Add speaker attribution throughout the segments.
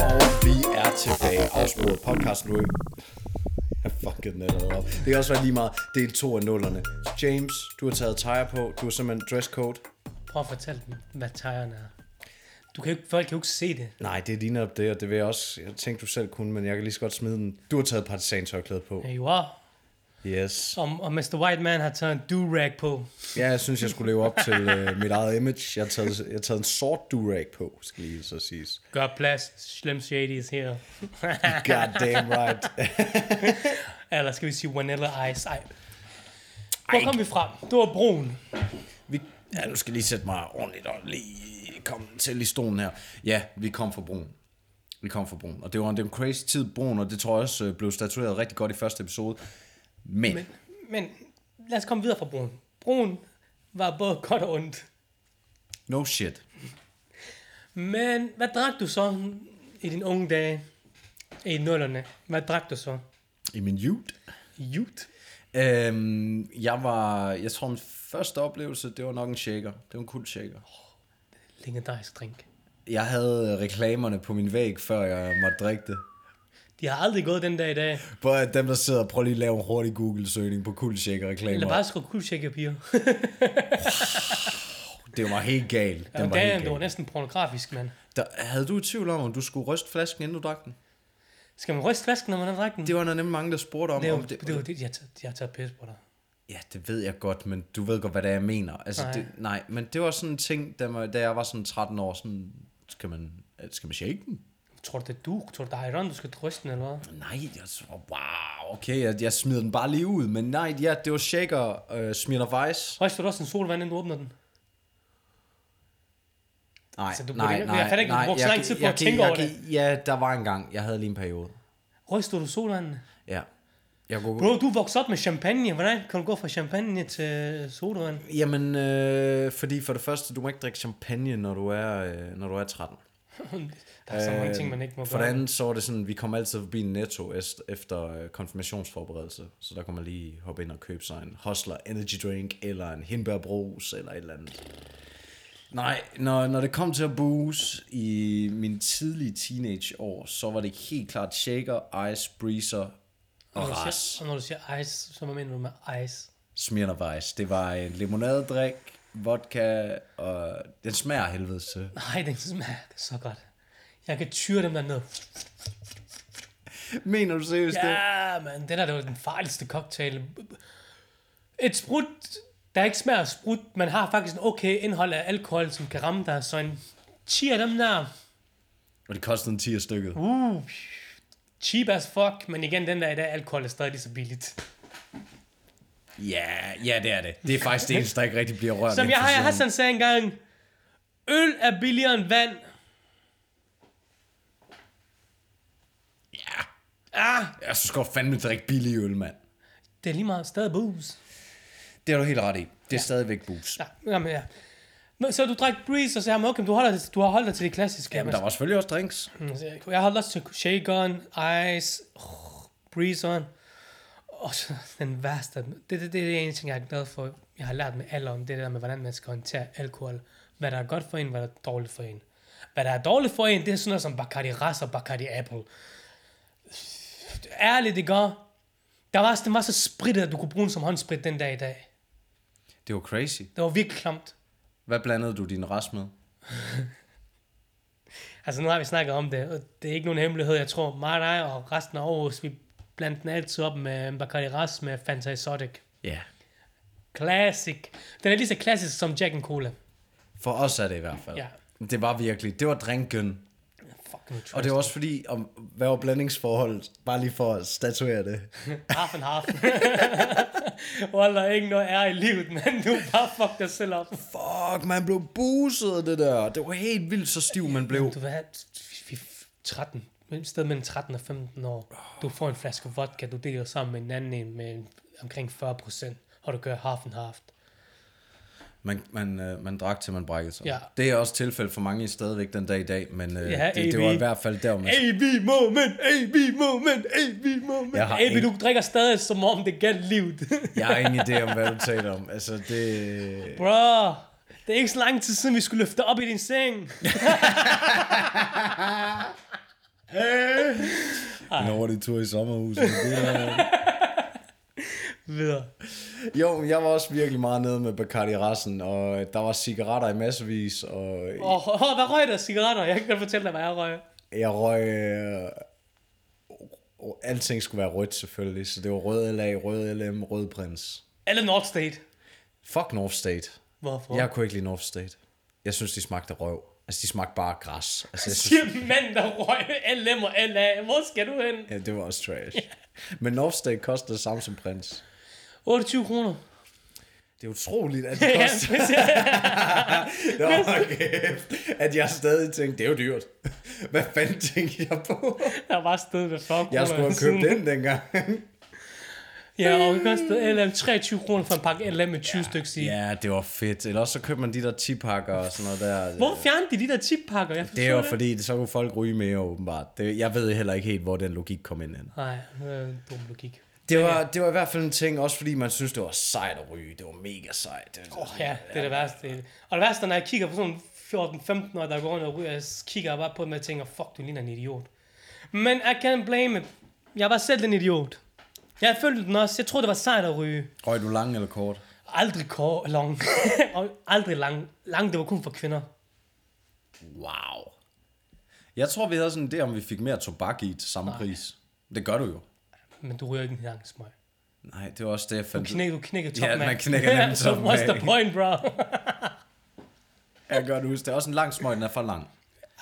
Speaker 1: Og vi er tilbage. Afsporet podcast nu. Jeg fuckede den allerede op. Det kan også være lige meget. Det er to af nullerne. James, du har taget tøjer på. Du har simpelthen dresscode.
Speaker 2: Prøv at fortælle dem, hvad tegerne er. Du kan jo ikke, folk kan jo ikke se det.
Speaker 1: Nej, det er lige op det, og det vil jeg også. Jeg tænkte, du selv kunne, men jeg kan lige så godt smide den. Du har taget partisantørklæde på.
Speaker 2: Ja, you are.
Speaker 1: Yes.
Speaker 2: Og, og Mr. White Man har taget en do-rag på.
Speaker 1: Ja, jeg synes, jeg skulle leve op til øh, mit eget image. Jeg har taget, jeg har taget en sort durag på, skal lige så siges.
Speaker 2: Gør plads. Slim Shady is here.
Speaker 1: God damn right.
Speaker 2: Eller skal vi sige Vanilla Ice. Ej. Hvor kom vi fra? Det var brun.
Speaker 1: Vi, ja, nu skal jeg lige sætte mig ordentligt og lige komme til i stolen her. Ja, vi kom fra Broen. Vi kom fra Broen. Og det var en, det var en crazy tid, Broen, og det tror jeg også øh, blev statueret rigtig godt i første episode. Men, Men.
Speaker 2: Men lad os komme videre fra brun. Brun var både godt og ondt.
Speaker 1: no shit.
Speaker 2: Men hvad drak du så i dine unge dage? I nullerne. Hvad drak du så?
Speaker 1: I min jute.
Speaker 2: Jut.
Speaker 1: Øhm, jeg var, jeg tror, min første oplevelse, det var nok en shaker. Det var en cool shaker.
Speaker 2: Legendarisk drink.
Speaker 1: Jeg havde øh, reklamerne på min væg, før jeg måtte drikke det.
Speaker 2: De har aldrig gået den dag i dag.
Speaker 1: Prøv at dem, der sidder, prøv lige at lave en hurtig Google-søgning på cool shaker reklamer.
Speaker 2: Eller bare skrive kuldsjekker, piger.
Speaker 1: Det var helt galt. Den
Speaker 2: Den
Speaker 1: var helt
Speaker 2: dagen, det var
Speaker 1: galt.
Speaker 2: næsten pornografisk, mand.
Speaker 1: Der, havde du i tvivl om, om du skulle ryste flasken, inden du drak den?
Speaker 2: Skal man ryste flasken, når man har drukket den?
Speaker 1: Det var der nemlig mange, der spurgte om.
Speaker 2: Det er jo
Speaker 1: om
Speaker 2: det, det, er jo det, jeg, tager, jeg tager pis på dig.
Speaker 1: Ja, det ved jeg godt, men du ved godt, hvad det er, jeg mener. Altså, nej.
Speaker 2: Nej.
Speaker 1: Det, nej, men det var sådan en ting, da, man, da jeg var sådan 13 år, sådan, skal man, skal man shake den?
Speaker 2: Tror du, det er du? Tror du, det er Iron, du skal ryste den, eller hvad?
Speaker 1: Nej, jeg så, wow, okay, jeg, jeg smider den bare lige ud, men nej, ja, det var shaker, øh, smirner Weiss.
Speaker 2: Ryster du også en solvand, inden du åbner den?
Speaker 1: Nej,
Speaker 2: Altså, du burde
Speaker 1: nej,
Speaker 2: ikke-
Speaker 1: nej,
Speaker 2: jeg fatter ikke, du
Speaker 1: nej,
Speaker 2: brugte så lang tid på
Speaker 1: jeg
Speaker 2: at
Speaker 1: gik-
Speaker 2: tænke
Speaker 1: jeg
Speaker 2: over det.
Speaker 1: gik- Ja, der var en gang, jeg havde lige en periode.
Speaker 2: Ryster du solvanden?
Speaker 1: Ja. Jeg kunne,
Speaker 2: Bro, du voksede op med champagne. Hvordan kan du gå fra champagne til sodavand?
Speaker 1: Jamen, øh, fordi for det første, du må ikke drikke champagne, når du er, øh, når du er 13.
Speaker 2: Der er så mange
Speaker 1: Øh,
Speaker 2: ting, man ikke må
Speaker 1: For det
Speaker 2: gøre.
Speaker 1: andet, så var det sådan, vi kom altid forbi Netto est- efter øh, konfirmationsforberedelse, så der kunne man lige hoppe ind og købe sig en Hustler Energy Drink, eller en hindbærbrus, eller et eller andet. Nej, når, når det kom til at booze i mine tidlige teenageår, så var det helt klart shaker, ice, breezer
Speaker 2: Når
Speaker 1: og
Speaker 2: du siger-
Speaker 1: ras.
Speaker 2: Og når du siger ice, så mener du med ice.
Speaker 1: Smirner Weiss. Det var en limonadedrik, vodka, og den smager af helvede til.
Speaker 2: Nej, den smager det er så godt. Jeg kan tyre dem dernede.
Speaker 1: Mener du seriøst det?
Speaker 2: Ja, man, det der det var den farligste cocktail. Et sprut, der ikke smager af sprut, man har faktisk en okay indhold af alkohol, som kan ramme dig, så en cheer dem der.
Speaker 1: Og det kostede en 10 stykket.
Speaker 2: Uh, cheap as fuck, men igen, den der i dag, alkohol er stadig lige så billigt.
Speaker 1: Ja, ja, det er det. Det er faktisk det eneste, der ikke rigtig bliver rørt.
Speaker 2: Som
Speaker 1: af
Speaker 2: jeg har
Speaker 1: inflationen.
Speaker 2: Hassan sagde engang, øl er billigere end vand.
Speaker 1: Ja,
Speaker 2: Ah,
Speaker 1: jeg synes godt fandme drikke billig øl, mand.
Speaker 2: det er lige meget stadig booze.
Speaker 1: Det har du helt ret i. Det er stadigvæk booze.
Speaker 2: Ja, jamen ja. Men, så du drak Breeze, og så sagde okay, du, holder, du har holdt dig til det klassiske.
Speaker 1: Jamen, der var selvfølgelig også drinks.
Speaker 2: Mm, så jeg- Jeg holdt også til Shakeon, Ice, oh, Breezon. Og så den værste. Det, det, det er det ene ting, jeg er glad for. Jeg har lært med alderen, det der med, hvordan man skal håndtere alkohol. Hvad der er godt for en, hvad der er dårligt for en. Hvad der er dårligt for en, det er sådan noget som Bacardi Ras og Bacardi Apple. Ærligt, det gør. Der var, den var så sprittet, at du kunne bruge den som håndsprit den dag i dag.
Speaker 1: Det var crazy.
Speaker 2: Det var virkelig klamt.
Speaker 1: Hvad blandede du din rest med?
Speaker 2: Altså, nu har vi snakket om det, og det er ikke nogen hemmelighed, jeg tror. Mig og dig og resten af Aarhus, vi blandt den altid op med Bacardi Ras med Fanta Exotic.
Speaker 1: Ja.
Speaker 2: Classic. Den er lige så klassisk som Jack and Cola.
Speaker 1: For os er det i hvert fald.
Speaker 2: Ja.
Speaker 1: Det var virkelig. Det var drinken.
Speaker 2: Fuck nu,
Speaker 1: Og det var også fordi, om, hvad var blandingsforholdet? Bare lige for at statuere det.
Speaker 2: half and half. Wallah, ikke noget er i livet, men du bare fuck dig selv op.
Speaker 1: Fuck, man blev buset af det der. Det var helt vildt, så stiv man blev.
Speaker 2: Du vil have f- f- 13, et sted mellem 13 og 15 år. Du får en flaske vodka, du deler sammen med en anden en med omkring 40 procent, og du gør half and half.
Speaker 1: Man, man, øh, man drak til man brækkede sig.
Speaker 2: Ja.
Speaker 1: Det er også tilfældet for mange stadigvæk den dag i dag, men øh,
Speaker 2: Ja,
Speaker 1: ja, det, det var
Speaker 2: AB.
Speaker 1: i hvert fald der, man...
Speaker 2: AV moment, AV moment, AV moment.
Speaker 1: Jeg har
Speaker 2: AV,
Speaker 1: en-
Speaker 2: du drikker stadig, som om det galt livet.
Speaker 1: Jeg har ingen idé om, hvad du taler om. Altså, det...
Speaker 2: Bro, det er ikke så lang tid siden, vi skulle løfte op i din seng.
Speaker 1: En hurtig tur i sommerhuset. Det er...
Speaker 2: Videre.
Speaker 1: Jo, men jeg var også virkelig meget nede med Bacardi Rassen, og der var cigaretter i massevis, og
Speaker 2: Åh, oh, hvad røg der cigaretter? Jeg kan godt fortælle dig, hvad jeg røg.
Speaker 1: jeg røg... Øh, alting skulle være rødt selvfølgelig, så det var rød LA, rød LM, rød prins.
Speaker 2: Eller North State.
Speaker 1: Fuck North State.
Speaker 2: Hvorfor?
Speaker 1: Jeg kunne ikke lide North State. Jeg synes, de smagte af røv. Altså, de smagte bare af græs. Altså, jeg synes,
Speaker 2: Siger mand, der røg LM og LA. Hvor skal du hen?
Speaker 1: ja, det var også trash. Men North State kostede det samme som prins.
Speaker 2: 28 kroner.
Speaker 1: Det er utroligt, at det
Speaker 2: Ja,
Speaker 1: koster.
Speaker 2: hvis jeg-
Speaker 1: Nå, kæft. At jeg stadig tænkte, det er jo dyrt. Hvad fanden tænkte jeg på?
Speaker 2: der var sted med 40 kroner.
Speaker 1: Jeg skulle have købt den dengang.
Speaker 2: Ja, og det kostede LM 23 kroner for en pakke LM med 20 stykker i.
Speaker 1: ja, det var fedt. Eller også så købte man de der 10-pakker og sådan noget der.
Speaker 2: Hvorfor fjernede de de der chippakker? Jeg
Speaker 1: Det er jo
Speaker 2: forstår
Speaker 1: fordi, det- så kunne folk ryge mere åbenbart. Det, jeg ved heller ikke helt, hvor den logik kom ind. hen.
Speaker 2: Nej, det er en dum logik.
Speaker 1: Det var, det var i hvert fald en ting, også fordi man synes, det var sejt at ryge. Det var mega sejt. Det,
Speaker 2: Åh, ja, det er det værste. Og det værste, er, når jeg kigger på sådan 14-15 år, der går rundt og ryger, så kigger jeg bare på dem og tænker, fuck, du ligner en idiot. Men I can't blame it. Jeg var selv en idiot. Jeg følte den også. Jeg troede, det var sejt at ryge.
Speaker 1: Røg du lang eller kort?
Speaker 2: Aldrig kår, lang. Og aldrig lang. Lang, det var kun for kvinder.
Speaker 1: Wow. Jeg tror, vi havde sådan en idé, om vi fik mere tobak i til samme pris. Det gør du jo.
Speaker 2: Men du ryger ikke en lang smøg.
Speaker 1: Nej, det var også det, jeg fandt.
Speaker 2: Knæk, du knækker
Speaker 1: Ja,
Speaker 2: topmand.
Speaker 1: man knækker nemlig
Speaker 2: Så what's the
Speaker 1: topmand.
Speaker 2: point, bro?
Speaker 1: Jeg kan godt huske, det er også en lang smøg, den er for lang.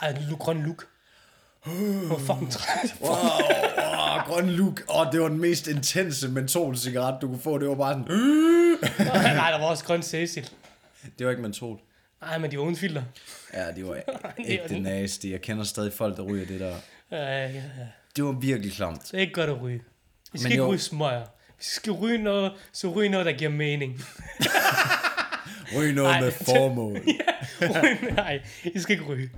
Speaker 2: Ej, lu- grøn look. Hvor fucking træt.
Speaker 1: Wow, wow, grøn look. Åh, oh, det var den mest intense mentol-cigaret, du kunne få. Det var bare sådan...
Speaker 2: Nej, der var også grøn Cecil.
Speaker 1: Det var ikke mentol.
Speaker 2: Nej, men de var uden filter.
Speaker 1: Ja, det var
Speaker 2: er
Speaker 1: ægte
Speaker 2: den.
Speaker 1: nasty. Jeg kender stadig folk, der ryger det der.
Speaker 2: Øh, ja, ja.
Speaker 1: Det var virkelig klamt.
Speaker 2: Det er ikke godt at ryge. Vi skal
Speaker 1: Men
Speaker 2: ikke
Speaker 1: jo.
Speaker 2: ryge smøger. Hvis vi skal ryge noget, så ryge noget, der giver mening.
Speaker 1: Ryg noget
Speaker 2: Ej.
Speaker 1: med formål.
Speaker 2: Ryge- Nej, I skal ikke ryge.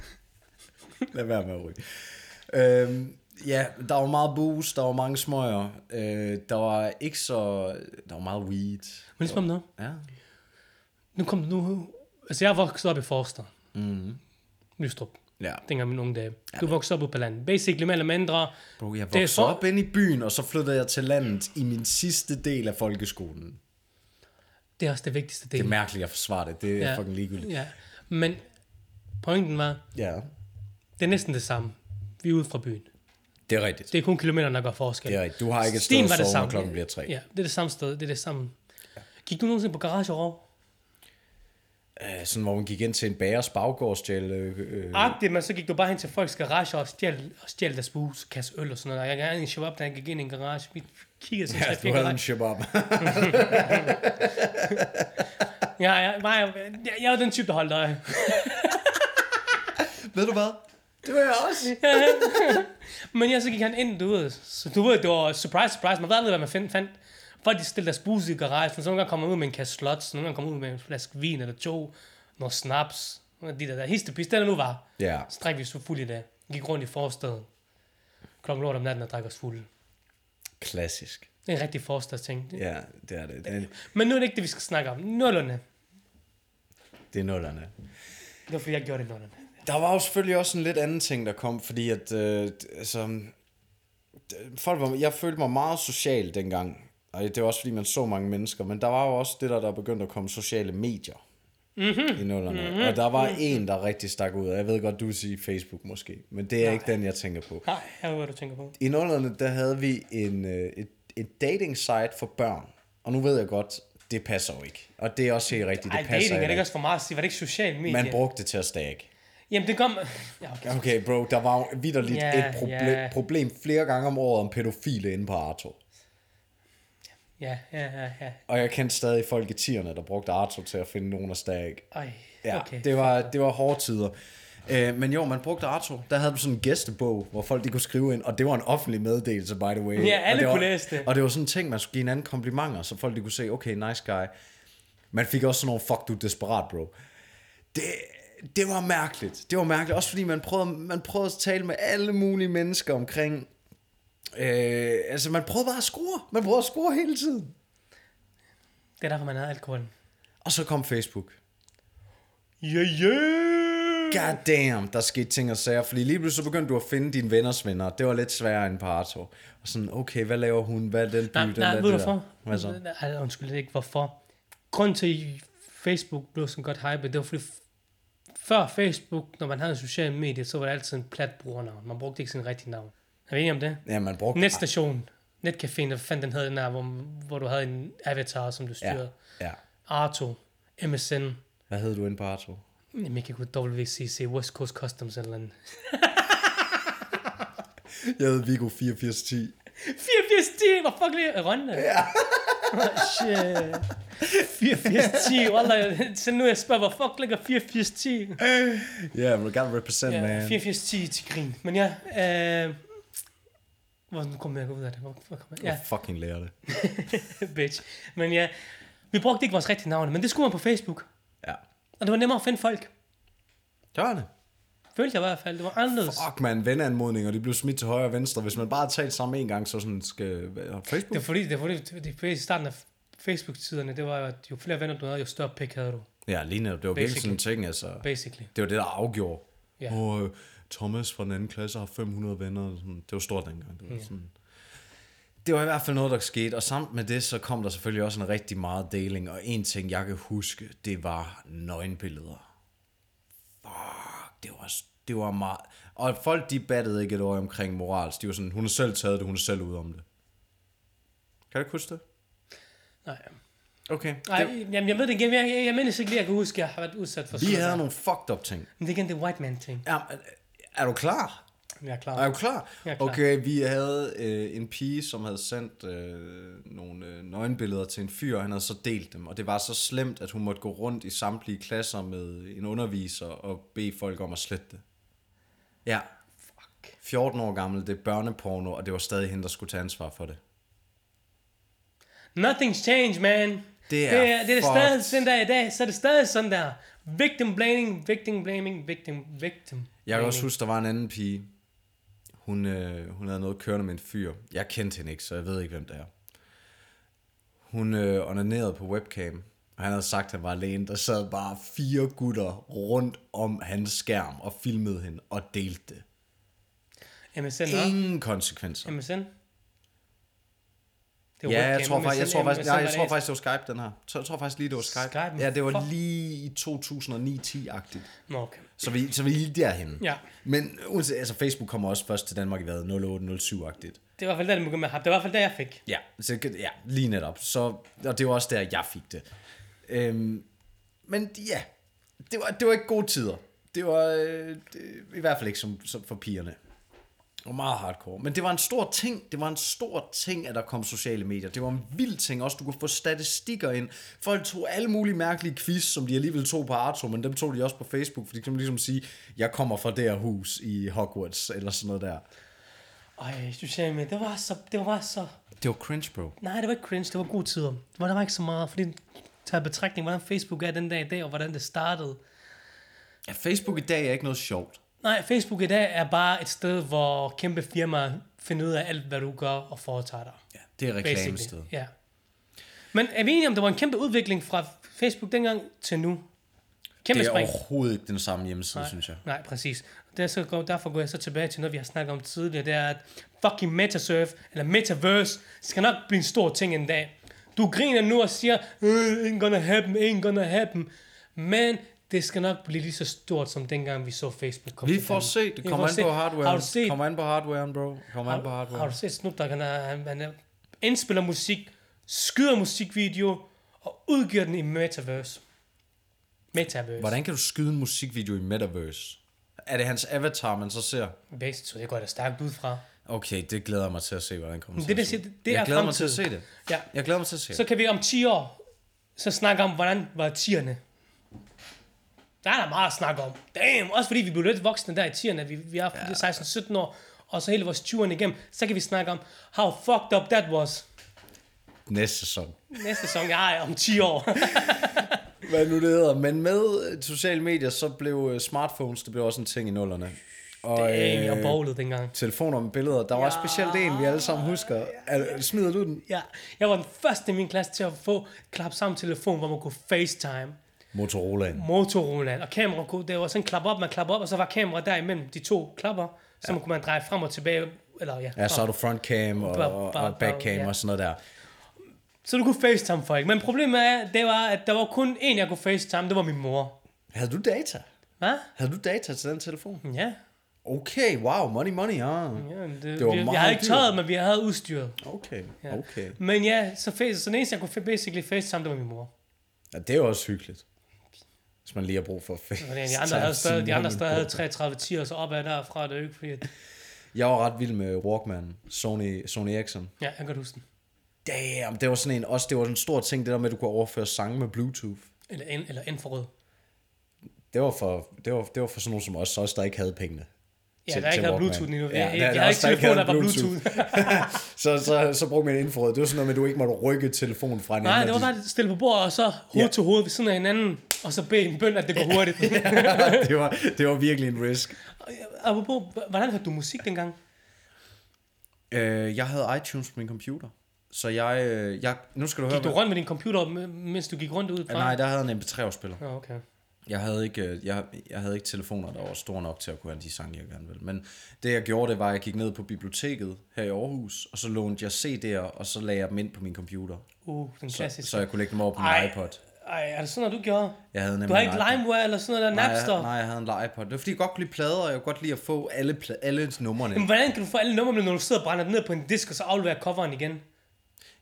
Speaker 1: Lad være med at ryge. Øhm, ja, der var meget booze, der var mange smøger. Øh, der var ikke så... Der var meget weed.
Speaker 2: Men ligesom om noget.
Speaker 1: Ja.
Speaker 2: Nu kom nu... Altså, jeg er vokset op i Forster. Mm.
Speaker 1: Mhm.
Speaker 2: Nystrup.
Speaker 1: Ja.
Speaker 2: Dengang mine unge dage. Du voksede op ude på landet. Basically, mere eller mindre.
Speaker 1: Bro, jeg
Speaker 2: Det er
Speaker 1: voksede
Speaker 2: for-
Speaker 1: op inde i byen, og så flyttede jeg til landet i min sidste del af folkeskolen.
Speaker 2: Det er også det vigtigste del.
Speaker 1: Det er mærkeligt, jeg forsvarer det. Det er ja. fucking ligegyldigt.
Speaker 2: Ja. Men pointen var,
Speaker 1: Ja.
Speaker 2: det er næsten det samme. Vi er ude fra byen.
Speaker 1: Det er rigtigt.
Speaker 2: Det er kun kilometerne, der gør forskel.
Speaker 1: Det er rigtigt. Du har ikke et
Speaker 2: Stien
Speaker 1: sted
Speaker 2: var
Speaker 1: at
Speaker 2: det
Speaker 1: sove, når
Speaker 2: samme.
Speaker 1: klokken bliver tre.
Speaker 2: Ja, det er det samme sted. Det er det samme. Gik du nogensinde på garage over?
Speaker 1: Øh, sådan, hvor man gik ind til en bagers baggård og stjal, øh, øh,
Speaker 2: Agtigt, men så gik du bare hen til folks garage og stjal, og stjal deres bus, kasse øl og sådan noget. Jeg gerne en shabab, da jeg gik ind i en garage. Vi kiggede sådan,
Speaker 1: Ja,
Speaker 2: ja,
Speaker 1: du havde en
Speaker 2: garage.
Speaker 1: shabab.
Speaker 2: Ja, ja, nej, jeg, jeg, jeg var den type, der holdt øje.
Speaker 1: Ved du hvad? Det var jeg også.
Speaker 2: men jeg så gik han ind, du ved. Så du ved, det var surprise, surprise. Man ved aldrig, hvad man fandt. fandt. Folk de stillede deres bus i garagen, så nogle gange kom man ud med en kasse slots, nogle gange kom man ud med en flaske vin eller to, noget snaps, nogle af de der der histepis, det der nu var.
Speaker 1: Ja.
Speaker 2: Så drak vi så fuld i dag. Gik rundt i forstaden. Klokken lort om natten og drak os fuld.
Speaker 1: Klassisk.
Speaker 2: Det er en rigtig forstadsting. Ja.
Speaker 1: Ja, det er det. Det er,
Speaker 2: Men nu er det ikke det, vi skal snakke om. Nullerne.
Speaker 1: det er nullerne.
Speaker 2: Det var fordi, jeg gjorde det i nullerne.
Speaker 1: Der var jo selvfølgelig også en lidt anden ting, der kom, fordi at, øh, altså, d- folk var, jeg følte mig meget social dengang, og det var også fordi, man så mange mennesker, men der var jo også det der, der begyndte at komme sociale medier
Speaker 2: Mhm.
Speaker 1: mm-hmm. i nullerne, mm-hmm. og der var en, der rigtig stak ud, og jeg ved godt, du vil sige Facebook måske, men det er Nej. ikke den, jeg tænker på.
Speaker 2: Nej, jeg ved, hvad du tænker på.
Speaker 1: I nullerne, der havde vi en, øh, et, et dating site for børn, og nu ved jeg godt, det passer jo ikke, og det er også helt rigtigt,
Speaker 2: Ej,
Speaker 1: det passer
Speaker 2: dating er det ikke
Speaker 1: ikke.
Speaker 2: også for meget at sige. Var det ikke social medie?
Speaker 1: Man brugte det til at stakke.
Speaker 2: Jamen, det kom... Ja, okay.
Speaker 1: Okay, bro, der var jo vidderligt
Speaker 2: Ja,
Speaker 1: yeah, et proble-
Speaker 2: ja.
Speaker 1: yeah. problem flere gange om året om pædofile inde på Arto.
Speaker 2: Ja, ja, ja, ja.
Speaker 1: Og jeg kendte stadig folk i tierne, der brugte Arto til at finde nogen af stag.
Speaker 2: Ej,
Speaker 1: Ja,
Speaker 2: okay.
Speaker 1: okay. det, var, det var hårde tider. Øh, men jo, man brugte Arto. Der havde man sådan en gæstebog, hvor folk de kunne skrive ind, og det var en offentlig meddelelse, by the way.
Speaker 2: Ja, alle
Speaker 1: og det var,
Speaker 2: kunne læse det.
Speaker 1: Og det var sådan en ting, man skulle give hinanden komplimenter, så folk de kunne se, okay, nice guy. Man fik også sådan nogle, fuck du er desperat, bro. Det, det var mærkeligt. Det var mærkeligt, også fordi man prøvede, man prøvede at tale med alle mulige mennesker omkring... Øh, altså, man prøvede bare at score. Man prøvede at score hele tiden.
Speaker 2: Det er derfor, man havde alkoholen.
Speaker 1: Og så kom Facebook.
Speaker 2: Yeah, yeah!
Speaker 1: God damn, der skete ting og sager. Fordi lige pludselig så begyndte du at finde dine venners venner. Det var lidt sværere end Parto. Og sådan, okay, hvad laver hun? Hvad er den by?
Speaker 2: Nej,
Speaker 1: den
Speaker 2: nej,
Speaker 1: der,
Speaker 2: ved du
Speaker 1: det der?
Speaker 2: hvorfor?
Speaker 1: Hvad så?
Speaker 2: Nej, undskyld, det er ikke hvorfor. Grunden til, at Facebook blev sådan godt hype, det var fordi, f- før Facebook, når man havde sociale medier, så var det altid en plat brugernavn. Man brugte ikke sin rigtige navn. Er vi enige om det?
Speaker 1: Ja, man brugte...
Speaker 2: Netstation, netcaféen, eller hvad fanden den hed, den der, hvor, hvor du havde en avatar, som du styrede.
Speaker 1: Ja, ja.
Speaker 2: Arto, MSN,
Speaker 1: Hvad hed du inde på Arto?
Speaker 2: Jamen, jeg kan ikke huske WCC, West Coast Customs eller andet.
Speaker 1: Jeg hed Vigo 8410.
Speaker 2: 8410, hvor fuck lige Rønne? Ja. Shit. 8410, wallah. Så nu jeg spørger, hvor fuck ligger 8410?
Speaker 1: Ja, man gerne represent,
Speaker 2: Ja,
Speaker 1: man.
Speaker 2: 8410 til grin. Men ja, øh, hvor nu kommer jeg ud af det? Hvor, hvor kommer jeg?
Speaker 1: Ja.
Speaker 2: Ja,
Speaker 1: Jeg fucking lærer det.
Speaker 2: bitch. Men ja, vi brugte ikke vores rigtige navne, men det skulle man på Facebook.
Speaker 1: Ja.
Speaker 2: Og det var nemmere at finde folk.
Speaker 1: Det var det.
Speaker 2: Følte jeg i hvert fald, det var anderledes.
Speaker 1: Fuck, man. Venneanmodninger, de blev smidt til højre og venstre. Hvis man bare har talt sammen en gang, så sådan skal... Facebook?
Speaker 2: Det er fordi, det er fordi, det er fordi i starten af Facebook-tiderne, det var jo, at jo flere venner du havde, jo større pik havde du,
Speaker 1: Ja, lige netop. Det var virkelig sådan en ting, altså.
Speaker 2: basically.
Speaker 1: Det var det, der afgjorde.
Speaker 2: Ja.
Speaker 1: Og øh, Thomas fra den anden klasse har 500 venner. og Sådan. Det var stort dengang. Det var, sådan. det var i hvert fald noget, der skete. Og samt med det, så kom der selvfølgelig også en rigtig meget deling. Og en ting, jeg kan huske, det var nøgenbilleder. Fuck, det var, det var meget... Og folk, de battede ikke et øje omkring morals. De var sådan, hun har selv taget det, hun er selv ude om det. Kan du ikke huske det?
Speaker 2: Nej,
Speaker 1: Okay.
Speaker 2: Nej,
Speaker 1: det,
Speaker 2: jamen, jeg ved det igen. Jeg, jeg, jeg mindes ikke lige, jeg kan huske, at jeg har været udsat for
Speaker 1: vi
Speaker 2: sådan
Speaker 1: havde
Speaker 2: noget.
Speaker 1: nogle fucked up ting.
Speaker 2: Men det er igen det white man ting.
Speaker 1: Ja, øh, er du klar?
Speaker 2: Jeg er klar.
Speaker 1: Er du klar?
Speaker 2: Jeg er klar.
Speaker 1: Okay, vi havde øh, en pige, som havde sendt øh, nogle øh, nøgenbilleder til en fyr, og han havde så delt dem. Og det var så slemt, at hun måtte gå rundt i samtlige klasser med en underviser og bede folk om at slette det. Ja. Fuck. 14 år gammel, det er børneporno, og det var stadig hende, der skulle tage ansvar for det.
Speaker 2: Nothing's changed, man.
Speaker 1: Det er
Speaker 2: det, er, det er
Speaker 1: fucked.
Speaker 2: stadig sådan der i dag, så er det stadig sådan der. Victim blaming, victim blaming, victim, victim.
Speaker 1: Jeg kan også huske, der var en anden pige. Hun, øh, hun havde noget kørende med en fyr. Jeg kendte hende ikke, så jeg ved ikke, hvem det er. Hun øh, onanerede på webcam, og han havde sagt, at han var alene. Der sad bare fire gutter rundt om hans skærm og filmede hende og delte det.
Speaker 2: MSN, hva'?
Speaker 1: Ingen konsekvenser.
Speaker 2: MSN? Det er
Speaker 1: Ja, jeg
Speaker 2: webcam.
Speaker 1: tror, faktisk, jeg, tror
Speaker 2: MSN,
Speaker 1: faktisk, nej, jeg
Speaker 2: var
Speaker 1: tror
Speaker 2: det
Speaker 1: faktisk, det var Skype, den her. Så jeg tror faktisk lige, det var Skype.
Speaker 2: Skype, men
Speaker 1: ja, det var
Speaker 2: fuck.
Speaker 1: lige i 2009-10-agtigt.
Speaker 2: en- Nå, okay.
Speaker 1: Så vi, så vi er lige derhen.
Speaker 2: Ja.
Speaker 1: Men uanset, altså, Facebook kommer også først til Danmark i hvad, 08-07-agtigt.
Speaker 2: Det var i hvert fald der, det begyndte med at have. Det var i hvert fald der, jeg fik.
Speaker 1: Ja, så, ja lige netop. Så, og det var også der, jeg fik det. Øhm, men ja, det var, det var ikke gode tider. Det var øh, det, i hvert fald ikke som, som for pigerne. Og meget hardcore. Men det var en stor ting, det var en stor ting, at der kom sociale medier. Det var en vild ting også. Du kunne få statistikker ind. Folk tog alle mulige mærkelige quiz, som de alligevel tog på Arto, men dem tog de også på Facebook, fordi de kunne ligesom sige, jeg kommer fra det her hus i Hogwarts, eller sådan noget der.
Speaker 2: Ej, sociale medier, det var så, det var så
Speaker 1: Det var cringe, bro.
Speaker 2: Nej, det var ikke cringe, det var gode tider. Det var, der var ikke så meget, fordi tager i betragtning, hvordan Facebook er den dag i dag, og hvordan det startede.
Speaker 1: Ja, Facebook i dag er ikke noget sjovt.
Speaker 2: Nej, Facebook i dag er bare et sted, hvor kæmpe firmaer finder ud af alt, hvad du gør og foretager dig.
Speaker 1: Ja, det er
Speaker 2: basically.
Speaker 1: reklamested.
Speaker 2: Ja. Men er vi enige om, det var en kæmpe udvikling fra Facebook dengang til nu? Kæmpe
Speaker 1: Det er
Speaker 2: spring.
Speaker 1: overhovedet ikke den samme hjemmeside, Nej. synes jeg.
Speaker 2: Nej, præcis. Det er så går, derfor går jeg så tilbage til noget, vi har snakket om tidligere, det er, at fucking metasurf, eller metaverse, skal nok blive en stor ting en dag. Du griner nu og siger, "Øh, ain't gonna happen, ain't gonna happen. Men det skal nok blive lige så stort, som dengang vi så Facebook komme
Speaker 1: Vi får se. Det kommer an på hardwaren.
Speaker 2: Har du set,
Speaker 1: Kommer an på hardwaren, bro. Kommer an på
Speaker 2: har, har
Speaker 1: hardwaren.
Speaker 2: du set Snoop Dogg, han, er, han, han er, indspiller musik, skyder musikvideo, og udgiver den i metaverse. Metaverse.
Speaker 1: Hvordan kan du skyde en musikvideo i Metaverse? Er det hans avatar, man så ser?
Speaker 2: Basically, så det går da stærkt ud fra.
Speaker 1: Okay, det glæder jeg mig til at se, hvordan det kommer
Speaker 2: Men
Speaker 1: til
Speaker 2: det
Speaker 1: at
Speaker 2: vil
Speaker 1: se.
Speaker 2: sige, det- det
Speaker 1: jeg
Speaker 2: er
Speaker 1: glæder mig til at se
Speaker 2: fremtiden.
Speaker 1: det.
Speaker 2: Ja,
Speaker 1: Jeg glæder mig til at se
Speaker 2: Så kan vi om 10 år, så snakke om, hvordan var 10'erne. Der er der meget at snakke om. Damn, også fordi vi blev lidt voksne der i 10'erne. Vi, vi er ja. 16-17 år, og så hele vores 20'erne igennem. Så kan vi snakke om, how fucked up that was.
Speaker 1: det. Næste sæson.
Speaker 2: Næste sæson, jeg er om 10 år.
Speaker 1: Hvad nu det hedder. Men med øh, sociale medier, så blev øh, smartphones, det blev også en ting i nullerne. Og,
Speaker 2: Dang,
Speaker 1: øh,
Speaker 2: jeg bowlede dengang.
Speaker 1: telefoner med billeder. Der var ja. specielt en, vi alle sammen husker. Er, smider du den?
Speaker 2: Ja, jeg var den første i min klasse til at få klap sammen telefon, hvor man kunne facetime.
Speaker 1: Motorolaen.
Speaker 2: Motorola og kamera kunne, det var sådan klap op, man klap op, og så var kamera der imellem de to klapper, så man kunne man dreje frem og tilbage, eller ja.
Speaker 1: Ja, så
Speaker 2: frem.
Speaker 1: har du frontcam og,
Speaker 2: Bare-
Speaker 1: og,
Speaker 2: bare-
Speaker 1: og backcam
Speaker 2: ja.
Speaker 1: og sådan noget der.
Speaker 2: så du kunne facetime folk, men problemet er, det var, at der var kun en, jeg kunne facetime, det var min mor.
Speaker 1: Havde du data?
Speaker 2: Hvad?
Speaker 1: Havde du data til den telefon?
Speaker 2: Ja.
Speaker 1: Okay, wow, money, money, ja.
Speaker 2: ja det, det
Speaker 1: var
Speaker 2: var vi, vi
Speaker 1: meget
Speaker 2: havde ikke
Speaker 1: dyrt.
Speaker 2: tøjet, men vi havde udstyret.
Speaker 1: Okay, okay.
Speaker 2: Men ja, så, face, så den eneste, jeg kunne fa- basically facetime, det var min mor.
Speaker 1: Ja, det er jo også hyggeligt. Hvis man lige har brug for at
Speaker 2: Og de andre havde stadig, de andre stadig havde 33 10 og så opad derfra, det er jo ikke fordi, at,
Speaker 1: Jeg var ret vild med Walkman, Sony, Sony Ericsson.
Speaker 2: ja, jeg kan godt huske den.
Speaker 1: Damn, det var sådan en, også det var en stor ting, det der med, at du kunne overføre sange med Bluetooth.
Speaker 2: Eller, ind, eller infrarød.
Speaker 1: Det var for, det var, det var for sådan nogen som os, os der ikke havde pengene.
Speaker 2: Ja,
Speaker 1: til-
Speaker 2: der er
Speaker 1: til
Speaker 2: ikke havde
Speaker 1: Walkman.
Speaker 2: Bluetooth endnu.
Speaker 1: Ja,
Speaker 2: Ja, jeg,
Speaker 1: der-
Speaker 2: jeg,
Speaker 1: der
Speaker 2: jeg, havde
Speaker 1: også
Speaker 2: ikke
Speaker 1: der ikke
Speaker 2: telefon, der
Speaker 1: havde
Speaker 2: var
Speaker 1: Bluetooth.
Speaker 2: Bluetooth.
Speaker 1: så, så, så brugte man infrarød. Det var sådan noget med, at du ikke måtte rykke telefonen fra hinanden.
Speaker 2: Nej, det
Speaker 1: og
Speaker 2: var bare at stille på bordet, og så hoved
Speaker 1: Ja.
Speaker 2: til hoved ved siden af hinanden, og så bede en bøn, at det går hurtigt.
Speaker 1: de- det, var, det var virkelig en risk.
Speaker 2: Og jeg- Apropos, h- hvordan hørte du musik dengang?
Speaker 1: Øh, jeg havde iTunes på min computer. Så jeg, øh, jeg nu skal du høre...
Speaker 2: Gik du
Speaker 1: hvad-
Speaker 2: rundt med din computer, m- mens du gik rundt ud fra?
Speaker 1: Nej, der havde jeg en MP3-afspiller.
Speaker 2: Nå, okay.
Speaker 1: Jeg havde, ikke, øh, jeg, jeg havde ikke telefoner, der var store nok til at kunne have de sange, jeg gerne ville. Men det, jeg gjorde, det var, at jeg gik ned på biblioteket her i Aarhus, og så lånte jeg CD'er, og så lagde jeg dem ind på min computer.
Speaker 2: Uh, den
Speaker 1: Så,
Speaker 2: klassiske.
Speaker 1: så jeg kunne lægge dem over på min
Speaker 2: Ej.
Speaker 1: iPod.
Speaker 2: Ej, er det sådan noget, du gjorde?
Speaker 1: Jeg havde nemlig
Speaker 2: Du har
Speaker 1: en
Speaker 2: ikke
Speaker 1: iPod.
Speaker 2: LimeWare eller sådan noget der,
Speaker 1: Nej,
Speaker 2: Napster?
Speaker 1: jeg, nej, jeg havde en iPod. Det var fordi, jeg godt kunne lide plader, og jeg kunne godt lide at få alle, pla- alle numrene.
Speaker 2: Men hvordan kan du få alle numrene, når du sidder og brænder dem ned på en disk, og så afleverer coveren igen?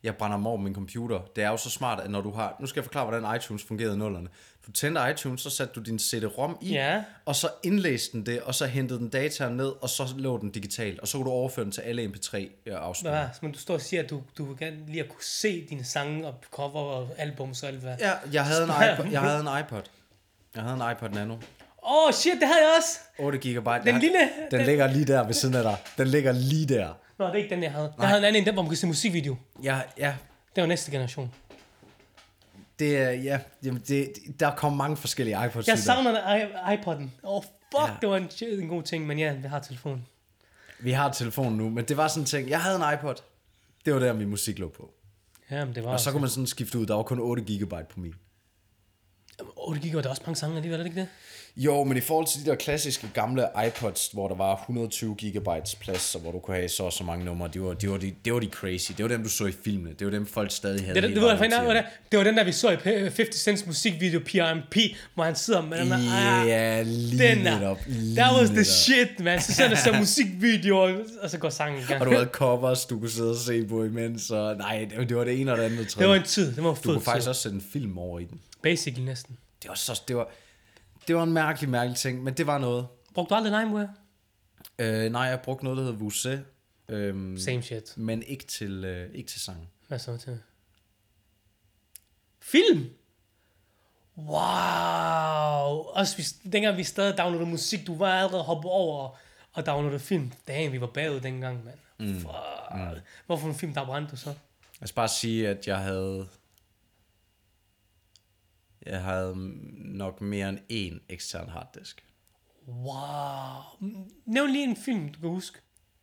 Speaker 1: Jeg brænder dem over på min computer. Det er jo så smart, at når du har... Nu skal jeg forklare, hvordan iTunes fungerede i nullerne. Du tændte iTunes, så satte du din CD-ROM i,
Speaker 2: Ja.
Speaker 1: og så indlæste den det, og så hentede den data ned, og så lå den digitalt, og så kunne du overføre den til alle MP3-afspillere.
Speaker 2: Hvad? Men du står og siger, at du, du vil gerne lige at kunne se dine sange og cover og albums og alt hvad.
Speaker 1: Ja, jeg havde, en
Speaker 2: Smart.
Speaker 1: iPod, jeg havde en iPod. Jeg havde en iPod Nano.
Speaker 2: Åh, oh, shit, det havde jeg også!
Speaker 1: 8 GB. Den
Speaker 2: lille-
Speaker 1: Den, den ligger lige der ved siden af dig. Den ligger lige der.
Speaker 2: Nå, det er ikke den, jeg havde. Jeg havde en anden en, den, hvor man kunne se musikvideo.
Speaker 1: Ja, ja.
Speaker 2: Det var næste generation.
Speaker 1: Det er, ja, jamen det, der kom mange forskellige iPods.
Speaker 2: Jeg
Speaker 1: ud der.
Speaker 2: savner i- iPod'en. Åh, oh, fuck,
Speaker 1: Ja.
Speaker 2: ja. det var en, shit, en god ting, men ja, vi har telefonen.
Speaker 1: Vi har telefonen nu, men det var sådan en ting. Jeg havde en iPod. Det var der, min musik lå på.
Speaker 2: Ja, men det var
Speaker 1: Og så
Speaker 2: også...
Speaker 1: kunne man sådan skifte ud. Der var kun 8 GB på min.
Speaker 2: Åh, oh, det gik jo, der er også mange sange alligevel, er det ikke det?
Speaker 1: Jo, men i forhold til de der klassiske gamle iPods, hvor der var 120 GB plads, og hvor du kunne have så og så mange numre, det var, det var, de, det var de crazy. Det var dem, du så i filmene. Det var dem, folk stadig havde.
Speaker 2: Det, det,
Speaker 1: hele
Speaker 2: det, var,
Speaker 1: vejen
Speaker 2: det,
Speaker 1: til.
Speaker 2: var, det, det var den der, vi så i P- 50 Cent's musikvideo PRMP, hvor han sidder med den der... ah,
Speaker 1: Ja, lige
Speaker 2: den
Speaker 1: netop.
Speaker 2: der.
Speaker 1: lige
Speaker 2: That was the
Speaker 1: netop.
Speaker 2: shit, man. Så sidder der så musikvideoer, og så går sangen i gang.
Speaker 1: Og du havde covers, du kunne sidde og se på imens, og nej, det, det var det ene og det andet. tredje.
Speaker 2: Det var en tid, det var en
Speaker 1: du
Speaker 2: fed
Speaker 1: kunne faktisk
Speaker 2: tid.
Speaker 1: også sætte en film over i den.
Speaker 2: Basically næsten.
Speaker 1: Det var, så, det var, det var en mærkelig, mærkelig ting, men det var noget.
Speaker 2: Brugte du aldrig LimeWare?
Speaker 1: Øh, nej, jeg brugte noget, der hed Vuse, øhm,
Speaker 2: Same shit.
Speaker 1: men ikke til, øh, ikke til sang.
Speaker 2: Hvad så til? Film? Wow! Også vi, dengang vi stadig downloadede musik, du var allerede hoppet over og downloadede film. Damn, vi var bagud dengang, mand. Mm. Fuck. Mm. Hvorfor en film, der brændte du så?
Speaker 1: Jeg skal bare sige, at jeg havde... Jeg havde nok mere end én ekstern harddisk.
Speaker 2: Wow. Mm, Nævn lige en film, du kan huske.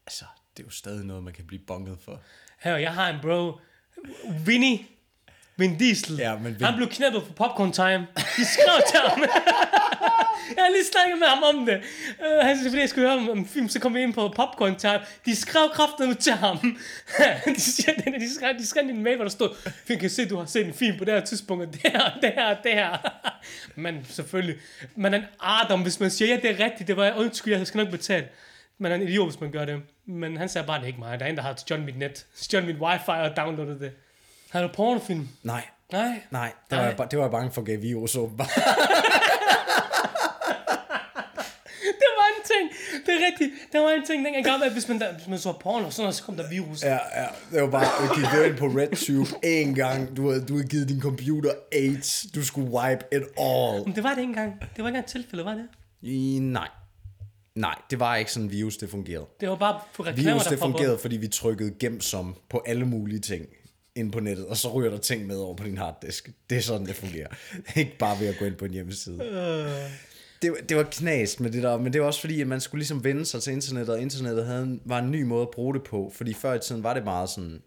Speaker 1: Altså, det er jo stadig noget, man kan blive bunket for.
Speaker 2: Her, jeg har en bro. Vinny. Vin Diesel.
Speaker 1: Ja, men Vin-
Speaker 2: Han blev knappet på Popcorn Time. De skrev til ham. jeg har lige snakket med ham om det. Uh, han sagde, fordi jeg skulle høre om, om film, så kom vi ind på Popcorn Time. De skrev kraftedeme til ham. de, siger, det, de, skrev, de skrev en mail, hvor der stod, vi kan se, du har set en film på det her tidspunkt, og det her, og det her, og det her. Men selvfølgelig. Man er en Adam, hvis man siger, ja, det er rigtigt, det var jeg undskyld, jeg skal nok betale. Man er en idiot, hvis man gør det. Men han sagde bare, det er ikke mig. Der er en, der har stjålet mit net, stjålet mit wifi og downloadet det. Har du pornofilm?
Speaker 1: Nej,
Speaker 2: Nej.
Speaker 1: nej, det var,
Speaker 2: Nej.
Speaker 1: Jeg, ba- det var jeg bange for, gav virus åbenbart.
Speaker 2: Det var en ting. Det er rigtigt. Der var en ting dengang, gammel, at hvis man, der, hvis man så porno og sådan noget, så kom der virus. Ja.
Speaker 1: Ja, ja, det var bare, du gik jo ind på RedTube en gang, du havde, du havde givet din computer AIDS, du skulle wipe it all.
Speaker 2: Men det var det ikke engang. Det var ikke engang et tilfælde, var det?
Speaker 1: I, nej, nej, det var ikke sådan, virus det fungerede.
Speaker 2: Det var bare for reklamer,
Speaker 1: Virus
Speaker 2: der
Speaker 1: det
Speaker 2: poppede op.
Speaker 1: fungerede, fordi vi trykkede gem som på alle mulige ting. ind på nettet, og så ryger der ting med over på din harddisk. Det er sådan, det fungerer. ikke bare ved at gå ind på en hjemmeside.
Speaker 2: Øh.
Speaker 1: Det, var- det var knast med det der, men det var også fordi, at man skulle ligesom vende sig til internettet, og internettet havde, en- var en ny måde at bruge det på, fordi før i tiden var det meget sådan,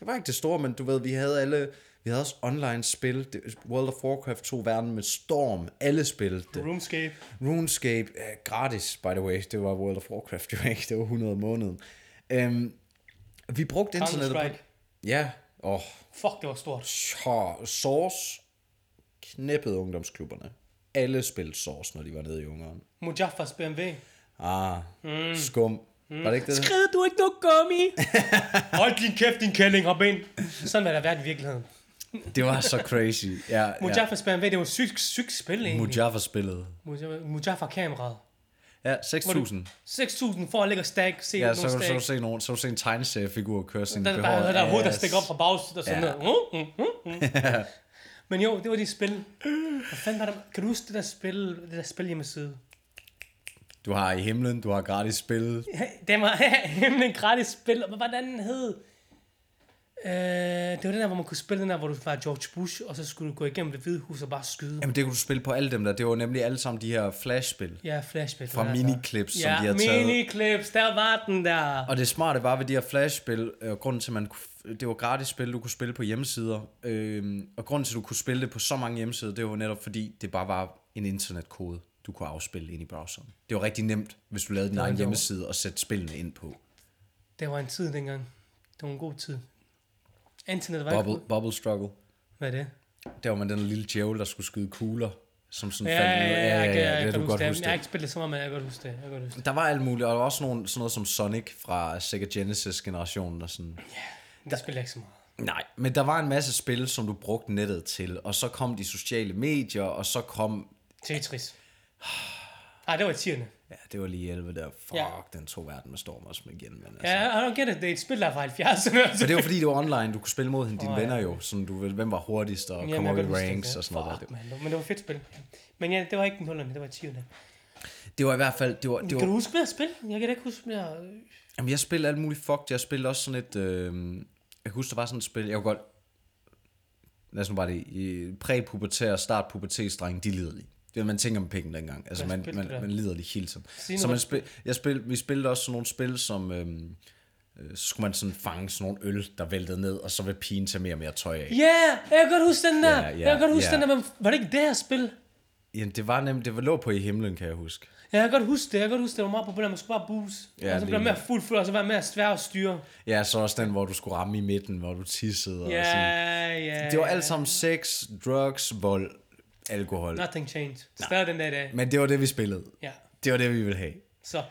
Speaker 1: det var ikke det store, men du ved, vi havde alle, vi havde også online spil, Det- World of Warcraft tog verden med storm, alle spillede det.
Speaker 2: Roomscape.
Speaker 1: RuneScape er gratis, by the way. Det var World of Warcraft jo ikke. Det var 100 om måneden. Um, vi brugte internettet på...
Speaker 2: Counter-Strike.
Speaker 1: Ja, og oh,
Speaker 2: Fuck, det var stort.
Speaker 1: tja, Source knæppede ungdomsklubberne. Alle spillede Source, når de var nede i ungeren.
Speaker 2: Mujaffas BMW.
Speaker 1: Ah,
Speaker 2: Hmm.
Speaker 1: mm. skum. Mm. Var det ikke det?
Speaker 2: Skrid, du er ikke nok gummi. Hold din kæft, din kælling, hop ind. Sådan var der været i virkeligheden.
Speaker 1: Det var så crazy. Ja, ja.
Speaker 2: Mujaffas BMW, det var et sygt, sygt spil egentlig.
Speaker 1: Mujaffa spillede.
Speaker 2: Mujaffa- Mujaffa-kameraet.
Speaker 1: Ja,
Speaker 2: Hvor du-
Speaker 1: 6.000.
Speaker 2: 6.000 for at ligge og stack, se
Speaker 1: Ja,
Speaker 2: ja,
Speaker 1: så
Speaker 2: nogle
Speaker 1: kan du så
Speaker 2: stack.
Speaker 1: se, nogen, så kan du se en tegneseriefigur køre sin
Speaker 2: Den der bare havde der hoved, der stikker op fra bagsiden og sådan
Speaker 1: Ja.
Speaker 2: ja. noget. Mm, mm, mm, mm. Men jo, det var de spil. Hvad fanden var der? Kan du huske det der spil, det der spil hjemmeside?
Speaker 1: Du har i himlen, du har gratis spil.
Speaker 2: Det var nemlig en gratis spil. Men Hvordan den hed? Øh, det var den der, hvor man kunne spille den der, hvor du var George Bush, og så skulle du gå igennem det hvide hus og bare skyde.
Speaker 1: Jamen det kunne du spille på alle dem der. Det var nemlig alle sammen de her flashspil
Speaker 2: Ja, flashback.
Speaker 1: fra
Speaker 2: hvad er det der?
Speaker 1: miniklips, som de
Speaker 2: Ja,
Speaker 1: havde taget.
Speaker 2: miniklips, der var den der.
Speaker 1: Og det smarte var ved de her flashspil, øh, og grunden til, at man kunne, det var gratis spil, du kunne spille på hjemmesider, øh, og grunden til, at du kunne spille det på så mange hjemmesider, det var netop fordi, det bare var en internetkode, du kunne afspille ind i browseren. Det var rigtig nemt, hvis du lavede din egen
Speaker 2: jo-
Speaker 1: hjemmeside og sætte spillene ind på.
Speaker 2: Det var en tid dengang. Det var en god tid. Internet var ikke...
Speaker 1: Bubble, bubble Struggle.
Speaker 2: Hvad er det?
Speaker 1: Der var man den lille djævel, der skulle skyde kugler, som sådan
Speaker 2: Ja,
Speaker 1: faldt
Speaker 2: ja,
Speaker 1: ned.
Speaker 2: ja, jeg kan- jeg
Speaker 1: det
Speaker 2: kan
Speaker 1: du godt
Speaker 2: huske det.
Speaker 1: huske
Speaker 2: Jeg har ikke spillet så meget, men jeg kan godt huske det. Jeg kan godt huske det.
Speaker 1: Der var alt muligt, og der var også nogle, sådan noget som Sonic fra Sega Genesis-generationen og sådan.
Speaker 2: Men Det spiller jeg ikke så meget.
Speaker 1: Nej, men der var en masse spil, som du brugte nettet til, og så kom de sociale medier, og så kom...
Speaker 2: Tetris. Ah, det var tierne.
Speaker 1: Ja, det var lige 11 der. Fuck,
Speaker 2: Ja.
Speaker 1: ja. den tog verden med storm også med igen. Men altså.
Speaker 2: Ja, I don't get it. Det er et spil, der er fra 70'erne.
Speaker 1: Men det var fordi, det var online. Du kunne spille mod dine
Speaker 2: Åh,
Speaker 1: oh,
Speaker 2: ja.
Speaker 1: venner jo. Sådan, du ved, hvem var hurtigst og kom
Speaker 2: jeg
Speaker 1: op i
Speaker 2: kan godt huske
Speaker 1: ranks
Speaker 2: det, ja.
Speaker 1: og sådan noget.
Speaker 2: Fuck,
Speaker 1: der.
Speaker 2: man. Men det var et fedt spil. Men ja, det var ikke den hullerne, det var 20'erne.
Speaker 1: Det, det var i hvert fald... Det var, det var,
Speaker 2: Kan du huske mere spil? Jeg kan da ikke huske mere.
Speaker 1: Jamen, jeg spillede alt muligt fucked. Jeg spillede også sådan et... Øh, jeg husker, der var sådan et spil, jeg kunne godt... Lad os nu bare det... i- Præpubertære, start pubertetsdreng, de lider lige. Det var, man tænker om penge dengang. Altså,
Speaker 2: Hvad
Speaker 1: man,
Speaker 2: spillede
Speaker 1: man,
Speaker 2: du da?
Speaker 1: man lider lige hele tiden.
Speaker 2: Sig
Speaker 1: Så man
Speaker 2: noget.
Speaker 1: spil, jeg spil, vi spillede også sådan nogle spil, som... Øh, øh, så skulle man sådan fange sådan nogle øl, der væltede ned, og så vil pigen tage mere og mere tøj af.
Speaker 2: Ja, jeg kan godt huske den der.
Speaker 1: Ja, ja,
Speaker 2: jeg kan godt huske
Speaker 1: ja.
Speaker 2: den der. Men var det ikke det her spil?
Speaker 1: Jamen, det var nemt, det var lå på i himlen, kan jeg huske.
Speaker 2: Ja, jeg kan godt huske det. Jeg kan godt huske, det var meget populært. Man skulle bare booze.
Speaker 1: Ja,
Speaker 2: og så
Speaker 1: lige
Speaker 2: blev man mere fuld, fuld, og så var man mere svær at styre.
Speaker 1: Ja, så også den, hvor du skulle ramme i midten, hvor du tissede og
Speaker 2: Ja,
Speaker 1: sådan.
Speaker 2: ja.
Speaker 1: Det var
Speaker 2: ja.
Speaker 1: alt sammen sex, drugs, vold, alkohol.
Speaker 2: Nothing changed. Stadig den dag i dag.
Speaker 1: Men det var det, vi spillede.
Speaker 2: Ja.
Speaker 1: Det var det, vi ville have.
Speaker 2: Så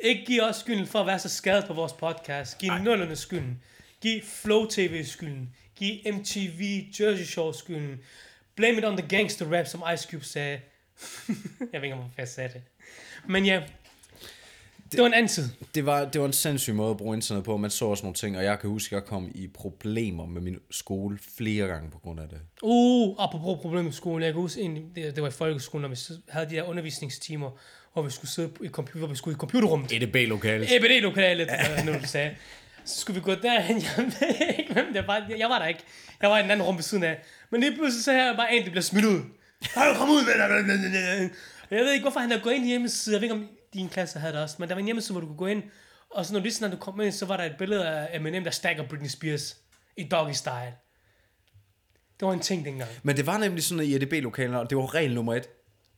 Speaker 2: ikke giv os skylden for at være så skadet på vores podcast. Giv nullerne skylden. Giv Flow TV skylden. Giv MTV Jersey Shore skylden. Blame it on the gangster rap, som Ice Cube sagde. jeg ved ikke, hvorfor jeg sagde det. Men ja, det, det var en anden tid.
Speaker 1: Det var, det var en sindssyg måde at bruge internet på. Man så også nogle ting, og jeg kan huske, at jeg kom i problemer med min skole flere gange på grund af det.
Speaker 2: Uh, apropos problemet med skolen. Jeg kan huske, en, det, det var i folkeskolen, når vi s- havde de der undervisningstimer, hvor vi skulle sidde i, computer, hvor vi skulle i computerrummet.
Speaker 1: E EDB-lokalet.
Speaker 2: EBD-lokalet, nu du sagde. Så skulle vi gå derhen, jeg ved ikke, hvem det var. Jeg var der ikke. Jeg var i en anden rum ved siden af. Men lige pludselig så her bare en, der bliver smidt ud. Har du kommet ud? Jeg ved ikke, hvorfor han havde gået ind i hjemmesiden. Jeg ved ikke, om din klasse havde det også. Men der var en hjemmeside, hvor du kunne gå ind. Og så når lige sådan, når du kom ind, så var der et billede af Eminem, der stakker Britney Spears i doggy style. Det var en ting dengang.
Speaker 1: Men det var nemlig sådan, at i EDB-lokalet, og det var regel nummer et.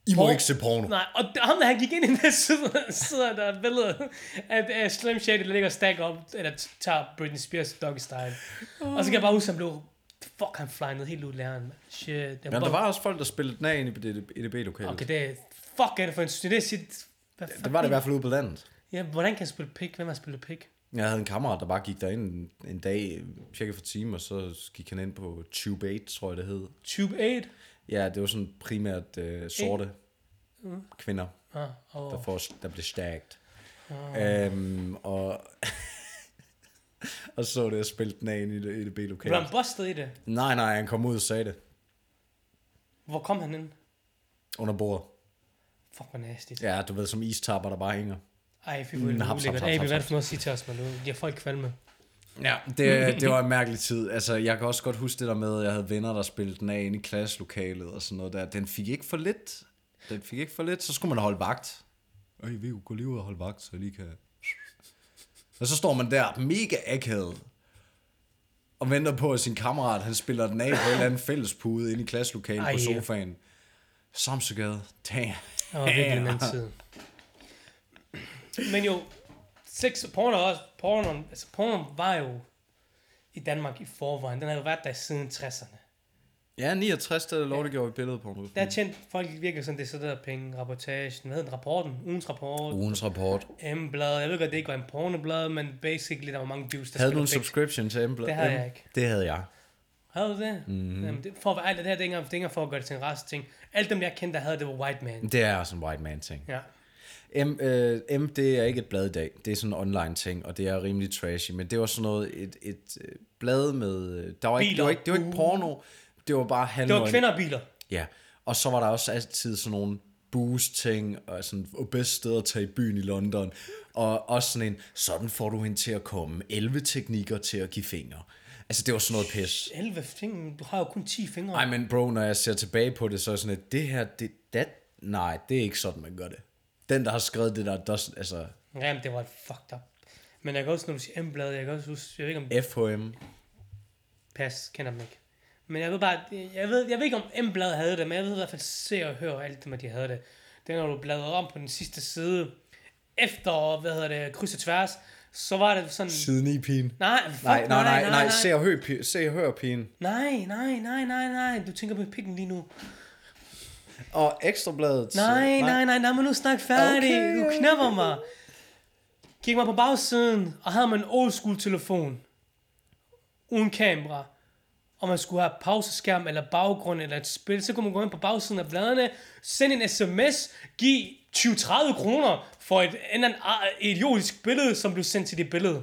Speaker 1: I må
Speaker 2: Porno.
Speaker 1: ikke se porno.
Speaker 2: Nej, og d- ham der, han gik ind i den der side, sidder der et billede af uh, Slim Shady, der ligger og stack op, eller t- tager Britney Spears doggy style. Og så kan jeg bare huske, at han blev, fuck, han flynede helt ud af læreren, mand. Shit. Det
Speaker 1: Jamen, der var også folk, der spillede den af inde i E EDB-lokalet.
Speaker 2: Okay, det er, fuck, er det for en studie? Det er sit, hvad fuck,
Speaker 1: Det var det i hvert fald ude på landet.
Speaker 2: Ja, hvordan kan jeg spille pik? Hvem har spillet pik?
Speaker 1: Jeg havde en kammerat, der bare gik derind en, en dag, cirka for timer, og så gik han ind på Tube 8, tror jeg det hed.
Speaker 2: Tube 8?
Speaker 1: Ja, det var sådan primært øh, sorte kvinder.
Speaker 2: Ah, og
Speaker 1: der, får, der blev stærkt. Oh. Øhm, og, og så det og spille den af ind i det, i det B-lokale.
Speaker 2: blev han bustet i det?
Speaker 1: Nej, nej, han kom ud og sagde det
Speaker 2: Hvor kom han ind?
Speaker 1: under bordet.
Speaker 2: Fuck, hvor nasty.
Speaker 1: Ja, du ved, som istapper, der bare hænger.
Speaker 2: Ej, fy hvor er det
Speaker 1: Mm, haps, haps,
Speaker 2: ulækkert.
Speaker 1: haps,
Speaker 2: Ej, hvad er
Speaker 1: haps.
Speaker 2: det for noget at sige til os, man? Du giver folk kvalme.
Speaker 1: Ja, det, det var en mærkelig tid. Altså, jeg kan også godt huske det der med, at jeg havde venner, der spillede den af inde i klasselokalet og sådan noget der. Den fik ikke for lidt. Den fik ikke for lidt. Så skulle man holde vagt. Øj, vi kunne gå lige ud og holde vagt, så jeg lige kan... Og så står man der mega akavet og venter på, at sin kammerat, han spiller den af på en eller anden fællespude inde i klasselokalet
Speaker 2: Ej,
Speaker 1: på
Speaker 2: ja.
Speaker 1: sofaen. Samsegade. Damn.
Speaker 2: Det var virkelig en anden tid. Men jo, sex og porno er også, porno, altså porno var jo i Danmark i forvejen. Den har jo været der siden 60'erne.
Speaker 1: Ja, 69, der lovliggjorde vi billedet på nu.
Speaker 2: Der tjente folk virkelig sådan det sådan der penge, rapportagen, hvad hedder den, rapporten, ugens rapport,
Speaker 1: Ugens rapport.
Speaker 2: M-blad, jeg ved godt, det ikke var en pornoblad, men basically, der var mange dudes, der
Speaker 1: Havde du en
Speaker 2: spillede
Speaker 1: subscription til Embla?
Speaker 2: Det havde jeg ikke.
Speaker 1: Det havde jeg.
Speaker 2: big- Havde du det?
Speaker 1: Mhm.
Speaker 2: Mm-hmm. Jamen, det, for at være alt det her, det er ikke engang- det er ikke engang for at gøre det til en race ting. Alle dem, jeg kendte, der havde det, var white man.
Speaker 1: Det er også en white man ting.
Speaker 2: Ja.
Speaker 1: M, øh, M, det er ikke et blad i dag. Det er sådan en online ting, og det er rimelig trashy. Men det var sådan noget, et, et øh, blad med... øh, Der var ikke, det,
Speaker 2: Biler.
Speaker 1: var ikke, det var ikke porno. Det var bare halvnøgen.
Speaker 2: Det var kvinder og biler.
Speaker 1: Ja, og så var der også altid sådan nogle boost-ting, og sådan, og bedst sted at tage i byen i London, og også sådan en, sådan får du hende til at komme, 11 teknikker til at give fingre. Altså, det var sådan noget pis.
Speaker 2: 11 ting, men du har jo kun 10 fingre.
Speaker 1: Ej, men bro, når jeg ser tilbage på det, så er jeg sådan, at det her, det, that, nej, det er ikke sådan, man gør det. Den, der har skrevet det der, does, altså,
Speaker 2: Jamen, det var fucked up. Men jeg kan også, når du siger M-blad, jeg kan også huske, jeg ved ikke om...
Speaker 1: FHM,
Speaker 2: Pas, kender dem ikke. Men jeg ved bare, jeg ved, jeg ved ikke om M-blad havde det, men jeg ved i hvert fald, se og hør alt det, at de havde det. Det er, når du bladrede om på den sidste side, efter, hvad hedder det, kryds og tværs, så var det sådan...
Speaker 1: siden i pigen.
Speaker 2: Nej, fuck,
Speaker 1: Nej, nej, nej, nej, se
Speaker 2: nej,
Speaker 1: og hør, pi- se og hør pigen.
Speaker 2: nej, nej, nej, nej, nej, du tænker på pikken lige nu.
Speaker 1: Og ekstrabladet.
Speaker 2: Nej, nej, nej, nej, men nu snak færdig.
Speaker 1: Okay,
Speaker 2: Okay, du knapper mig. Gik mig på bagsiden, og havde man en old school telefon. Uden kamera. Og man skulle have pauseskærm eller baggrund eller et spil, så kunne man gå ind på bagsiden af bladene, sende en sms, give 20-30 kroner for et andet idiotisk billede, som blev sendt til dit billede.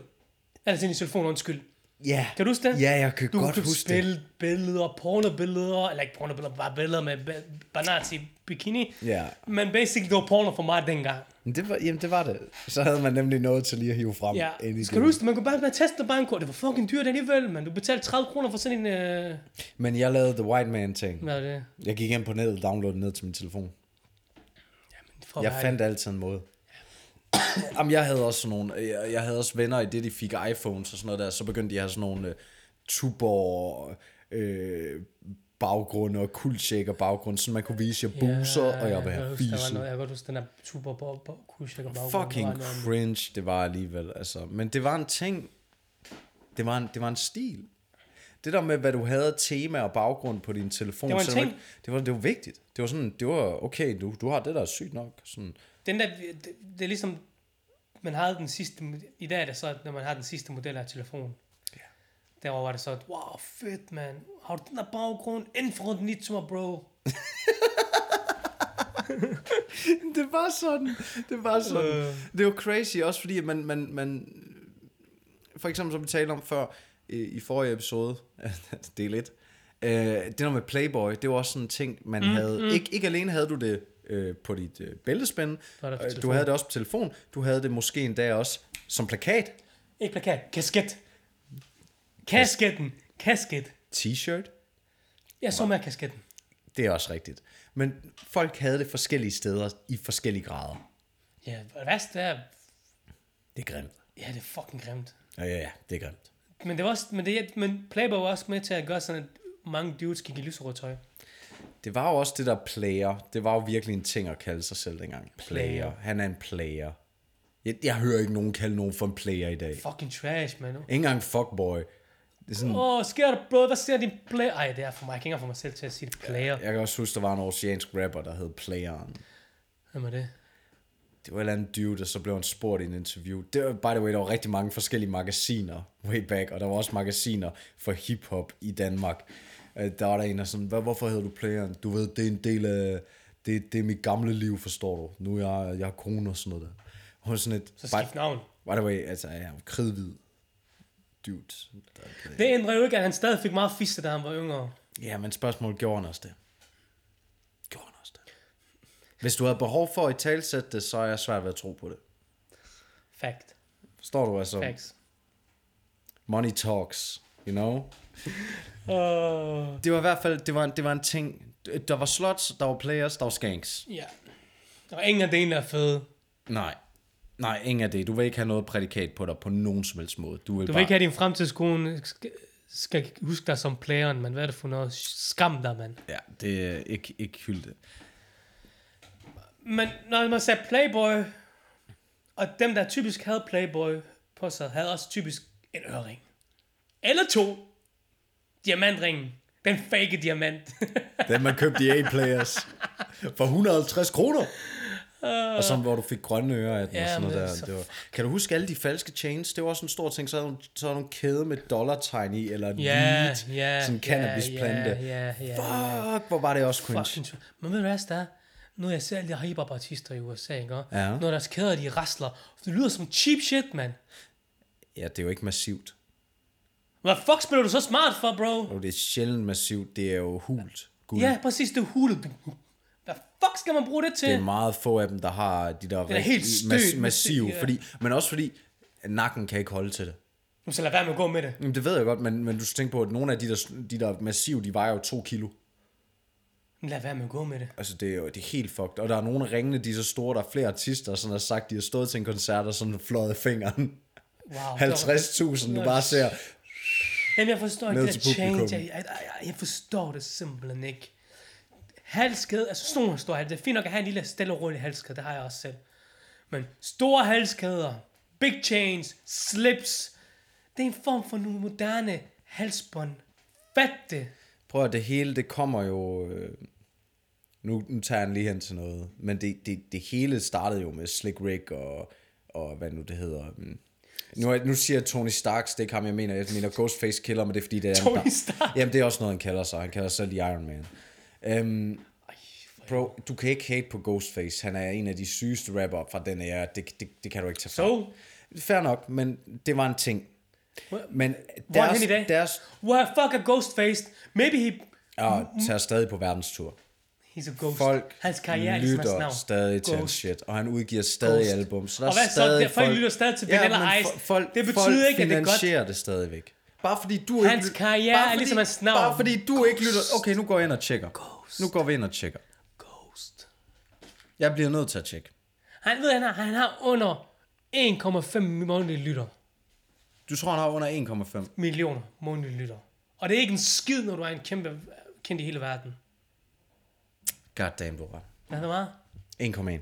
Speaker 2: Eller til din telefon, undskyld.
Speaker 1: Ja.
Speaker 2: Kan du huske det?
Speaker 1: Ja, jeg kan
Speaker 2: du
Speaker 1: godt
Speaker 2: kunne
Speaker 1: huske det.
Speaker 2: spille det. billeder, pornobilleder, eller ikke pornobilleder, bare billeder med ba- Banati bikini.
Speaker 1: Ja.
Speaker 2: Men basically, det var porno for mig dengang.
Speaker 1: Men Det var, jamen, det var det. Så havde man nemlig noget til lige at hive frem.
Speaker 2: Ja.
Speaker 1: ind i
Speaker 2: Skal du huske det? Man kunne bare man teste bankkort. Det var fucking dyrt alligevel, men du betalte 30 kroner for sådan en... Øh...
Speaker 1: Men jeg lavede The White Man ting.
Speaker 2: Hvad er det?
Speaker 1: Jeg gik ind på nettet og downloadede ned til min telefon.
Speaker 2: For
Speaker 1: Jeg fandt altid en måde. Jamen, jeg havde også sådan nogle, øh, jeg, jeg havde også venner i det, de fik iPhones og sådan noget der, så begyndte de at have sådan nogle uh, Tuborg øh, baggrunde og kuldshaker baggrund, så man kunne vise, jeg buser, og jeg vil have
Speaker 2: Jeg
Speaker 1: fisen.
Speaker 2: kan godt huske den der super på, på kushækker
Speaker 1: Fucking cringe, det var alligevel, altså. Men det var en ting, det var en, det var en stil. Det der med, hvad du havde af tema og baggrund på din telefon.
Speaker 2: Det var en
Speaker 1: selvom-
Speaker 2: ting.
Speaker 1: Det var, det var vigtigt. Det var sådan, det var, okay, du, du har det der er sygt nok. Sådan,
Speaker 2: Den der, det, det, er ligesom, man havde den sidste, i dag er det så, når man har den sidste model af telefonen. Der var det så, wow, fedt, man. Har du den der baggrund? Inden for den Nitsuma, bro.
Speaker 1: det var sådan. Det var sådan.
Speaker 2: Øh.
Speaker 1: Det var crazy, også fordi at man, man, man... For eksempel, som vi talte om før i, i forrige episode, del 1, øh, det der med Playboy, det var også sådan en ting, man mm, havde... Mm. Ikke, ikke alene havde du det øh, på dit øh, bæltespænde,
Speaker 2: var der på
Speaker 1: øh, du
Speaker 2: telefon.
Speaker 1: havde det også på telefon, du havde det måske endda også som plakat,
Speaker 2: Ikke plakat, kasket. Kasketten. Kasket.
Speaker 1: t-shirt,
Speaker 2: Jeg så mere kasketten.
Speaker 1: det er også rigtigt. Men folk havde det forskellige steder i forskellige grader.
Speaker 2: Ja, det værste er,
Speaker 1: Det er grimt.
Speaker 2: ja, det er fucking grimt.
Speaker 1: Ja, ja, ja, det er grimt.
Speaker 2: Men det var også, men, det, men Playboy var også med til at gøre sådan, at mange dudes gik i lyserødt tøj.
Speaker 1: Det var jo også det der player. Det var jo virkelig en ting at kalde sig selv dengang. Player. Han er en player. Jeg, jeg hører ikke nogen kalde nogen for en player i dag. Ikke
Speaker 2: Fucking trash, man. Åh,
Speaker 1: engang fuckboy. Det er sådan,
Speaker 2: oh, sker der, bro? Hvad ser din player? Ej, det er for mig. Jeg kan ikke engang få mig selv til at sige det. Player.
Speaker 1: jeg kan også huske, der var en oceansk rapper, der hed Playeren.
Speaker 2: Hvem er det?
Speaker 1: Det var en eller anden dude, der så blev han spurgt i en interview. Det var, by the way, der var rigtig mange forskellige magasiner way back, og der var også magasiner for hiphop i Danmark. Øh, Der var der en, der sådan, Hvad, hvorfor hedder du playeren? Du ved, det er en del af, det, det er mit gamle liv, forstår du. Nu er jeg, jeg har kone og sådan noget der. Hun er sådan et,
Speaker 2: Så skift navn.
Speaker 1: by the way, altså, jeg er jo kridhvid dude. der er player.
Speaker 2: Det ændrer jo ikke, at han stadig fik meget fisse, da han var yngre.
Speaker 1: Ja, men spørgsmålet, gjorde han også det? Gjorde han også det? Hvis du havde behov for at talsætte det, så er jeg svært ved at tro på det.
Speaker 2: Fact.
Speaker 1: Forstår du, altså?
Speaker 2: Facts.
Speaker 1: Money talks, you know?
Speaker 2: Åh.
Speaker 1: Det var i hvert fald, det var, en, det var en ting. Der var slots, der var players, der var skanks.
Speaker 2: Ja. Og ingen af delene er fede.
Speaker 1: Nej. Nej, ingen af det. Du vil ikke have noget prædikat på dig på nogen som helst måde. Du vil,
Speaker 2: Du
Speaker 1: bare...
Speaker 2: vil ikke have din fremtidskone skal, skal huske dig som playeren, men hvad er det for noget? Skam dig, mand.
Speaker 1: Ja, det er ikke, ikke hylde.
Speaker 2: Men når man sagde Playboy, og dem, der typisk havde Playboy på sig, havde også typisk en ørering. Eller to. Diamantringen. Den fake diamant.
Speaker 1: Den man købte i A-players for 150 kroner. Og så hvor du fik grønne ører af den og
Speaker 2: Ah. Ja,
Speaker 1: sådan noget
Speaker 2: men
Speaker 1: der.
Speaker 2: så
Speaker 1: Det var, kan du huske alle de falske chains? Det var også en stor ting. Så havde hun, så havde hun en kæde med dollartegn i, eller en
Speaker 2: ja,
Speaker 1: weed,
Speaker 2: ja,
Speaker 1: sådan en
Speaker 2: ja,
Speaker 1: cannabisplante.
Speaker 2: Ja, ja, ja.
Speaker 1: Fuck, hvor var det også cringe.
Speaker 2: Fucking sjovt. Men ved du hvad, der er? Nu er jeg selv de her hiphop-artister i USA, ikke?
Speaker 1: Ja.
Speaker 2: Når deres kæder, de rasler. Det lyder som cheap shit, mand.
Speaker 1: Ja, det er jo ikke massivt.
Speaker 2: Hvad fuck spiller du så smart for, bro?
Speaker 1: Og det er sjældent massivt. Det er jo hult. Guld.
Speaker 2: Ja, præcis, det er hulet. Hvad fuck skal man bruge det til?
Speaker 1: Det er meget få af dem, der har de der rigtig
Speaker 2: helt stødt,
Speaker 1: massive.
Speaker 2: ja.
Speaker 1: Fordi, men også fordi, nakken kan ikke holde til det.
Speaker 2: Nu skal lad være med at gå med det.
Speaker 1: Jamen, det ved jeg godt, men, men du skal tænke på, at nogle af de der, de der massive, de vejer jo to kilo.
Speaker 2: Lad være med at gå med det.
Speaker 1: Altså, det er jo det er helt fucked. Og der er nogle af ringene, de er så store, der er flere artister, som har sagt, de har stået til en koncert og sådan fløjet fingeren.
Speaker 2: Wow.
Speaker 1: 50.000, du bare ser.
Speaker 2: Jamen, jeg forstår ikke
Speaker 1: Ned
Speaker 2: det der
Speaker 1: til publikum.
Speaker 2: change. Jeg, jeg, jeg, jeg forstår det simpelthen ikke. Halskæde, altså sådan nogle store halskæder. Det er fint nok at have en lille stille og rolig halskæde, det har jeg også selv. Men store halskæder, big chains, slips. Det er en form for nogle moderne halsbånd. Fat det.
Speaker 1: Prøv at det hele, det kommer jo... øh, Nu, nu tager jeg den lige hen til noget. Men det, det, det hele startede jo med Slick Rick og, og hvad nu det hedder. mm. Nu, er- nu siger jeg Tony Starks, det er ikke ham, jeg mener. Jeg mener Ghostface Killer, men det er fordi, det er...
Speaker 2: Tony
Speaker 1: der-
Speaker 2: Stark.
Speaker 1: Jamen, det er også noget, han kalder sig. Han kalder sig selv Iron Man. Øhm, Bro, du kan ikke hate på Ghostface. Han er en af de sygeste rapper fra den æra. Det, det, det kan du ikke tage fra.
Speaker 2: So,
Speaker 1: Fair nok, men det var en ting. Men
Speaker 2: hvor er han
Speaker 1: deres,
Speaker 2: i dag?
Speaker 1: deres...
Speaker 2: Where fuck a ghost faced. Maybe he,
Speaker 1: Og
Speaker 2: Mm-hmm.
Speaker 1: tager stadig på verdenstur.
Speaker 2: he's a ghost.
Speaker 1: Folk
Speaker 2: Hans karriere er ligesom hans
Speaker 1: lytter
Speaker 2: navn.
Speaker 1: stadig til hans
Speaker 2: Ghost.
Speaker 1: shit, og han udgiver stadig
Speaker 2: Ghost.
Speaker 1: album. Så der
Speaker 2: Og
Speaker 1: er
Speaker 2: hvad så?
Speaker 1: stadig
Speaker 2: Det- folk lytter stadig til Vanilla
Speaker 1: men
Speaker 2: Ice.
Speaker 1: fo- Folk,
Speaker 2: Det betyder
Speaker 1: folk
Speaker 2: ikke, at det er godt.
Speaker 1: finansierer det stadigvæk. Bare fordi du
Speaker 2: Hans
Speaker 1: ikke lyt-
Speaker 2: karriere
Speaker 1: bare
Speaker 2: er
Speaker 1: fordi-
Speaker 2: ligesom hans navn.
Speaker 1: Bare fordi du ikke lytter... Okay, nu går jeg ind og tjekker. Ghost. Nu går vi ind og tjekker.
Speaker 2: Ghost.
Speaker 1: Jeg bliver nødt til at tjekke.
Speaker 2: Han ved, han har, han har under 1,5 månedlige lytter.
Speaker 1: Du tror, han har under 1,5.
Speaker 2: Millioner månedlige lytter. Og det er ikke en skid, når du er en kæmpe kendt i hele verden.
Speaker 1: God damn, du har ret.
Speaker 2: Hvad er det
Speaker 1: 1,1.
Speaker 2: meget?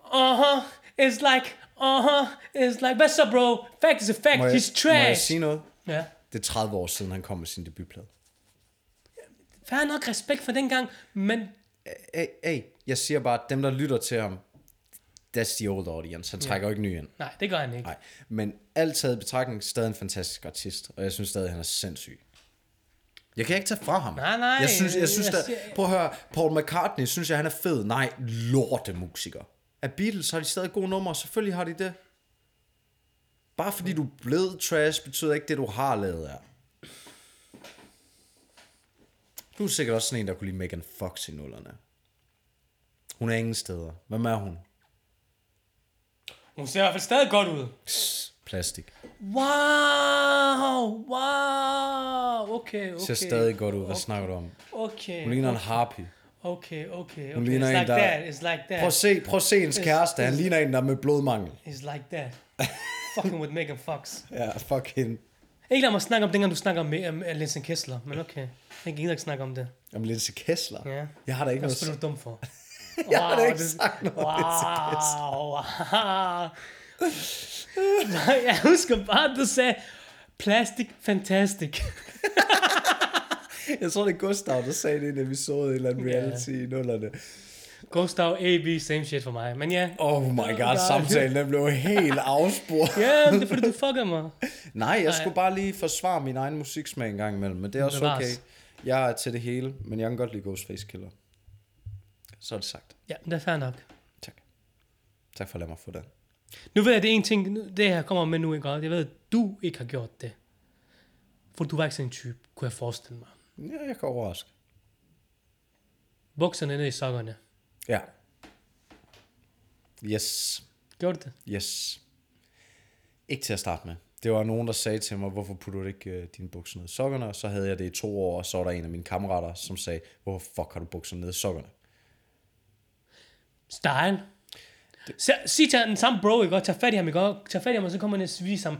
Speaker 2: Uh-huh, it's like, uh-huh, it's like, hvad så bro? Fact is a fact,
Speaker 1: Må jeg,
Speaker 2: he's
Speaker 1: må jeg
Speaker 2: trash.
Speaker 1: sige noget?
Speaker 2: Ja.
Speaker 1: Det er 30 år siden, han kom med sin debutplade.
Speaker 2: Færre nok respekt for dengang, men
Speaker 1: Hey, hey, jeg siger bare, at dem, der lytter til ham, that's the old audience. Han trækker jo ikke ny ind.
Speaker 2: nej, det gør han ikke.
Speaker 1: Nej, men alt taget i betragtning, stadig en fantastisk artist, og jeg synes stadig, han er sindssyg. Jeg kan ikke tage fra ham.
Speaker 2: Nej, nej,
Speaker 1: Jeg synes, jeg synes
Speaker 2: jeg
Speaker 1: jeg der,
Speaker 2: siger-
Speaker 1: prøv at høre, Paul McCartney, synes jeg, han er fed. Nej, lorte musiker. Af Beatles har de stadig gode numre, selvfølgelig har de det. Bare fordi du er blevet trash, betyder ikke det, du har lavet er. Du er sikkert også sådan en, der kunne lide Megan Fox i nullerne. Hun er ingen steder. Hvem er hun?
Speaker 2: Hun ser i hvert fald stadig godt ud.
Speaker 1: Plastik.
Speaker 2: Wow, wow, okay, okay.
Speaker 1: Ser stadig godt ud. Hvad snakker du om?
Speaker 2: Okay,
Speaker 1: Hun ligner en harpy.
Speaker 2: okay, okay, okay.
Speaker 1: Hun ligner
Speaker 2: it's
Speaker 1: en,
Speaker 2: like
Speaker 1: der-
Speaker 2: that, it's like that.
Speaker 1: Prøv at se, prøv at se ens kæreste. Han ligner en, der er med blodmangel.
Speaker 2: He's like that. Fucking with Megan Fox.
Speaker 1: Ja, fuck hende.
Speaker 2: Ikke lad mig snakke om dengang, du snakker om um, Linsen Kessler, men okay. Jeg gider ikke snakke om det.
Speaker 1: Jamen, Linse Kessler.
Speaker 2: Ja.
Speaker 1: Jeg har da ikke
Speaker 2: Hvad
Speaker 1: noget...
Speaker 2: spiller
Speaker 1: s-
Speaker 2: du dum for?
Speaker 1: Jeg har da
Speaker 2: Wow,
Speaker 1: ikke
Speaker 2: det-
Speaker 1: sagt noget.
Speaker 2: Wow, wow. Jeg husker bare, du sagde, plastic fantastic.
Speaker 1: Jeg tror, det er Gustav, der sagde det i en episode i en eller anden reality i nullerne.
Speaker 2: Gustav, AB, same shit for mig. Men ja,
Speaker 1: Oh my god,
Speaker 2: God.
Speaker 1: samtalen den blev helt afsporet.
Speaker 2: ja, men det er fordi, du fucker mig.
Speaker 1: Nej, jeg skulle bare lige forsvare min egen musiksmag en gang imellem, men det er også
Speaker 2: Bevares.
Speaker 1: okay. Jeg er til det hele, men jeg kan godt lide Ghostface Killer. Så er det sagt.
Speaker 2: Ja, det er fair nok.
Speaker 1: Tak. Tak for at lade mig få den.
Speaker 2: Nu ved jeg, det er en ting, nu- det her kommer med nu, ikke? Og Jeg ved, at du ikke har gjort det. For du var ikke sådan en type, kunne jeg forestille mig.
Speaker 1: Ja, jeg kan overraske.
Speaker 2: Bukserne ned i sokkerne.
Speaker 1: Ja. Yes.
Speaker 2: Gjorde du det?
Speaker 1: Yes. Ikke til at starte med. Det var nogen, der sagde til mig, hvorfor putter du ikke øh, dine bukser ned i sokkerne? Og så havde jeg det i to år, og så var der en af mine kammerater, som sagde, hvorfor fuck har du bukserne ned i sokkerne?
Speaker 2: Style. Så, sig til den samme bro, ikke? Og Tag fat i ham, ikke? Og Tag fat i ham, og så kommer han og viser ham.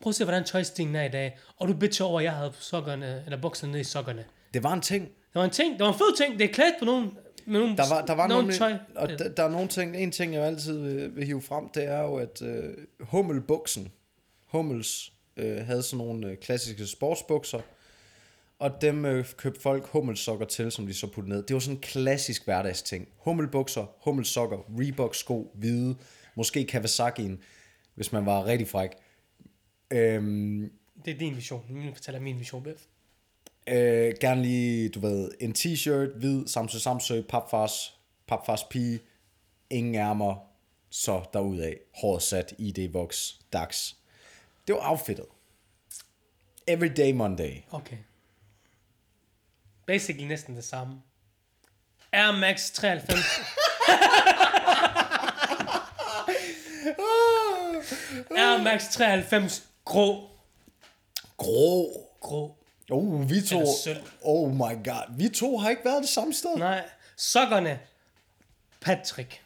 Speaker 2: Prøv at se, hvordan tøjstingen er i dag. Og du bitcher over, at jeg havde sokkerne, eller bukserne ned i sokkerne.
Speaker 1: Det var en ting.
Speaker 2: Det var en ting. Det var en fed ting. Det er klædt på nogen. Med nogen
Speaker 1: Der var, der var
Speaker 2: nogen
Speaker 1: nemlig,
Speaker 2: tøj. Øh,
Speaker 1: og der, der er nogle ting, en ting, jeg jo altid vil, vil hive frem, det er jo, at øh, hummelbuksen, hummels, øh, havde sådan nogle øh, klassiske sportsbukser, og dem øh, købte folk hummelsokker til, som de så puttede ned. Det var sådan en klassisk hverdagsting. Hummelbukser, hummelsokker, Reebok-sko, hvide, måske Kawasaki'en, hvis man var rigtig fræk. Øhm,
Speaker 2: Det er din vision. Nu fortæller jeg min vision, Biff.
Speaker 1: Øh, gerne lige, du ved, en t-shirt, hvid, Samsø Samsø, papfars, papfars pige, ingen ærmer, så derudad, håret sat, ID voks, dags. Det var outfittet. Everyday Monday.
Speaker 2: Okay. Basically næsten det samme. Air Max 93. Ah! Air Max 93 grå.
Speaker 1: Grå.
Speaker 2: Grå.
Speaker 1: Oh, vi to,
Speaker 2: Eller sølv.
Speaker 1: oh my god, vi to har ikke været det samme sted.
Speaker 2: Nej. Sokkerne. Patrick.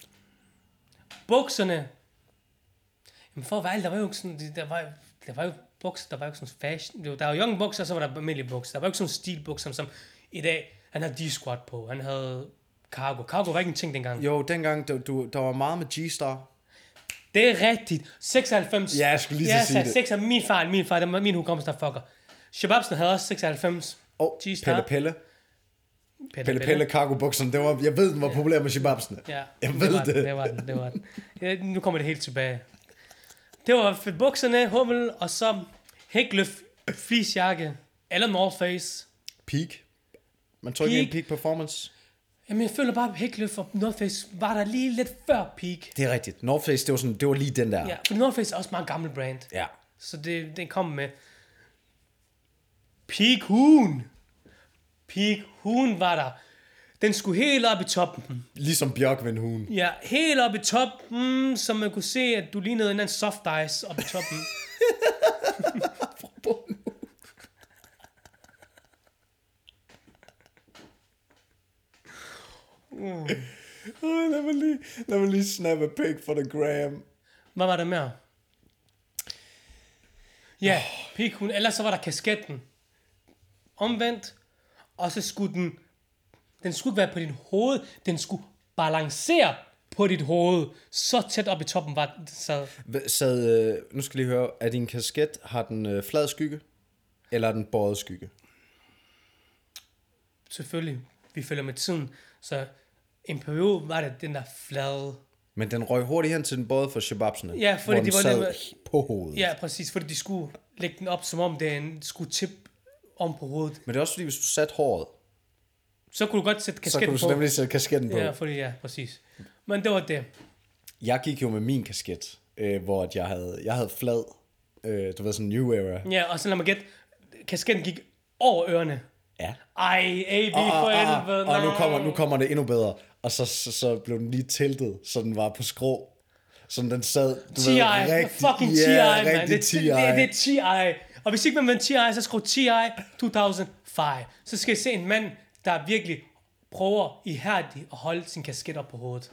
Speaker 2: Bukserne. Jamen for at være ærlig, der var jo ikke sådan, de- der var, der var jo bukser, der var jo ikke sådan fashion. Jo, der var young bukser, og så var der almindelige bukser. Der var jo ikke sådan stilbukser, som i dag, han havde D-squat på, han havde cargo. Cargo var ikke en ting dengang.
Speaker 1: Jo, dengang, du, du, der var meget med G-Star.
Speaker 2: Det er rigtigt. 96.
Speaker 1: Ja, jeg skulle lige til at sige
Speaker 2: sagde
Speaker 1: det.
Speaker 2: 6 er min fejl, min fejl. Det er min hukommelse, der fucker. Shababsen havde også 96.
Speaker 1: Og
Speaker 2: G-Star.
Speaker 1: Pelle Pelle.
Speaker 2: Pelle
Speaker 1: Pelle Pelle cargo bukserne. Det var, jeg ved, den var populær med shibabsene.
Speaker 2: Ja,
Speaker 1: Jeg ved
Speaker 2: var Den,
Speaker 1: det.
Speaker 2: det var den, det var den. Ja, nu kommer det helt tilbage. Det var for bukserne, hummel, og så hækløf, fleecejakke, eller North Face.
Speaker 1: Peak. Man tror ikke, det er en
Speaker 2: Peak.
Speaker 1: peak performance.
Speaker 2: Jamen, jeg føler bare, at hækløf og North Face var der lige lidt før peak.
Speaker 1: Det er rigtigt. North Face, det var, sådan, det var lige den der.
Speaker 2: Ja, for North Face er også meget gammel brand.
Speaker 1: ja.
Speaker 2: Så det, det kom med. Peak Hun. Peak Hun var der. Den skulle helt op i toppen.
Speaker 1: Ligesom Bjørk ved en huen.
Speaker 2: Ja, helt op i toppen, så man kunne se, at du lignede en eller anden soft ice op i toppen.
Speaker 1: Oh, lad, mig lige, lad mig lige snappe pick for the gram.
Speaker 2: Hvad var der mere? Ja, Peak Hun. Ellers så var der kasketten. Omvendt. Og så skulle den... Den skulle ikke være på dit hoved. Den skulle balancere på dit hoved. Så tæt op i toppen var den sad.
Speaker 1: Sad, øh, nu skal jeg lige høre, er din kasket, har den øh, flad skygge? Eller er den båret skygge?
Speaker 2: selvfølgelig, vi følger med tiden, så en periode var det den der flade.
Speaker 1: Men den røg hurtigt hen til den båret for shababsene.
Speaker 2: Ja, fordi
Speaker 1: hvor den
Speaker 2: de var
Speaker 1: sad
Speaker 2: nemlig-
Speaker 1: på hovedet.
Speaker 2: Ja, præcis, fordi de skulle lægge den op, som om den skulle tippe om på hovedet.
Speaker 1: Men det er også fordi, hvis du satte håret,
Speaker 2: Så kunne du godt sætte
Speaker 1: så kunne
Speaker 2: kasketten
Speaker 1: du så
Speaker 2: på.
Speaker 1: nemlig sætte kasketten på.
Speaker 2: Ja, fordi ja, præcis. Men det var det.
Speaker 1: Jeg gik jo med min kasket, øh, hvor at jeg havde, jeg havde flad, øh, du ved, sådan New Era.
Speaker 2: Ja, og så lad mig gætte, kasketten gik over ørerne.
Speaker 1: Ja.
Speaker 2: Ej, AB
Speaker 1: Ah,
Speaker 2: for
Speaker 1: ah, ah.
Speaker 2: helvede,
Speaker 1: Og nu
Speaker 2: nej.
Speaker 1: kommer, nu kommer det endnu bedre. Og så, så, så blev den lige tiltet, så den var på skrå. Så den sad, du
Speaker 2: TI, fucking TI,
Speaker 1: yeah,
Speaker 2: mand.
Speaker 1: rigtig
Speaker 2: Det,
Speaker 1: TI.
Speaker 2: det, det, det er TI. Og hvis ikke man vil TI, så skriv TI 2005. Så skal I se en mand, der virkelig prøver ihærdigt at holde sin kasket op på hovedet.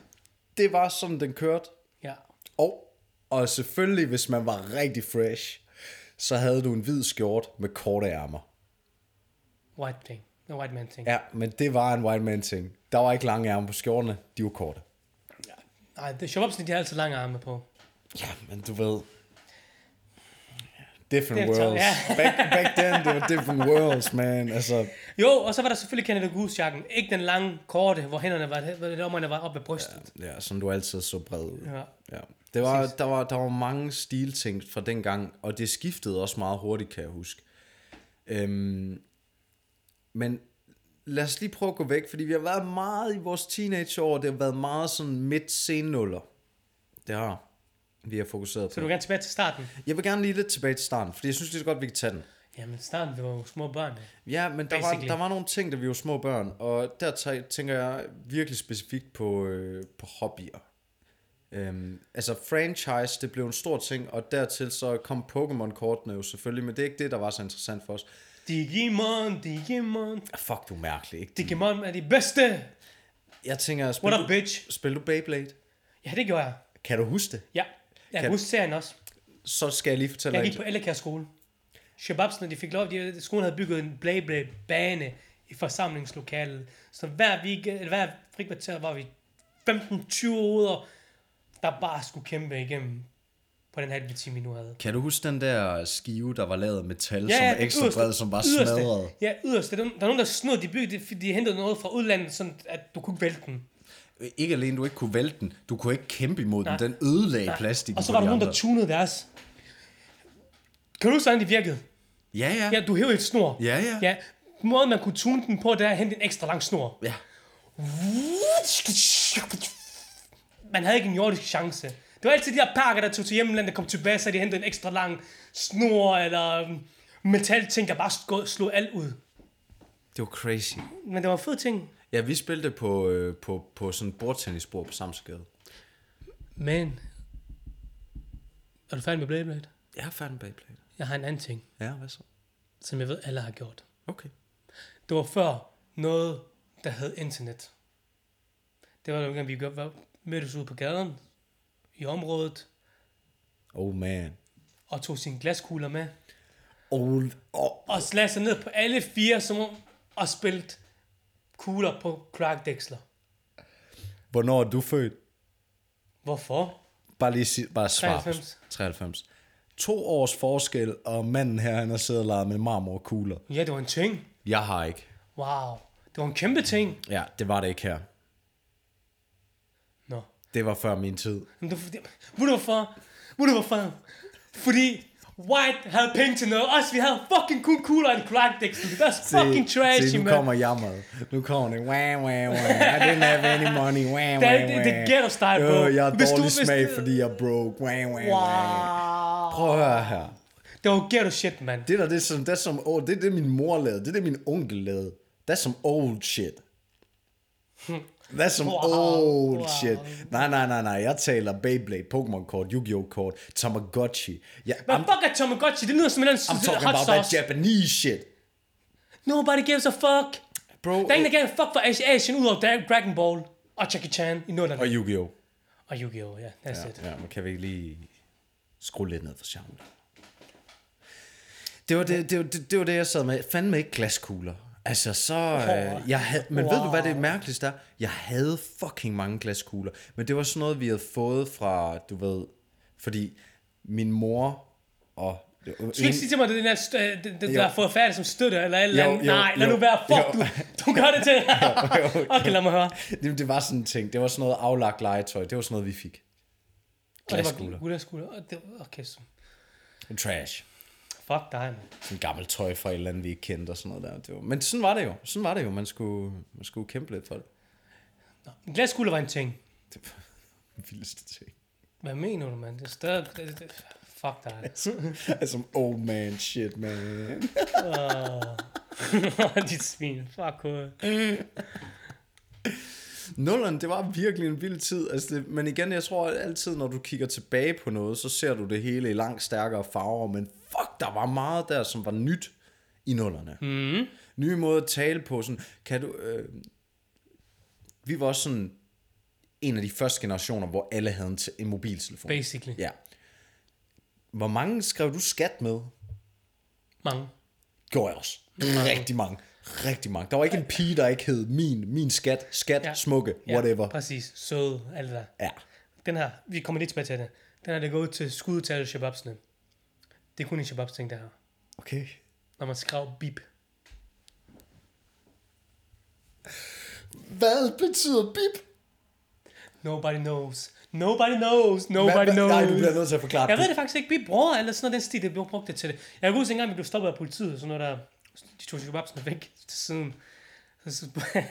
Speaker 1: det var sådan, den kørte.
Speaker 2: Ja.
Speaker 1: Og, og selvfølgelig, hvis man var rigtig fresh, så havde du en hvid skjort med korte ærmer.
Speaker 2: White thing. The white man thing. Ja.
Speaker 1: Ja, men det var en white man ting. Der var ikke lange ærmer på skjortene, de var korte.
Speaker 2: Ej, det er de har altid lange arme på.
Speaker 1: Ja, men du ved... Different
Speaker 2: Det er
Speaker 1: worlds.
Speaker 2: tough,
Speaker 1: Back, back then, det var different worlds, man. Altså,
Speaker 2: Jo, og så var der selvfølgelig Canada Goose-jakken. Ikke den lange, korte, hvor hænderne var, hvor lommerne var oppe ved brystet.
Speaker 1: Ja, som du altid så bred ud.
Speaker 2: Ja.
Speaker 1: ja. Det var, der, var, der var mange stilting fra dengang, og det skiftede også meget hurtigt, kan jeg huske. Øhm, men lad os lige prøve at gå væk, fordi vi har været meget i vores teenageår, det har været meget sådan midt sennuller. Det har vi har fokuseret
Speaker 2: Så du
Speaker 1: på.
Speaker 2: vil gerne tilbage til starten?
Speaker 1: Jeg vil gerne lige lidt tilbage til starten, fordi jeg synes lige så godt, vi kan tage den.
Speaker 2: Jamen, starten, vi var jo små børn. ja.
Speaker 1: Ja, men der var,
Speaker 2: Basically.
Speaker 1: der var nogle ting, da vi var små børn, og der tæ- tænker jeg virkelig specifikt på, øh, på hobbyer. Øhm, altså franchise, det blev en stor ting, og dertil så kom Pokémon-kortene jo selvfølgelig, men det er ikke det, der var så interessant for os.
Speaker 2: Digimon, Digimon.
Speaker 1: Ah, Fuck, du er mærkelig, ikke?
Speaker 2: Digimon er de bedste.
Speaker 1: Jeg tænker, spil
Speaker 2: What up,
Speaker 1: du,
Speaker 2: bitch?
Speaker 1: spil du Beyblade?
Speaker 2: Ja, det gjorde jeg.
Speaker 1: Kan du huske det?
Speaker 2: Ja. Jeg
Speaker 1: Kan-
Speaker 2: kan huske serien også.
Speaker 1: Så skal jeg lige fortælle
Speaker 2: Jeg
Speaker 1: dig
Speaker 2: gik på Ellekær skole. Shababsene, de fik lov, de, skolen havde bygget en blæblæ bane i forsamlingslokalet. Så hver, weekend, eller hver frikvarter var vi 15-20 hoveder, der bare skulle kæmpe igennem på den halve time, vi nu havde.
Speaker 1: Kan du huske den der skive, der var lavet af metal, som er
Speaker 2: den
Speaker 1: ekstra
Speaker 2: yderste-
Speaker 1: bred, som var
Speaker 2: yderste-
Speaker 1: smadret?
Speaker 2: Ja, yderst. Der er nogen, der snod, de byggede, det, fordi de hentede noget fra udlandet, sådan at du kunne ikke vælte den.
Speaker 1: Øh, Ikke alene du ikke kunne vælte den, du kunne ikke kæmpe imod den. Den ødelagde Nej. plastikken
Speaker 2: Og så
Speaker 1: på
Speaker 2: var
Speaker 1: de
Speaker 2: der nogen,
Speaker 1: andre.
Speaker 2: der tunede deres. Kan du huske, hvordan de virkede?
Speaker 1: Ja, ja.
Speaker 2: Ja, du hævede et snor.
Speaker 1: Ja, ja.
Speaker 2: ja. Måden, man kunne tune den på, det er at hente en ekstra lang snor.
Speaker 1: ja.
Speaker 2: Man havde ikke en jordisk chance. Det var altid de der pakker, der tog til hjemlandet, der kom tilbage, så de hentede en ekstra lang snor, eller øhm, metalting, der bare skå- slog alt ud.
Speaker 1: Det var crazy.
Speaker 2: Men det var fede ting.
Speaker 1: Ja, vi spillede på, øh, på, på sådan et bordtennisbord på Samsgade.
Speaker 2: Men... Er du færdig med Blade Blade?
Speaker 1: Jeg har færdig med Beyblade.
Speaker 2: Jeg har en anden ting,
Speaker 1: Ja, hvad så?
Speaker 2: som jeg ved, alle har gjort.
Speaker 1: Okay.
Speaker 2: Det var før noget, der hed internet. Det var dengang, vi gør- var- mødtes ude på gaden, i området,
Speaker 1: Oh man.
Speaker 2: og tog sine glaskugler med,
Speaker 1: Old. Oh.
Speaker 2: og slagte sig ned på alle fire, som om, og spillede kugler på kloakdæksler.
Speaker 1: Hvornår er du født?
Speaker 2: Hvorfor?
Speaker 1: Bare lige sig, bare svar.
Speaker 2: 93.
Speaker 1: 93. To års forskel, og manden her, han har siddet og leget med marmorkugler.
Speaker 2: Ja, det var en ting.
Speaker 1: Jeg har ikke.
Speaker 2: Wow. Det var en kæmpe ting.
Speaker 1: Ja, det var det ikke her.
Speaker 2: Nå.
Speaker 1: Det var før min tid.
Speaker 2: Men det, var fordi- ved du hvorfor? Ved du hvorfor? Fordi White havde penge til noget. Os, vi havde fucking kun kugler og en kloakdæksel. Det var så fucking trashy,
Speaker 1: se, nu
Speaker 2: man.
Speaker 1: kommer jammeret. Nu kommer det. Wah, wah, wah. I didn't have any money. Wah,
Speaker 2: Det
Speaker 1: wah,
Speaker 2: er-
Speaker 1: wah.
Speaker 2: det- det er ghetto-style, bro.
Speaker 1: Øh, jeg har
Speaker 2: Hvis du-
Speaker 1: dårlig
Speaker 2: hvis
Speaker 1: smag,
Speaker 2: du-
Speaker 1: fordi jeg er broke. Wah, wah, wah.
Speaker 2: Wow.
Speaker 1: Prøv at høre her.
Speaker 2: Det var ghetto shit, man.
Speaker 1: Det der, det er som, det er som, oh, det er det, min mor lavede. Det er det, min onkel lavede. That's some old shit. That's some
Speaker 2: Wow,
Speaker 1: old
Speaker 2: wow.
Speaker 1: shit. Nej, nej, nej, nej. Jeg taler Beyblade, Pokémon-kort, Yu-Gi-Oh-kort, Tamagotchi. Ja,
Speaker 2: Hvad
Speaker 1: I'm,
Speaker 2: fuck er Tamagotchi? Det lyder som en eller
Speaker 1: I'm
Speaker 2: anden
Speaker 1: talking
Speaker 2: hot
Speaker 1: about that
Speaker 2: sauce.
Speaker 1: Japanese shit.
Speaker 2: Nobody gives a fuck.
Speaker 1: Bro,
Speaker 2: Der er ingen, der giver en fuck for Ash- Asien, ud over Dra- Dragon Ball og Jackie Chan i
Speaker 1: og
Speaker 2: nullerne.
Speaker 1: Yu-Gi-Oh!
Speaker 2: Og Oh, Yu-Gi-Oh! Ja, that's it.
Speaker 1: Ja, men kan vi ikke lige skrue lidt ned for sjovt? Det var det, det, var- det, det, var det jeg sad med. Fandme ikke glaskugler. Altså, så... Øh, jeg havde, men wow. ved du, hvad det mærkeligste er? Jeg havde fucking mange glaskugler. Men det var sådan noget, vi havde fået fra, du ved... Fordi min mor og...
Speaker 2: Du kan ikke sige til mig, at det er den der, stø- øh, den- den, der har fået færdig som støtte, eller et eller
Speaker 1: Jo,
Speaker 2: andet.
Speaker 1: jo,
Speaker 2: Nej, lad
Speaker 1: jo.
Speaker 2: nu være. Fuck,
Speaker 1: Jo.
Speaker 2: du, du gør det til.
Speaker 1: jo, jo.
Speaker 2: okay, lad mig høre.
Speaker 1: Jamen, det var sådan en ting. Det var sådan noget aflagt legetøj. Det var sådan noget, vi fik.
Speaker 2: Og det var
Speaker 1: Glaskugler.
Speaker 2: glaskugler. Og det- Oh, Okay, så
Speaker 1: Trash.
Speaker 2: fuck dig, man.
Speaker 1: sådan gammelt tøj fra et eller andet, vi ikke kendte og sådan noget der. Det var, men sådan var det jo. Sådan var det jo. Man skulle, man skulle kæmpe lidt for det.
Speaker 2: En Glaskugler var en ting.
Speaker 1: Det var den vildeste ting.
Speaker 2: Hvad mener du, man? Det er stadig... det- det- Fuck dig.
Speaker 1: altså, old man shit, man.
Speaker 2: Dit svin. Fuck hovedet.
Speaker 1: Nullerne, det var virkelig en vild tid. Altså det, men igen, jeg tror at altid, når du kigger tilbage på noget, så ser du det hele i langt stærkere farver. Men fuck, der var meget der, som var nyt i nullerne. Mm. Nye måder at tale på. Sådan, kan du, øh, vi var også sådan en af de første generationer, hvor alle havde en, te- en mobiltelefon.
Speaker 2: Basically.
Speaker 1: Ja. Hvor mange skrev du skat med?
Speaker 2: Mange.
Speaker 1: Gjorde jeg også. Rigtig mange. Rigtig mange. Der var ikke en pige, der ikke hed min, min skat, skat, ja.
Speaker 2: Ja.
Speaker 1: smukke,
Speaker 2: Ja,
Speaker 1: whatever.
Speaker 2: Præcis. Søde, alt det der.
Speaker 1: Ja.
Speaker 2: Den her, vi kommer lidt tilbage til det. Den her, der går ud til skud til alle shababsene. Det er kun en shababs ting, der her.
Speaker 1: Okay.
Speaker 2: Når man skrev bip.
Speaker 1: Hvad betyder bip?
Speaker 2: Nobody knows. Nobody knows. Nobody
Speaker 1: Hvad- hvad-
Speaker 2: knows.
Speaker 1: Nej, du bliver nødt til at forklare
Speaker 2: Jeg
Speaker 1: det.
Speaker 2: ved det faktisk ikke. Bip, bror, eller sådan noget, den stil, det blev brugt det til det. Jeg kan huske, engang vi blev stoppet af politiet, og sådan noget der. De tog shababsene væk til siden. Så- så-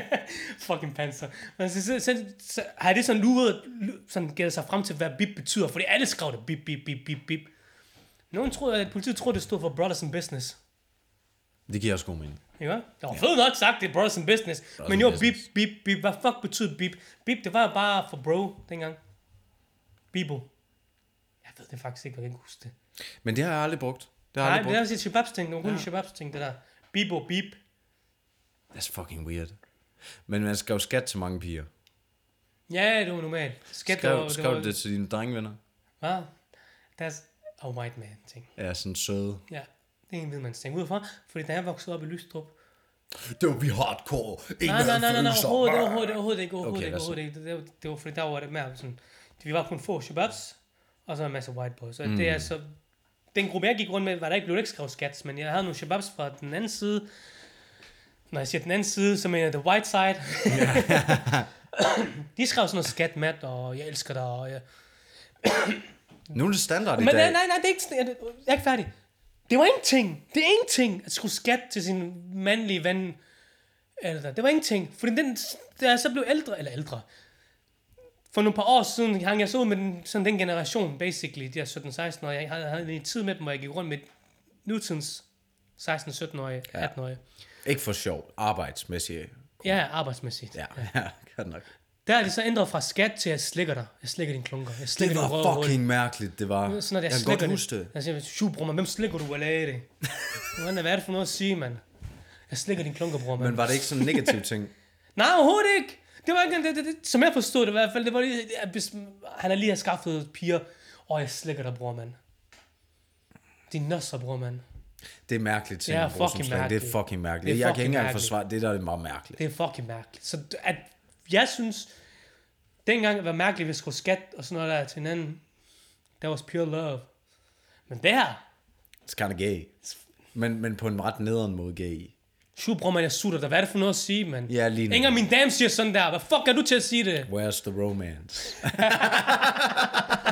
Speaker 2: fucking panser. Men så, så, så, så har det sådan luret, lu- sådan gældet sig frem til, hvad bip betyder, fordi alle skrev det bip, bip, bip, bip, bip. Nogen troede, at politiet troede, det stod for Brothers in Business.
Speaker 1: Det giver også god mening.
Speaker 2: Ikke? Det var fedt nok sagt, det er brothers in business.
Speaker 1: in
Speaker 2: men jo, bip,
Speaker 1: business.
Speaker 2: bip, bip. Hvad fuck betød bip? Bip, det var jo bare for bro dengang. Bibo. Jeg ved det faktisk ikke, jeg kan ikke huske det.
Speaker 1: Men det har jeg aldrig brugt. Det har jeg aldrig
Speaker 2: Nej, det
Speaker 1: brugt.
Speaker 2: er også et shababs-ting. Det er
Speaker 1: Ja.
Speaker 2: ja. shababs-ting, det der. Bibo, bip.
Speaker 1: That's fucking weird. Men man skal jo skat til mange piger.
Speaker 2: Ja, det var normalt. Skat, det var-
Speaker 1: Skrev,
Speaker 2: var-
Speaker 1: skrev du det til dine drengevenner?
Speaker 2: Hvad? That's a white man ting.
Speaker 1: Ja, sådan søde.
Speaker 2: Ja, det er en hvid mands ting. Udefra, fordi da jeg voksede op i Lystrup...
Speaker 1: Det var vi hardcore. Ingen
Speaker 2: Nej, nej, nej, nej, nej, overhovedet,
Speaker 1: overhovedet.
Speaker 2: overhovedet, overhovedet ikke, overhovedet
Speaker 1: Okay,
Speaker 2: ikke,
Speaker 1: lad os-
Speaker 2: overhovedet ikke. Det, det, det var fordi, der var det mere sådan... Vi var kun få shababs, og så en masse white boys. Og mm. det er så... Den gruppe, jeg gik rundt med, var der ikke blevet ikke skrevet skats, men jeg havde nogle shababs fra den anden side. Når jeg siger den anden side, så mener jeg the white side. De skrev sådan noget skat, Matt, og jeg elsker dig, og jeg,
Speaker 1: Nu er det standard i
Speaker 2: Men nej,
Speaker 1: dag.
Speaker 2: nej, nej, det er ikke, jeg, jeg er ikke færdig. Det var ingenting. Det er ingenting at skulle skat til sin mandlige ven. Eller, det var ingenting. Fordi den, da jeg så blev ældre, eller ældre, for nogle par år siden hang jeg så ud med den, sådan den generation, basically, de her 17-16 år. Jeg havde, havde en tid med dem, hvor jeg gik rundt med nutidens 16-17-årige,
Speaker 1: Ja.
Speaker 2: 18-årige.
Speaker 1: Ikke for sjov. Arbejdsmæssigt.
Speaker 2: Ja, arbejdsmæssigt.
Speaker 1: Ja, ja, godt nok.
Speaker 2: Der er de så ændret fra skat til, at jeg slikker dig. Jeg slikker din klunker. Jeg
Speaker 1: Det
Speaker 2: slikker
Speaker 1: var
Speaker 2: din røde hul.
Speaker 1: fucking mærkeligt, det var.
Speaker 2: Sådan noget,
Speaker 1: jeg
Speaker 2: jeg,
Speaker 1: kan
Speaker 2: slikker
Speaker 1: godt
Speaker 2: det.
Speaker 1: huske det.
Speaker 2: Jeg siger, syv bror, men hvem slikker du, eller er det? Hvordan er hvad er det for noget at sige, mand? Jeg slikker din klunker, bror, mand.
Speaker 1: Men var det ikke sådan en negativ ting?
Speaker 2: Nej, overhovedet ikke. Det var ikke det, det, det, som jeg forstod det i hvert fald. Det var lige, at hvis han har lige har skaffet piger. Åh, jeg slikker dig, bror, mand. Din nøsser, bror, mand.
Speaker 1: Det er mærkeligt ting.
Speaker 2: Det er
Speaker 1: at bruge som
Speaker 2: fucking
Speaker 1: slang. Det er
Speaker 2: mærkeligt.
Speaker 1: fucking mærkeligt.
Speaker 2: Det er
Speaker 1: jeg kan
Speaker 2: fucking
Speaker 1: ikke engang
Speaker 2: mærkeligt.
Speaker 1: forsvare det, der er meget mærkeligt.
Speaker 2: Det er fucking mærkeligt. Så at, jeg synes, dengang det var mærkeligt, at vi skulle skat og sådan noget der til hinanden. That was pure love. Men det her,
Speaker 1: It's kind of gay. Men, men på en ret nederen måde gay.
Speaker 2: Sju, bror, man, jeg sutter dig. Hvad er det for noget at sige, mand?
Speaker 1: Ja, lige nu.
Speaker 2: Ingen af mine dames siger sådan der. Hvad fuck er du til at sige det?
Speaker 1: Where's the romance?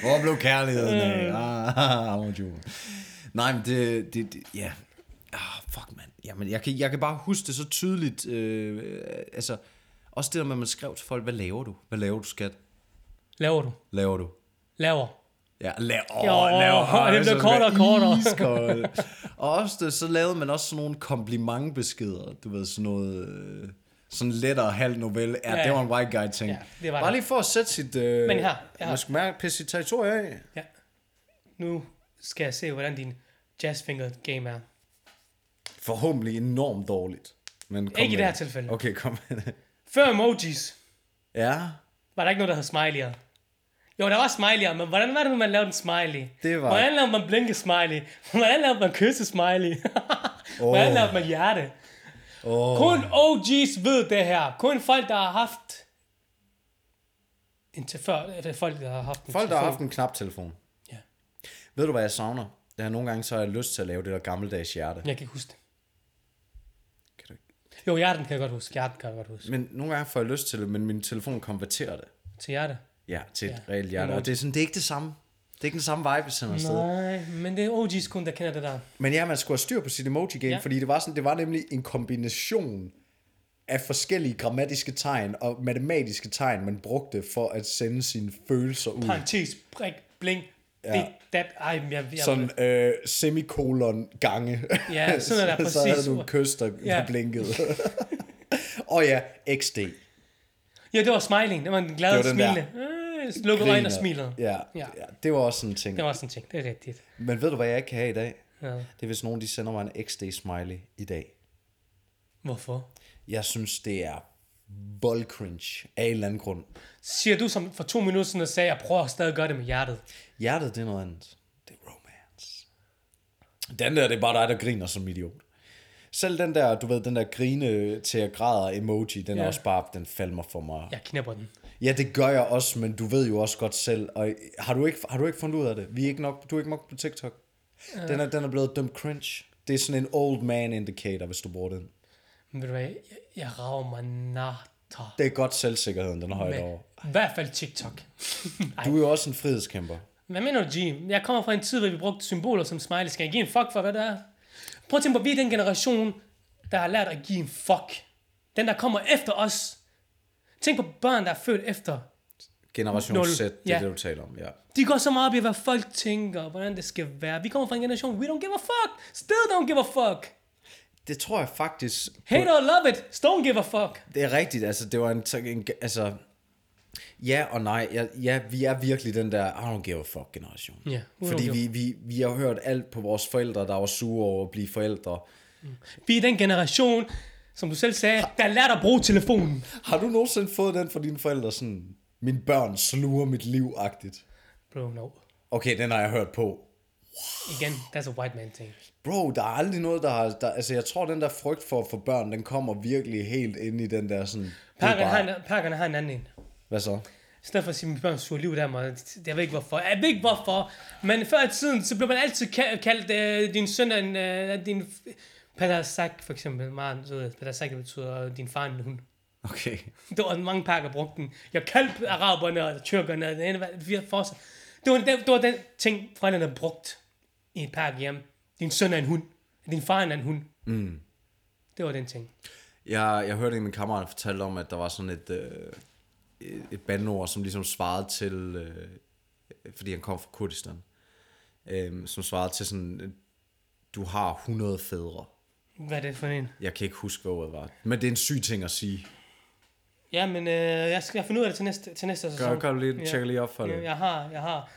Speaker 1: Hvor blev kærligheden af? Ah, ah, you. Nej, men det... det, det ja. Ah, fuck, mand. Jamen, jeg kan, jeg kan bare huske det så tydeligt. Øh, øh, altså, også det der med, at man skrev til folk, hvad laver du? Hvad laver du, skat?
Speaker 2: Laver du?
Speaker 1: Laver du?
Speaker 2: Laver.
Speaker 1: Ja, laver.
Speaker 2: Jo, og det blev kortere og kortere.
Speaker 1: kortere. og ofte så lavede man også sådan nogle komplimentbeskeder. Du ved, sådan noget... øh, Sådan lettere halv novelle. Ja,
Speaker 2: Ja,
Speaker 1: det
Speaker 2: ja.
Speaker 1: var en white guy ting.
Speaker 2: Ja, det var
Speaker 1: Bare
Speaker 2: det.
Speaker 1: lige for at sætte sit... Øh,
Speaker 2: Men her, jeg har-
Speaker 1: Man skal mærke, pisse sit territorie af.
Speaker 2: Ja. Nu skal jeg se, hvordan din jazzfinger game er.
Speaker 1: Forhåbentlig enormt dårligt. Men kom
Speaker 2: Ikke i
Speaker 1: med
Speaker 2: det her tilfælde.
Speaker 1: Okay, kom med det.
Speaker 2: Før emojis,
Speaker 1: Ja,
Speaker 2: var der ikke noget, der hed smiley'er. Jo, der var smiley'er, men hvordan var det nu, man lavede en smiley?
Speaker 1: Det var-
Speaker 2: Hvordan lavede man blinke smiley? Hvordan lavede man kysse smiley? hvordan
Speaker 1: Åh.
Speaker 2: lavede man hjerte?
Speaker 1: Åh.
Speaker 2: Kun OG's ved det her. Kun folk, der har haft... Indtil før, eller folk, der har haft en
Speaker 1: folk der har
Speaker 2: telefon.
Speaker 1: haft en knaptelefon.
Speaker 2: Ja.
Speaker 1: Ved du, hvad jeg savner? Det er nogle gange, så har jeg lyst til at lave det der gammeldags hjerte.
Speaker 2: Jeg kan ikke huske det.
Speaker 1: Kan du ikke?
Speaker 2: Jo, hjerten kan jeg godt huske. Hjerten kan jeg godt huske.
Speaker 1: Men nogle gange får jeg lyst til det, men min telefon konverterer det.
Speaker 2: Til hjerte.
Speaker 1: Ja, til et ja.
Speaker 2: Ja.
Speaker 1: reelt hjerte.
Speaker 2: Emoji.
Speaker 1: Og det er, sådan, det er ikke det samme. Det er ikke den samme vibe, vi sender afsted.
Speaker 2: Nej, men det er OG's kun, der kender det der.
Speaker 1: Men ja, man skulle have styr på sit emoji game, ja.
Speaker 2: Ja.
Speaker 1: fordi det var, sådan, det var nemlig en kombination af forskellige grammatiske tegn og matematiske tegn, man brugte for at sende sine følelser ud.
Speaker 2: Parenthes, prik, bling, ja. det, dat, ej, men jeg, jeg,
Speaker 1: Sådan øh, semikolon gange.
Speaker 2: Ja, sådan er der
Speaker 1: Så havde
Speaker 2: præcis.
Speaker 1: du en kyst, der ja.
Speaker 2: Ja.
Speaker 1: blinkede. og ja, XD.
Speaker 2: ja, det var smiling, det var en glad
Speaker 1: Det
Speaker 2: og
Speaker 1: var den der.
Speaker 2: smilende. Øh, lukkede øjnene og smilede.
Speaker 1: Ja, ja.
Speaker 2: Ja.
Speaker 1: ja, det var også sådan en ting.
Speaker 2: Det var sådan en ting, det er rigtigt.
Speaker 1: Men ved du, hvad jeg ikke kan have i dag?
Speaker 2: Ja.
Speaker 1: Det er, hvis nogen de sender mig en XD-smiley i dag.
Speaker 2: Hvorfor?
Speaker 1: Jeg synes, det er voldcringe af en eller anden grund.
Speaker 2: Siger du, som for to minutter siden sagde, jeg prøver stadig at gøre det med hjertet.
Speaker 1: Hjertet, det er noget andet. Det er romance. Den der, det er bare dig, der griner som idiot. Selv den der, du ved, den der grine til at græde emoji, den ja. er
Speaker 2: Ja.
Speaker 1: også bare, den falmer for mig. Ja.
Speaker 2: Jeg knæpper den.
Speaker 1: ja. det gør jeg også, men du ved jo også godt selv. Og har du ikke, har du ikke fundet ud af det? Vi er ikke nok, du er ikke nok på TikTok. Ja. Den, er, den er blevet dømt cringe. Det er sådan en old man indicator, hvis du bruger den.
Speaker 2: Men ved du hvad, jeg, jeg rager mig natter.
Speaker 1: Det er godt selvsikkerheden, den er højt over.
Speaker 2: I hvert fald TikTok. Ej,
Speaker 1: Du er jo også en frihedskæmper.
Speaker 2: Hvad mener du, G? Jeg kommer fra en tid, hvor vi brugte symboler som smiley. Skal jeg give en fuck for, hvad det er? Prøv at tænke på, vi er den generation, der har lært at give en fuck. Den, der kommer efter os. Tænk på børn, der er født efter.
Speaker 1: Generation
Speaker 2: Nul.
Speaker 1: Z, det er
Speaker 2: Ja.
Speaker 1: det, du taler om, ja.
Speaker 2: De går så meget op i, hvad folk tænker, og hvordan det skal være. Vi kommer fra en generation, we don't give a fuck. Still don't give a fuck.
Speaker 1: Det tror jeg faktisk...
Speaker 2: Hate or love it, still don't give a fuck.
Speaker 1: Det er rigtigt, altså det var en, en altså, Ja og nej. Ja, ja, vi er virkelig den der, I don't give a fuck generation.
Speaker 2: Ja, we don't
Speaker 1: Fordi
Speaker 2: give a-
Speaker 1: vi, vi, vi har hørt alt på vores forældre, der var sure over at blive forældre.
Speaker 2: Vi er den generation, som du selv sagde, der lærte at bruge telefonen.
Speaker 1: Har du nogensinde fået den fra dine forældre, sådan, mine børn sluger mit liv-agtigt?
Speaker 2: Bro, no.
Speaker 1: Okay, den har jeg hørt på.
Speaker 2: Igen, that's a white man thing.
Speaker 1: Bro, der er aldrig noget, der har... Der, altså, jeg tror, den der frygt for, for børn, den kommer virkelig helt ind i den der sådan... det er
Speaker 2: Parkerne har,
Speaker 1: bare-
Speaker 2: en, parkerne har en anden en.
Speaker 1: Hvad så?
Speaker 2: I stedet for at sige, at mine børn suger liv der, man. Jeg ved ikke hvorfor. Jeg ved ikke hvorfor. Men før i tiden, så blev man altid ka- kaldt øh, din søn er en... Øh, din f- Padasak, for eksempel. Meget sød. Padasak, det betyder øh, din far er en hund.
Speaker 1: Okay.
Speaker 2: Der var mange pakker brugte den. Jeg kaldte araberne og tyrkerne. og Den ene, vi har fortsat. Det var, det, det var den ting, forældrene brugte i et pakke hjem. Din søn er en hund. Din far er en hund. Mm. Det var den ting.
Speaker 1: Jeg, jeg hørte en af mine kammerater fortælle om, at der var sådan et, øh, et, et bandord, som ligesom svarede til, øh, fordi han kom fra Kurdistan, øh, som svarede til sådan, øh, du har 100 fædre.
Speaker 2: Hvad er det for en?
Speaker 1: Jeg kan ikke huske, hvad ordet var. Men det er en syg ting at sige.
Speaker 2: Ja, men øh, jeg skal finde ud af det til næste, til næste sæson.
Speaker 1: Gør, gør lige, yeah. tjekker lige op for
Speaker 2: Ja,
Speaker 1: det.
Speaker 2: jeg har, jeg har,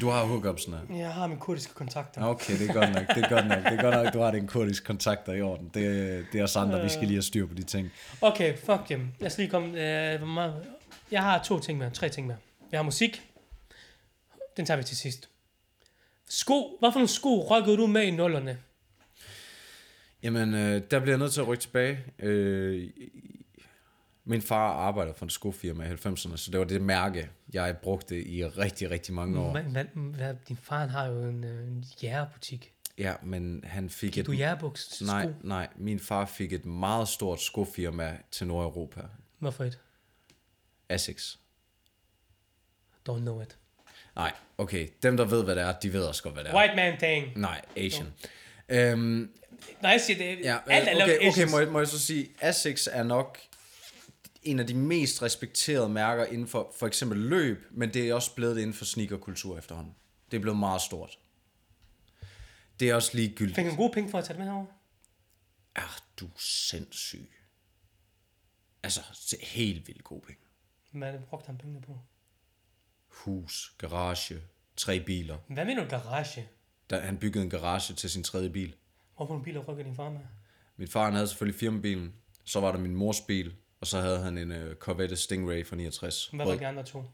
Speaker 1: Du har hookupsene.
Speaker 2: jeg har mine kurdiske kontakter.
Speaker 1: Okay, det er godt nok, det er godt nok, det er godt nok, du har den kurdisk kontakter i orden. Det, det er os andre, vi skal lige have styr på de ting.
Speaker 2: Okay, fuck dem. Lad os lige komme... Øh, hvor meget... Jeg har to ting med, tre ting med. Jeg har musik. Den tager vi til sidst. Sko. Hvad for nogle sko rykkede du med i nullerne?
Speaker 1: Jamen, øh, der bliver jeg nødt til at rykke tilbage. Øh, min far arbejder for en skofirma i 90'erne, så det var det mærke, jeg brugte i rigtig, rigtig mange år.
Speaker 2: Hva- hva- hva- Din far har jo en, øh, en jægerbutik.
Speaker 1: Ja, men han fik et...
Speaker 2: Du er jægerbuks.
Speaker 1: Nej,
Speaker 2: Sko.
Speaker 1: nej, min far fik et meget stort skofirma til Nordeuropa.
Speaker 2: Hvorfor et?
Speaker 1: Asics.
Speaker 2: Don't know it.
Speaker 1: Nej, okay, dem der ved, hvad det er, de ved også godt, hvad det er.
Speaker 2: White man thing.
Speaker 1: Nej, Asian. Øhm,
Speaker 2: Nej, jeg siger det.
Speaker 1: Ja, øh,
Speaker 2: Alt er lavet
Speaker 1: okay, okay
Speaker 2: Asians.
Speaker 1: må, jeg, må jeg så sige, Asics er nok en af de mest respekterede mærker inden for for eksempel løb, men det er også blevet det inden for sneakerkultur efterhånden. Det er blevet meget stort. Det er også ligegyldigt.
Speaker 2: Fik en god penge for at tage det med herovre?
Speaker 1: Er du sindssyg? Altså, se- helt vildt gode penge.
Speaker 2: Hvad brugte han pengene på?
Speaker 1: Hus, garage, tre biler.
Speaker 2: Hvad mener du garage?
Speaker 1: Der, han byggede en garage til sin tredje bil.
Speaker 2: Hvorfor en bil rykker din far med?
Speaker 1: Min far han havde selvfølgelig firmabilen, så var der min mors bil, og så havde han en uh, Corvette Stingray fra 69.
Speaker 2: Hvad var
Speaker 1: rød.
Speaker 2: de andre to?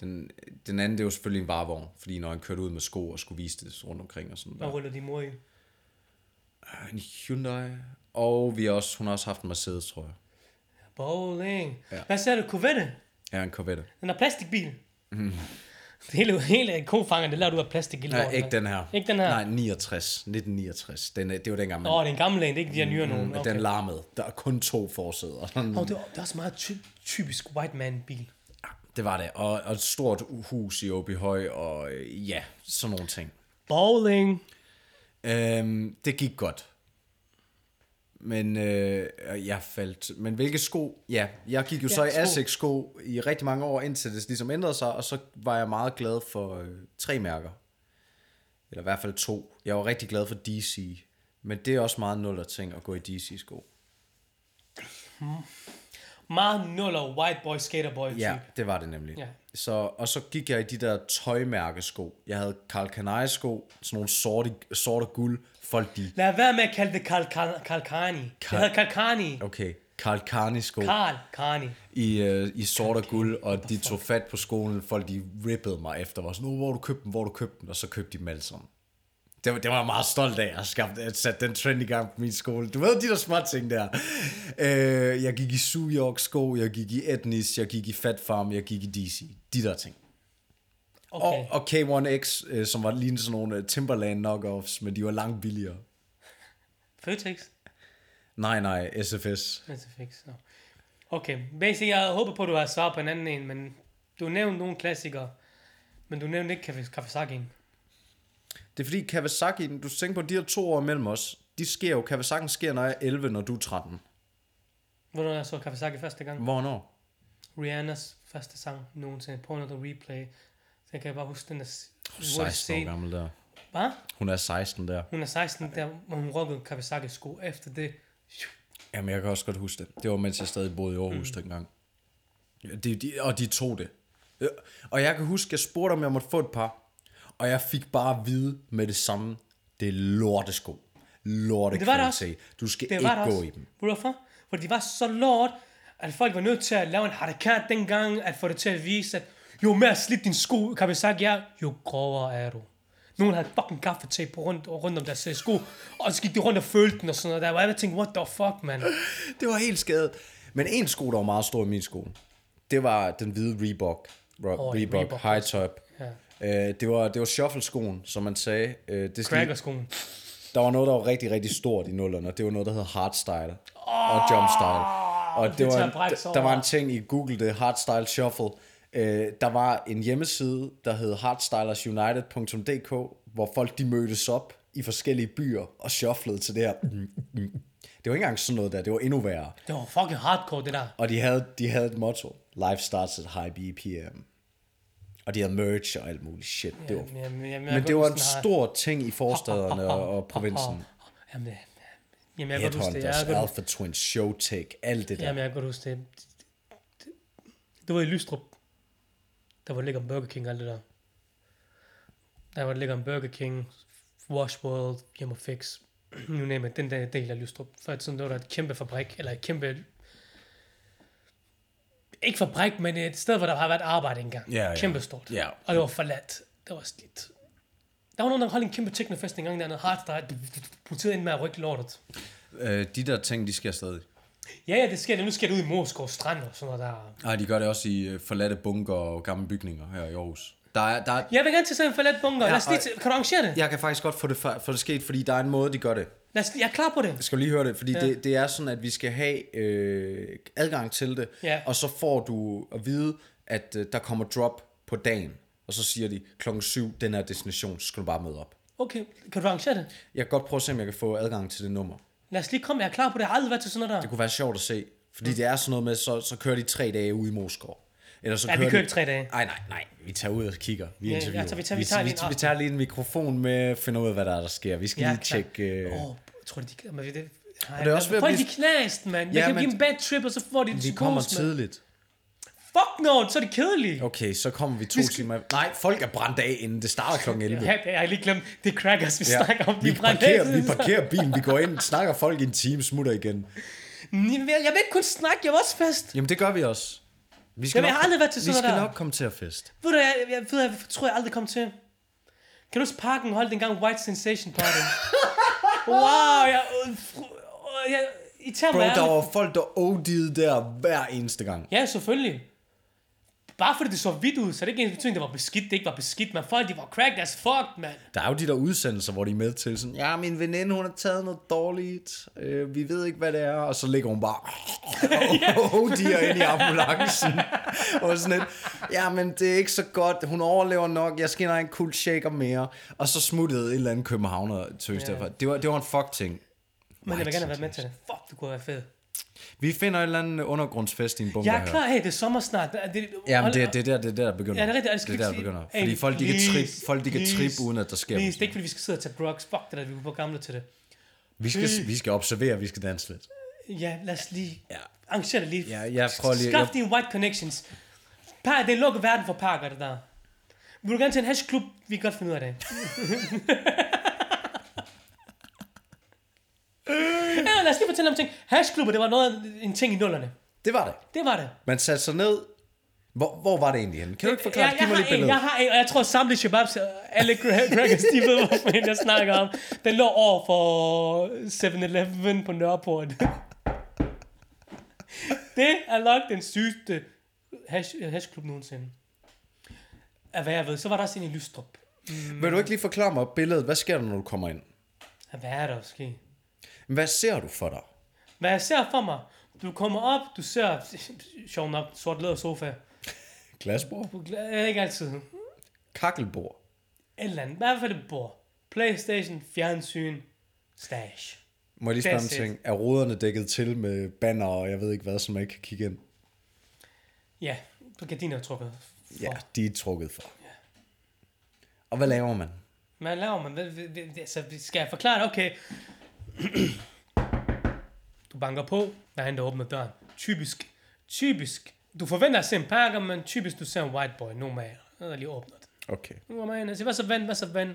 Speaker 1: Den, den anden, det var selvfølgelig en varevogn, fordi når han kørte ud med sko og skulle vise det rundt omkring og sådan
Speaker 2: Hvad
Speaker 1: der.
Speaker 2: ruller din mor i?
Speaker 1: En Hyundai. Og vi har også, hun har også haft en Mercedes, tror jeg.
Speaker 2: Bowling.
Speaker 1: Ja.
Speaker 2: Ja. Hvad sagde du? Corvette?
Speaker 1: Ja, en Corvette.
Speaker 2: Den er plastikbil. Mm. Det hele, hele kofanger, det laver du af plastik. i
Speaker 1: Nej,
Speaker 2: lorten,
Speaker 1: ikke
Speaker 2: mand.
Speaker 1: den her.
Speaker 2: Ikke den her?
Speaker 1: Nej, 69. 1969. Den, er- det var dengang, man,
Speaker 2: Åh,
Speaker 1: oh,
Speaker 2: det er en gammel en, det er ikke de her nyere nogen.
Speaker 1: okay.
Speaker 2: Okay.
Speaker 1: Mm, den larmede. Der er kun to forsæder.
Speaker 2: Åh, det, er, det er også meget ty- typisk white man bil.
Speaker 1: det var det. Og, og et stort hus i Åbyhøj, og øh, ja, sådan nogle ting.
Speaker 2: Bowling.
Speaker 1: Øhm, det gik godt. Men øh, jeg faldt. Men hvilke sko? Ja, jeg gik jo ja, så i
Speaker 2: sko.
Speaker 1: Asics sko i rigtig mange år, indtil det ligesom ændrede sig, og så var jeg meget glad for øh, tre mærker. Eller i hvert fald to. Jeg var rigtig glad for DC. Men det er også meget nuller ting at gå i DC-sko.
Speaker 2: Meget nuller white boy, skater boy type.
Speaker 1: Ja, det var det nemlig.
Speaker 2: Ja.
Speaker 1: Så, og så gik jeg i de der tøjmærkesko. Jeg havde Karl Kanai sko, sådan nogle sorte, sorte guld. Folk de...
Speaker 2: Lad være med at kalde det Karl Kal- Kalkani.
Speaker 1: Kal-
Speaker 2: Det hedder Kalkani.
Speaker 1: Okay, Karl Kani sko.
Speaker 2: Karl Kani.
Speaker 1: i, øh, i sort og guld, og de tog fat på skolen. Folk de rippede mig efter, var sådan, oh, hvor har du købte dem, hvor har du købte dem, og så købte de dem alle sammen. Det var, det var jeg meget stolt af, at skabte, at sætte den trend i gang på min skole. Du ved de der små ting der. Øh, jeg gik i Sujok sko, jeg gik i Etnis, jeg gik i Fat Farm, jeg gik i DC. De der ting.
Speaker 2: Okay.
Speaker 1: Okay. Og, og K1X, øh, som var lige sådan nogle øh, Timberland knockoffs, men de var langt billigere.
Speaker 2: Føtex.
Speaker 1: Nej, nej, SFS.
Speaker 2: Men så fik så. Okay, basic, jeg håber på, at du har svar på en anden en, men du nævnte nogle klassikere, men du nævnte ikke Kaf- Kawasaki'en.
Speaker 1: Det er fordi Kawasaki, du tænker på de her to år mellem os, de sker jo, Kawasaki sker, når jeg er 11, når du er 13.
Speaker 2: Hvornår jeg så Kawasaki første gang?
Speaker 1: Hvornår?
Speaker 2: Rihannas første sang nogensinde, Porn of the Replay. Så jeg kan bare huske den der... s- hvor jeg
Speaker 1: 16 år
Speaker 2: set-
Speaker 1: gammel der.
Speaker 2: Hvad?
Speaker 1: Hun er 16 der.
Speaker 2: Hun er 16, der, hvor hun rockede Kawasaki sko efter det.
Speaker 1: Jamen, jeg kan også godt huske det. Det var, mens jeg stadig boede i Aarhus mm. dengang. De, de, og de tog det. Øh, Og jeg kan huske, jeg spurgte, om jeg måtte få et par. Og jeg fik bare at vide med det samme, det er lortesko. Lorte
Speaker 2: Det var det også.
Speaker 1: kvalitet. Du skal
Speaker 2: Det
Speaker 1: ikke
Speaker 2: var der
Speaker 1: gå
Speaker 2: også.
Speaker 1: i dem.
Speaker 2: Ved du hvorfor? Fordi de var så lort, at folk var nødt til at lave en harakat dengang, at få det til at vise, at jo mere slidt din sko, Kawasaki er, jo grovere er du. Nogen havde fucking gaffetape på rundt, rundt om deres øh, sko, og så gik de rundt og følte den og sådan noget der, hvor jeg bare tænkte, what the fuck, man.
Speaker 1: Det var helt skadet. Men en sko, der var meget stor i min sko, det var den hvide Reebok. Re-
Speaker 2: Åh,
Speaker 1: oh,
Speaker 2: ja,
Speaker 1: Reebok,
Speaker 2: Reebok
Speaker 1: Reebok high top. Ja. Øh, det var, det var shuffle-skoen, som man sagde. Øh, det er sådan-
Speaker 2: Crackerskoen.
Speaker 1: der var noget, der var rigtig, rigtig stort i nullerne, og det var noget, der hed hardstyle og jumpstyle. Og det
Speaker 2: det
Speaker 1: var
Speaker 2: tager
Speaker 1: en,
Speaker 2: Brex
Speaker 1: der,
Speaker 2: over.
Speaker 1: der var en ting i Google, det hardstyle shuffle. Øh, der var en hjemmeside, der hed hardstylersunited.dk, hvor folk de mødtes op i forskellige byer og shufflede til det her. Det var ikke engang sådan noget der, det var endnu værre.
Speaker 2: Det var fucking hardcore, det der.
Speaker 1: Og de havde, de havde et motto, life starts at high BPM. Og de havde merch og alt muligt shit. Ja, det var,
Speaker 2: Jamen, jamen, jamen, jeg
Speaker 1: men
Speaker 2: kan
Speaker 1: det
Speaker 2: godt
Speaker 1: var en
Speaker 2: huske den her-
Speaker 1: stor ting i forstederne og, og provinsen.
Speaker 2: Jamen, det- jamen, jeg kan godt huske det. Jeg
Speaker 1: Headhunters,
Speaker 2: kan godt
Speaker 1: Alpha Twin, Showtech, alt det der.
Speaker 2: Jamen, jeg kan godt huske det. Det var i Lystrup. Der var ligger en Burger King og alt det der. Der var ligger en Burger King, Wash World, Hjem og Fix. Nu nævner den der del af Lystrup. Før i tiden, der var der et kæmpe fabrik, eller et kæmpe... Ikke fabrik, men et sted, hvor der har været arbejde engang.
Speaker 1: Ja, ja.
Speaker 2: Kæmpe stort.
Speaker 1: Ja.
Speaker 2: Og det var forladt. Det var slidt. Der var nogen, der holdt en kæmpe teknofest engang dernede. Hardstyle. Politiet ind med at rykke lortet.
Speaker 1: Øh, de der ting, de sker stadig.
Speaker 2: Ja, ja, det sker. Nu sker det ud i Moskov Strand og sådan noget der.
Speaker 1: Nej, de gør det også i øh, forladte bunker og gamle bygninger her i Aarhus. Der er, der er,
Speaker 2: Jeg vil gerne til sådan en forladt bunker. Ja, Lad os lige
Speaker 1: og-
Speaker 2: til, kan du arrangere det? Ja.
Speaker 1: jeg kan faktisk godt få det, fa- få det sket, fordi der er en måde, de gør det.
Speaker 2: Lad os, jeg er klar på det.
Speaker 1: Jeg skal lige høre det, fordi ja. det, det er sådan, at vi skal have øh, adgang til det,
Speaker 2: Ja.
Speaker 1: og så får du at vide, at øh, der kommer drop på dagen, og så siger de klokken 7, den her destination, så skal du bare møde op.
Speaker 2: Okay, kan du arrangere det?
Speaker 1: Jeg kan godt prøve at se, om jeg kan få adgang til det nummer.
Speaker 2: Lad os lige komme, jeg er klar på det. Jeg har aldrig været til sådan noget der.
Speaker 1: Det kunne være sjovt at se, fordi
Speaker 2: Mm.
Speaker 1: det er sådan noget med, så, så kører de tre dage ude i Moskov. Eller så
Speaker 2: Ja, vi kører ikke tre dage.
Speaker 1: Nej, nej, nej. Vi tager ud og kigger. Vi
Speaker 2: ja,
Speaker 1: interviewer.
Speaker 2: så vi tager- vi tager
Speaker 1: vi,
Speaker 2: lige en
Speaker 1: vi, vi tager lige en mikrofon med, finder ud af, hvad der er, der sker. Vi skal
Speaker 2: Jeg
Speaker 1: ja,
Speaker 2: er
Speaker 1: lige
Speaker 2: klar.
Speaker 1: tjekke... Øh,
Speaker 2: Åh, oh, tror du, de kan... Men det, nej,
Speaker 1: det er også ved at
Speaker 2: folk,
Speaker 1: blive-
Speaker 2: de knast, mand. Jeg
Speaker 1: Ja,
Speaker 2: kan
Speaker 1: men-
Speaker 2: give en bad trip, og så får de det
Speaker 1: vi kommer tidligt.
Speaker 2: Fuck no, så er det kedeligt.
Speaker 1: Okay, så kommer vi to vi skal... timer... Nej, folk er brændt af, inden det starter klokken 11.
Speaker 2: Ja, jeg har lige glemt, det er crackers, vi ja. snakker om.
Speaker 1: vi,
Speaker 2: De brænder
Speaker 1: parkerer,
Speaker 2: altid
Speaker 1: vi parkerer bilen, vi går ind, snakker folk i en time, smutter igen.
Speaker 2: sammen. Jeg vil- Jeg vil ikke kun snakke, jeg var også fest.
Speaker 1: Jamen, det gør vi også. Vi skal
Speaker 2: Jamen, jeg
Speaker 1: nok-
Speaker 2: har aldrig været til sådan
Speaker 1: Vi
Speaker 2: noget
Speaker 1: skal
Speaker 2: der.
Speaker 1: nok komme til at fest.
Speaker 2: Ved du, jeg, jeg, ved, jeg tror, jeg aldrig kom til. Kan du huske parken holdt engang White Sensation Party? wow, jeg... øh, fru- øh, jeg irriterer
Speaker 1: Bro,
Speaker 2: mig.
Speaker 1: der
Speaker 2: ærligt.
Speaker 1: var folk, der OD'ede der hver eneste gang.
Speaker 2: Ja, selvfølgelig. Bare fordi det så hvidt ud, så er det ikke ens betydning, det var beskidt, det ikke var beskidt, men folk, de var cracked as fuck, mand.
Speaker 1: Der er jo de der udsendelser, hvor de er med til sådan, ja, min veninde, hun har taget noget dårligt, øh, vi ved ikke, hvad det er, og så ligger hun bare, og oh, de er inde i ambulancen, og sådan lidt, ja, men det er ikke så godt, hun overlever nok, jeg skinner en cool shaker mere, og så smuttede et eller andet københavner tøs yeah. derfor. Det var, det var en fuck ting.
Speaker 2: Men jeg vil gerne have været med til det. Fuck, det kunne være fedt.
Speaker 1: Vi finder et eller andet undergrundsfest i en bunker
Speaker 2: Jeg er
Speaker 1: her.
Speaker 2: klar, hey, det er sommer snart. Er Det,
Speaker 1: Ja, men
Speaker 2: hold-
Speaker 1: det, det, er der, det er der, det begynder.
Speaker 2: Ja, det er rigtigt, og det
Speaker 1: det
Speaker 2: skal
Speaker 1: er der,
Speaker 2: vi
Speaker 1: det
Speaker 2: ikke
Speaker 1: begynder.
Speaker 2: sige-
Speaker 1: Fordi
Speaker 2: Hey,
Speaker 1: folk, de kan
Speaker 2: please,
Speaker 1: trippe, folk, de kan
Speaker 2: please,
Speaker 1: trippe, uden at der sker
Speaker 2: Please, det
Speaker 1: noget.
Speaker 2: er ikke, fordi vi skal sidde og tage drugs. Fuck det der, vi er for gamle til det.
Speaker 1: Vi skal, vi skal observere, vi skal danse lidt.
Speaker 2: Ja, lad os lige
Speaker 1: Ja.
Speaker 2: arrangere det lige.
Speaker 1: Ja, jeg prøver lige-
Speaker 2: Skaff dine white connections. Par, det er en lukket verden for parker, det der. Vil du gerne til en hashklub? Vi kan godt finde ud af det. ja, lad os lige fortælle om ting. Hashklubber, det var noget, en ting i nullerne.
Speaker 1: Det var det.
Speaker 2: Det var det.
Speaker 1: Man satte sig ned. Hvor, hvor var det egentlig henne? Kan du ikke forklare?
Speaker 2: Ja,
Speaker 1: det? Giv
Speaker 2: Øh, jeg
Speaker 1: mig
Speaker 2: har
Speaker 1: lige
Speaker 2: en,
Speaker 1: billedet.
Speaker 2: jeg har en, og jeg tror samtlige shababs, øh, alle Gra- Crackers, de ved, hvorfor en jeg snakker om. Den lå over for 7-Eleven på Nørreport. Det er nok den sygeste hash, øh, hashklub nogensinde. Af hvad jeg ved, så var der også en i Lystrup.
Speaker 1: Vil du ikke lige forklare mig billedet? Hvad sker der, når du kommer ind?
Speaker 2: Af Hvad er der også sket?
Speaker 1: Hvad ser du for dig?
Speaker 2: Hvad jeg ser for mig, du kommer op, du ser, sjov nok, sort læder sofa.
Speaker 1: Glasbord?
Speaker 2: Du er ikke altid.
Speaker 1: Kakkelbord?
Speaker 2: Et eller andet. I hvert fald et bord. Playstation, fjernsyn, stash.
Speaker 1: Må jeg lige spørge om en
Speaker 2: That's it.
Speaker 1: ting? Er ruderne dækket til med banner og jeg ved ikke hvad, som jeg ikke kan kigge ind?
Speaker 2: Ja, på gardiner er trukket. for.
Speaker 1: Ja, de er trukket for. Og hvad laver man?
Speaker 2: Hvad laver man? Hvad- hvad- hvad- Altså, skal jeg forklare det? Okay. Du banker på, der er en, der åbner døren. Typisk, typisk Du forventer at se en pakke, men typisk du ser en white boy, normal. Der lige åbner den.
Speaker 1: Okay.
Speaker 2: Nu kommer man ind og siger, hvad så ven, hvad så ven?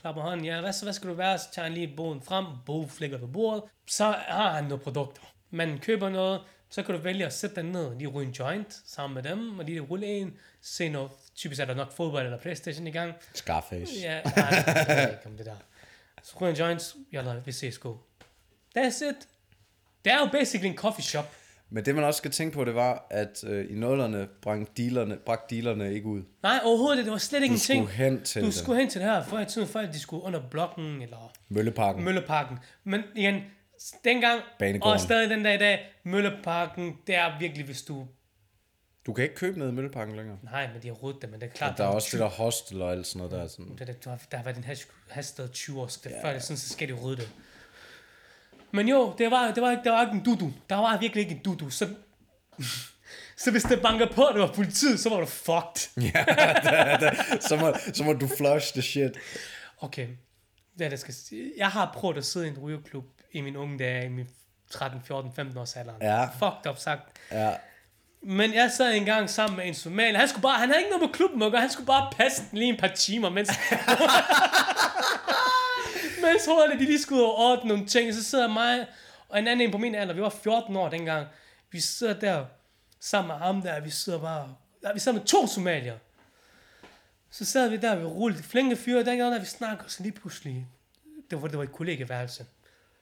Speaker 2: Klapper hånden, ja, hvad så, hvad skal du være? Så tager han lige boden frem, bo flækker på bordet. Så har han nogle produkter. Man køber noget, så kan du vælge at sætte dig ned, lige ryge en joint sammen med dem, og lige rulle en, se noget. Typisk er der nok fodbold eller Playstation i gang.
Speaker 1: Scarface.
Speaker 2: Ja, nej, jeg ved ikke om det der. Så ryger en joint, jalla, vi ses go. That's it. Det er jo basically en coffee shop.
Speaker 1: Men det man også skal tænke på, det var, at øh, i nullerne brang dealerne, brak dealerne ikke ud.
Speaker 2: Nej, overhovedet, det var slet ikke en ting.
Speaker 1: skulle hen til
Speaker 2: Du
Speaker 1: det.
Speaker 2: skulle hen til det her, før i tiden, før de skulle under blokken, eller
Speaker 1: Mølleparken.
Speaker 2: Mølleparken. Men igen, s- dengang,
Speaker 1: Banegården.
Speaker 2: og stadig den dag i dag, Mølleparken, det er virkelig, hvis du...
Speaker 1: du kan ikke købe noget i Mølleparken længere.
Speaker 2: Nej, men de har rodet det, men det er klart,
Speaker 1: Der er også det der hostel og alt sådan noget der. er Sådan.
Speaker 2: det, der, der, der har været en hash, hashtag 20 år, så det yeah. før, det er sådan, så skal de rydde det. Men jo, det var, det var, ikke, der var ikke en dudu. Der var virkelig ikke en dudu. Så, så hvis det banker på, og det var politiet, så var du fucked.
Speaker 1: Så, må, så må du flush the shit.
Speaker 2: Okay, det er det, jeg skal sige. Jeg har prøvet at sidde i en rygeklub i min unge dage, i min 13, 14, 15 års alderen.
Speaker 1: Ja.
Speaker 2: Fucked up sagt.
Speaker 1: Ja.
Speaker 2: Men jeg sad engang sammen med en somalier. Han, skulle bare, han havde ikke noget med klubben at gøre. Han skulle bare passe den lige en par timer, mens... mens hovederne, de lige skulle ud og ordne nogle ting. Så sidder mig og en anden en på min alder. Vi var 14 år dengang. Vi sidder der sammen med ham der. Vi sidder bare... Ja, vi sidder med to somalier. Så sad vi der, vi rullede flinke fyre. Dengang der vi snakker, så lige pludselig... Det var, det var et kollegeværelse.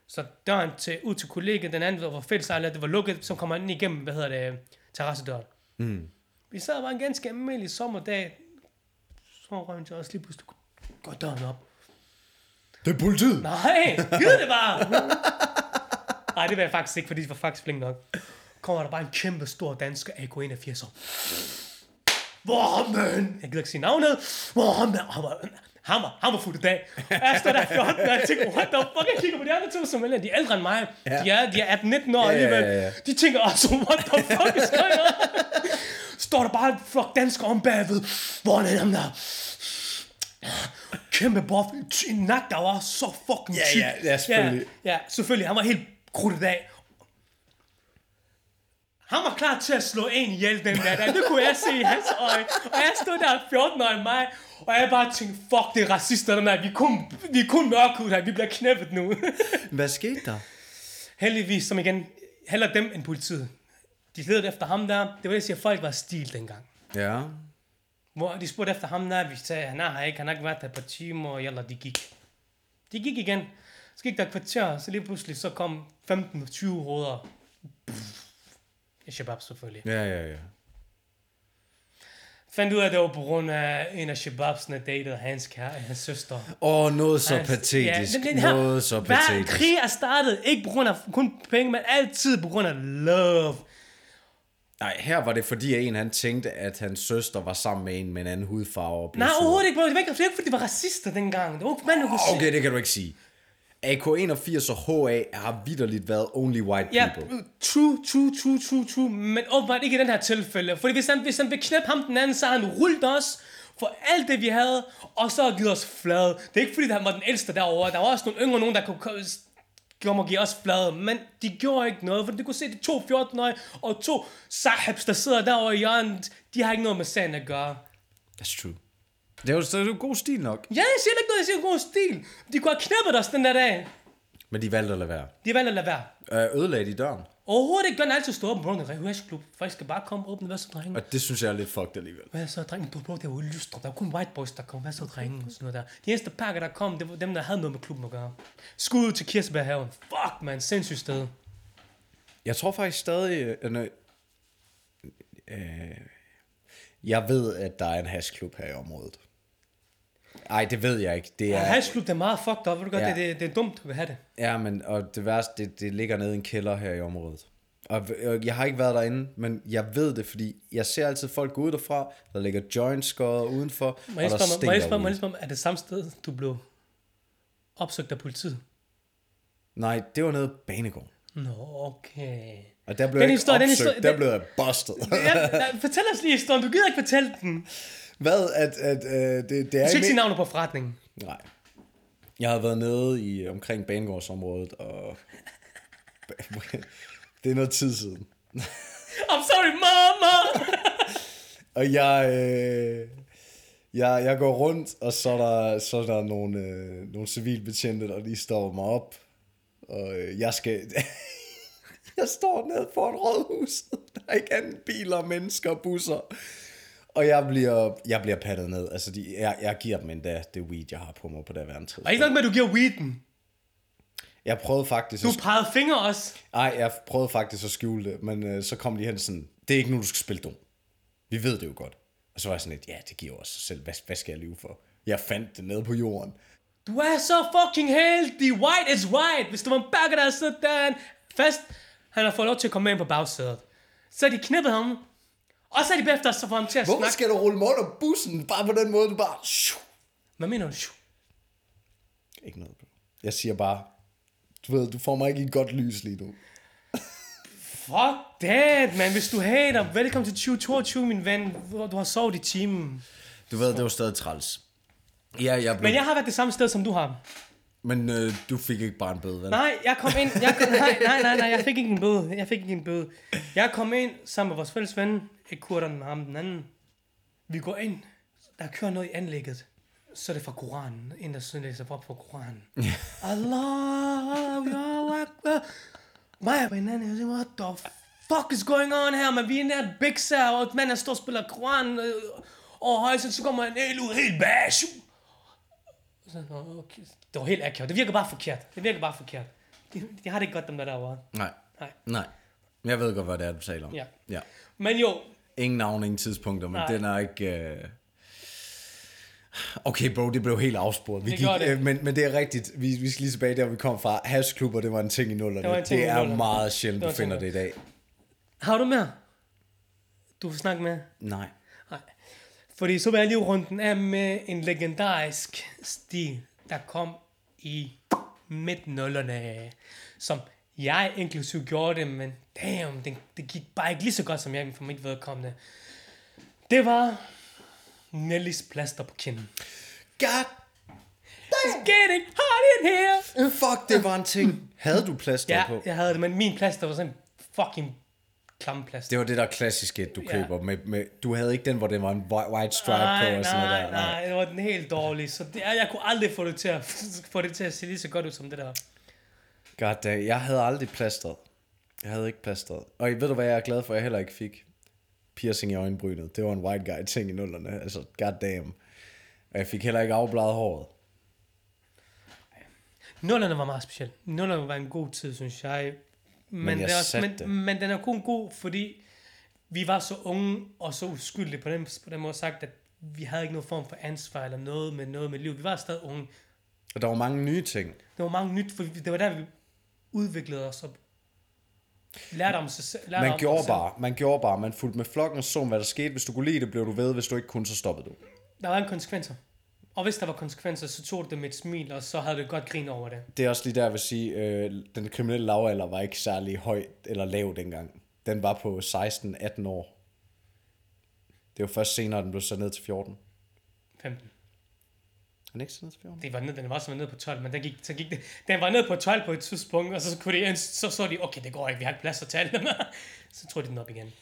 Speaker 2: Så døren til, ud til kollegiet, den anden var fællesejlet, det var lukket, så kommer han ind igennem, hvad hedder det, terrassedøren. Mm. Vi sad bare en ganske almindelig sommerdag, så røg jeg også lige pludselig, går døren op.
Speaker 1: Det er politiet!
Speaker 2: Nej, gid det bare! Nej, det var jeg faktisk ikke, fordi de var faktisk flink nok. Kommer der bare en kæmpe stor dansker, AK-81 Warman! Jeg gider ikke sige navnet. Warman! Han var, han var, han var fuld i dag. Og Jeg står der 14, og jeg tænker, what the fuck? Jeg kigger på de andre to som er de er ældre end mig.
Speaker 1: Ja.
Speaker 2: De er, de er 18-19 år
Speaker 1: Ja, ja, ja,
Speaker 2: alligevel.
Speaker 1: ja.
Speaker 2: De tænker også, what the fuck is going on? Står der bare en flok danskere om bagved. Hvor er det ham der? Kæmpe buff. En nak, der var så fucking
Speaker 1: Ja,
Speaker 2: tyk.
Speaker 1: ja, ja, selvfølgelig.
Speaker 2: Ja, ja, selvfølgelig. Han var helt krudtet af. Han var klar til at slå en ihjel den der dag. Det kunne jeg se i hans øje. Og jeg stod der 14 år i mig. Og jeg bare tænkte, fuck, det er racister, dem der. Vi er kun, vi er kun mørkhud her. Vi bliver knæppet nu.
Speaker 1: Hvad skete der?
Speaker 2: Heldigvis, som igen, heller dem end politiet. De ledte efter ham der. Det var det, jeg siger, folk var stil dengang.
Speaker 1: Ja.
Speaker 2: Hvor de spurgte efter ham der, vi sagde, han er her ikke, han har ikke været her på timer, og jalla, de gik. De gik igen. Så gik der et kvarter, så lige pludselig så kom 15-20 hoveder. I Shabab selvfølgelig.
Speaker 1: Ja, ja, ja.
Speaker 2: Fandt ud af, at det var på grund af en af Shababsene datede hans kære, hans søster.
Speaker 1: Åh, oh, noget så
Speaker 2: Hans-
Speaker 1: patetisk.
Speaker 2: det er det her.
Speaker 1: noget så
Speaker 2: Hver
Speaker 1: patetisk.
Speaker 2: krig er startet, ikke på grund af kun penge, men altid på grund af love.
Speaker 1: Nej, her var det fordi, at en han tænkte, at hans søster var sammen med en med en anden hudfarve. og blev
Speaker 2: Nej,
Speaker 1: sur.
Speaker 2: overhovedet ikke, bro. Det var ikke, det var ikke fordi de var racister dengang. Det var ikke, man kunne se.
Speaker 1: Ah, Okay, det kan du ikke sige. AK81 og HA har vidderligt været only white
Speaker 2: Ja,
Speaker 1: people.
Speaker 2: true, true, true, true, true, men åbenbart ikke i den her tilfælde. Fordi hvis han, hvis han vil knæppe ham den anden, så har han rullet os for alt det, vi havde, og så har givet os flade. Det er ikke fordi, han var den ældste derovre. Der var også nogle yngre nogen, der kunne komme- komme og give os flade, men de gjorde ikke noget, for du kunne se, de to 14-årige og to sahibs, der sidder derovre i hjørnet, de har ikke noget med sagen at gøre.
Speaker 1: That's true. Det er jo, det er jo god stil nok.
Speaker 2: Ja, jeg siger ikke noget, jeg siger god stil. De kunne have knæppet os den der dag.
Speaker 1: Men de valgte at lade være.
Speaker 2: De valgte at lade være.
Speaker 1: Øh, ødelagde de døren.
Speaker 2: Overhovedet ikke, den er altid stå åben, bro. Det er en rehashklub. Folk skal bare komme og åbne, hvad så drenge.
Speaker 1: Og det synes jeg er lidt fucked alligevel.
Speaker 2: Hvad så, drenge? Du bro, det var jo lystrup. Der var kun white boys, der kom. Hvad så, drenge? Og sådan noget der. De eneste pakker, der kom, det var dem, der havde noget med klubben at gøre. Skud ud til Kirsebærhaven. Fuck, man. Sindssygt sted.
Speaker 1: Jeg tror faktisk stadig... Øh, nø, øh, jeg ved, at der er en hashklub her i området. Ej, det ved jeg ikke. Det
Speaker 2: Ja.
Speaker 1: er,
Speaker 2: Hashklub, det er meget fucked up. Ved du godt,
Speaker 1: Ja.
Speaker 2: ja. det, det, det, er dumt, at vi have det.
Speaker 1: Ja, men og det værste, det, det ligger nede i en kælder her i området. Og v- og jeg har ikke været derinde, men jeg ved det, fordi jeg ser altid folk gå ud derfra, der ligger joints skåret udenfor,
Speaker 2: Må jeg
Speaker 1: og der
Speaker 2: spørge, mig- må jeg
Speaker 1: stinker
Speaker 2: spørge, må jeg
Speaker 1: ude.
Speaker 2: spørge, er det samme sted, du blev opsøgt af politiet?
Speaker 1: Nej, det var nede i Banegården.
Speaker 2: Nå, okay.
Speaker 1: Og der blev
Speaker 2: Den
Speaker 1: jeg ikke
Speaker 2: historie, den
Speaker 1: opsøgt,
Speaker 2: historie-
Speaker 1: der
Speaker 2: den-
Speaker 1: blev jeg busted.
Speaker 2: Ja, nej, fortæl os lige historien. Du gider ikke fortælle den.
Speaker 1: Hvad, at, at øh, det, det
Speaker 2: Du
Speaker 1: er i
Speaker 2: skal ikke sige navnet på forretningen.
Speaker 1: Nej. Jeg havde været nede i omkring banegårdsområdet, og det er noget tid siden.
Speaker 2: I'm sorry, mama!
Speaker 1: Og jeg, øh, jeg, jeg går rundt, og så er der, så er der nogle, øh, nogle civilbetjente, der lige står mig op. Og øh, jeg skal... jeg står nede foran rådhuset. Der er ikke andet biler, mennesker og busser. Og jeg bliver, jeg bliver pattet ned. Altså, de, jeg, jeg giver dem endda det weed, jeg har på mig på det værende
Speaker 2: Og ikke
Speaker 1: tidspunkt.
Speaker 2: nok med, at du giver weeden.
Speaker 1: Jeg prøvede faktisk...
Speaker 2: Du
Speaker 1: at sk-
Speaker 2: pegede fingre også.
Speaker 1: Ej, jeg prøvede faktisk at skjule det, men øh, så kom de hen sådan, det er ikke nu, du skal spille dum. Vi ved det jo godt. Og så var jeg sådan lidt, ja, det giver også sig selv. Hvad, hvad skal jeg leve for? Jeg fandt det nede på jorden.
Speaker 2: Du er så fucking heldig. White is white. Hvis du var en bakker, der sidder der fast, han har fået lov til at komme med ind på bagsædet. Så har de knippet ham, og så er de bagefter, så får ham til at
Speaker 1: Hvorfor
Speaker 2: snakke.
Speaker 1: skal du rulle mig under bussen? Bare på den måde, du bare... Shoo.
Speaker 2: Hvad mener du? Shoo.
Speaker 1: Ikke noget. bro. Jeg siger bare, du ved, du får mig ikke i et godt lys lige nu.
Speaker 2: Fuck that, man. Hvis du hater, velkommen til 2022, min ven. Hvor Du har sovet i timen.
Speaker 1: Du ved, det var stadig træls. Ja, jeg blev...
Speaker 2: Men jeg har været det samme sted, som du har.
Speaker 1: Men øh, du fik ikke bare en bøde, vel?
Speaker 2: Nej, jeg kom ind. Jeg kom, nej, nej, nej, nej, jeg fik ikke en bøde. Jeg fik ikke en bøde. Jeg kom ind sammen med vores fælles ven, ikke kurderen, ham den anden. Vi går ind. Der kører noget i anlægget. Så er det fra Koranen. En, der synes, læser op fra Koranen. Allah, Allah, Akbar. Mig og en anden, jeg siger, what the fuck is going on her, man? Vi er nær bikser, og et mand, der står og spiller Koranen. Øh, og højst, så kommer en helt ud, helt bash. Så, nå, okay. Det var helt akavet. Det virker bare forkert. Det virker bare forkert. De, de har det ikke godt, dem der derovre.
Speaker 1: Nej.
Speaker 2: Nej.
Speaker 1: Nej. Jeg ved godt, hvad det er, du taler om.
Speaker 2: Ja.
Speaker 1: ja.
Speaker 2: Men jo,
Speaker 1: Ingen navn, ingen tidspunkter, men
Speaker 2: Nej.
Speaker 1: Nej. den er ikke... Øh... Okay, bro, det blev helt afsporet. Vi
Speaker 2: Det gjorde det.
Speaker 1: Øh, men, men det er rigtigt. Vi, vi skal lige tilbage der, hvor vi kom fra. Hashklubber, det var en ting i nullerne.
Speaker 2: Det var en
Speaker 1: Det,
Speaker 2: ting i
Speaker 1: det er
Speaker 2: nullerne.
Speaker 1: meget sjældent,
Speaker 2: Det var
Speaker 1: du
Speaker 2: en ting i
Speaker 1: finder det i dag.
Speaker 2: har du mere? Du vil snakke med?
Speaker 1: Nej.
Speaker 2: Nej. Fordi så vil jeg lige runde den af med en legendarisk stil, der kom i midt nullerne, som jeg inklusiv gjorde det, men damn, det, det gik bare ikke lige så godt, som jeg for mit vedkommende. Det var Nellys plaster på kinden.
Speaker 1: God
Speaker 2: It's getting hot in here!
Speaker 1: fuck, det var en ting. Havde du plaster
Speaker 2: Ja,
Speaker 1: på?
Speaker 2: jeg havde det, men min plaster var sådan en fucking klam plaster.
Speaker 1: Det var det der klassiske, du
Speaker 2: Ja.
Speaker 1: køber. Med, med, du havde ikke den, hvor det var en whi- white stripe på og sådan noget
Speaker 2: nej,
Speaker 1: der. Nej.
Speaker 2: nej, det var den helt dårlige, så det, jeg kunne aldrig få det, til at, få det til at se lige så godt ud som det der.
Speaker 1: God damn, jeg havde aldrig plasteret. Jeg havde ikke plasteret. Og ved du, hvad jeg er glad for, jeg heller ikke fik? Piercing i øjenbrynet. Det var en white guy ting i nullerne. Altså, god damn. Og jeg fik heller ikke afbladet håret.
Speaker 2: Nullerne var meget speciel. Nullerne var en god tid, synes jeg. Men,
Speaker 1: Men jeg
Speaker 2: det er også,
Speaker 1: satte
Speaker 2: men,
Speaker 1: det.
Speaker 2: men den er kun god, fordi vi var så unge og så uskyldige på den, på den måde sagt, at vi havde ikke nogen form for ansvar eller noget med noget med liv. Vi var stadig unge.
Speaker 1: Og der var mange nye ting.
Speaker 2: Der var mange nyt, for vi- det var der, vi udviklede os og lærte om sig selv. lærte om
Speaker 1: Man
Speaker 2: os
Speaker 1: gjorde
Speaker 2: selv.
Speaker 1: bare, man gjorde bare, man fulgte med flokken og så, hvad der skete. Hvis du kunne lide det, blev du ved. Hvis du ikke kunne, så stoppede du.
Speaker 2: Der var en konsekvenser. Og hvis der var konsekvenser, så tog du det med et smil, og så havde du et godt grin over det.
Speaker 1: Det er også lige der, jeg vil sige, øh, den kriminelle lavalder var ikke særlig høj eller lav dengang. Den var på 16-18 år. Det var først senere, den blev sat ned til 14. Er
Speaker 2: 15.
Speaker 1: den ikke sat ned til 14?
Speaker 2: Det var ned, den var som ned på 12, men den gik, så gik det, den var ned på 12 på et tidspunkt, og så, kunne de, så så de, okay, det går ikke, vi har ikke plads til tallene. så tog de den op igen.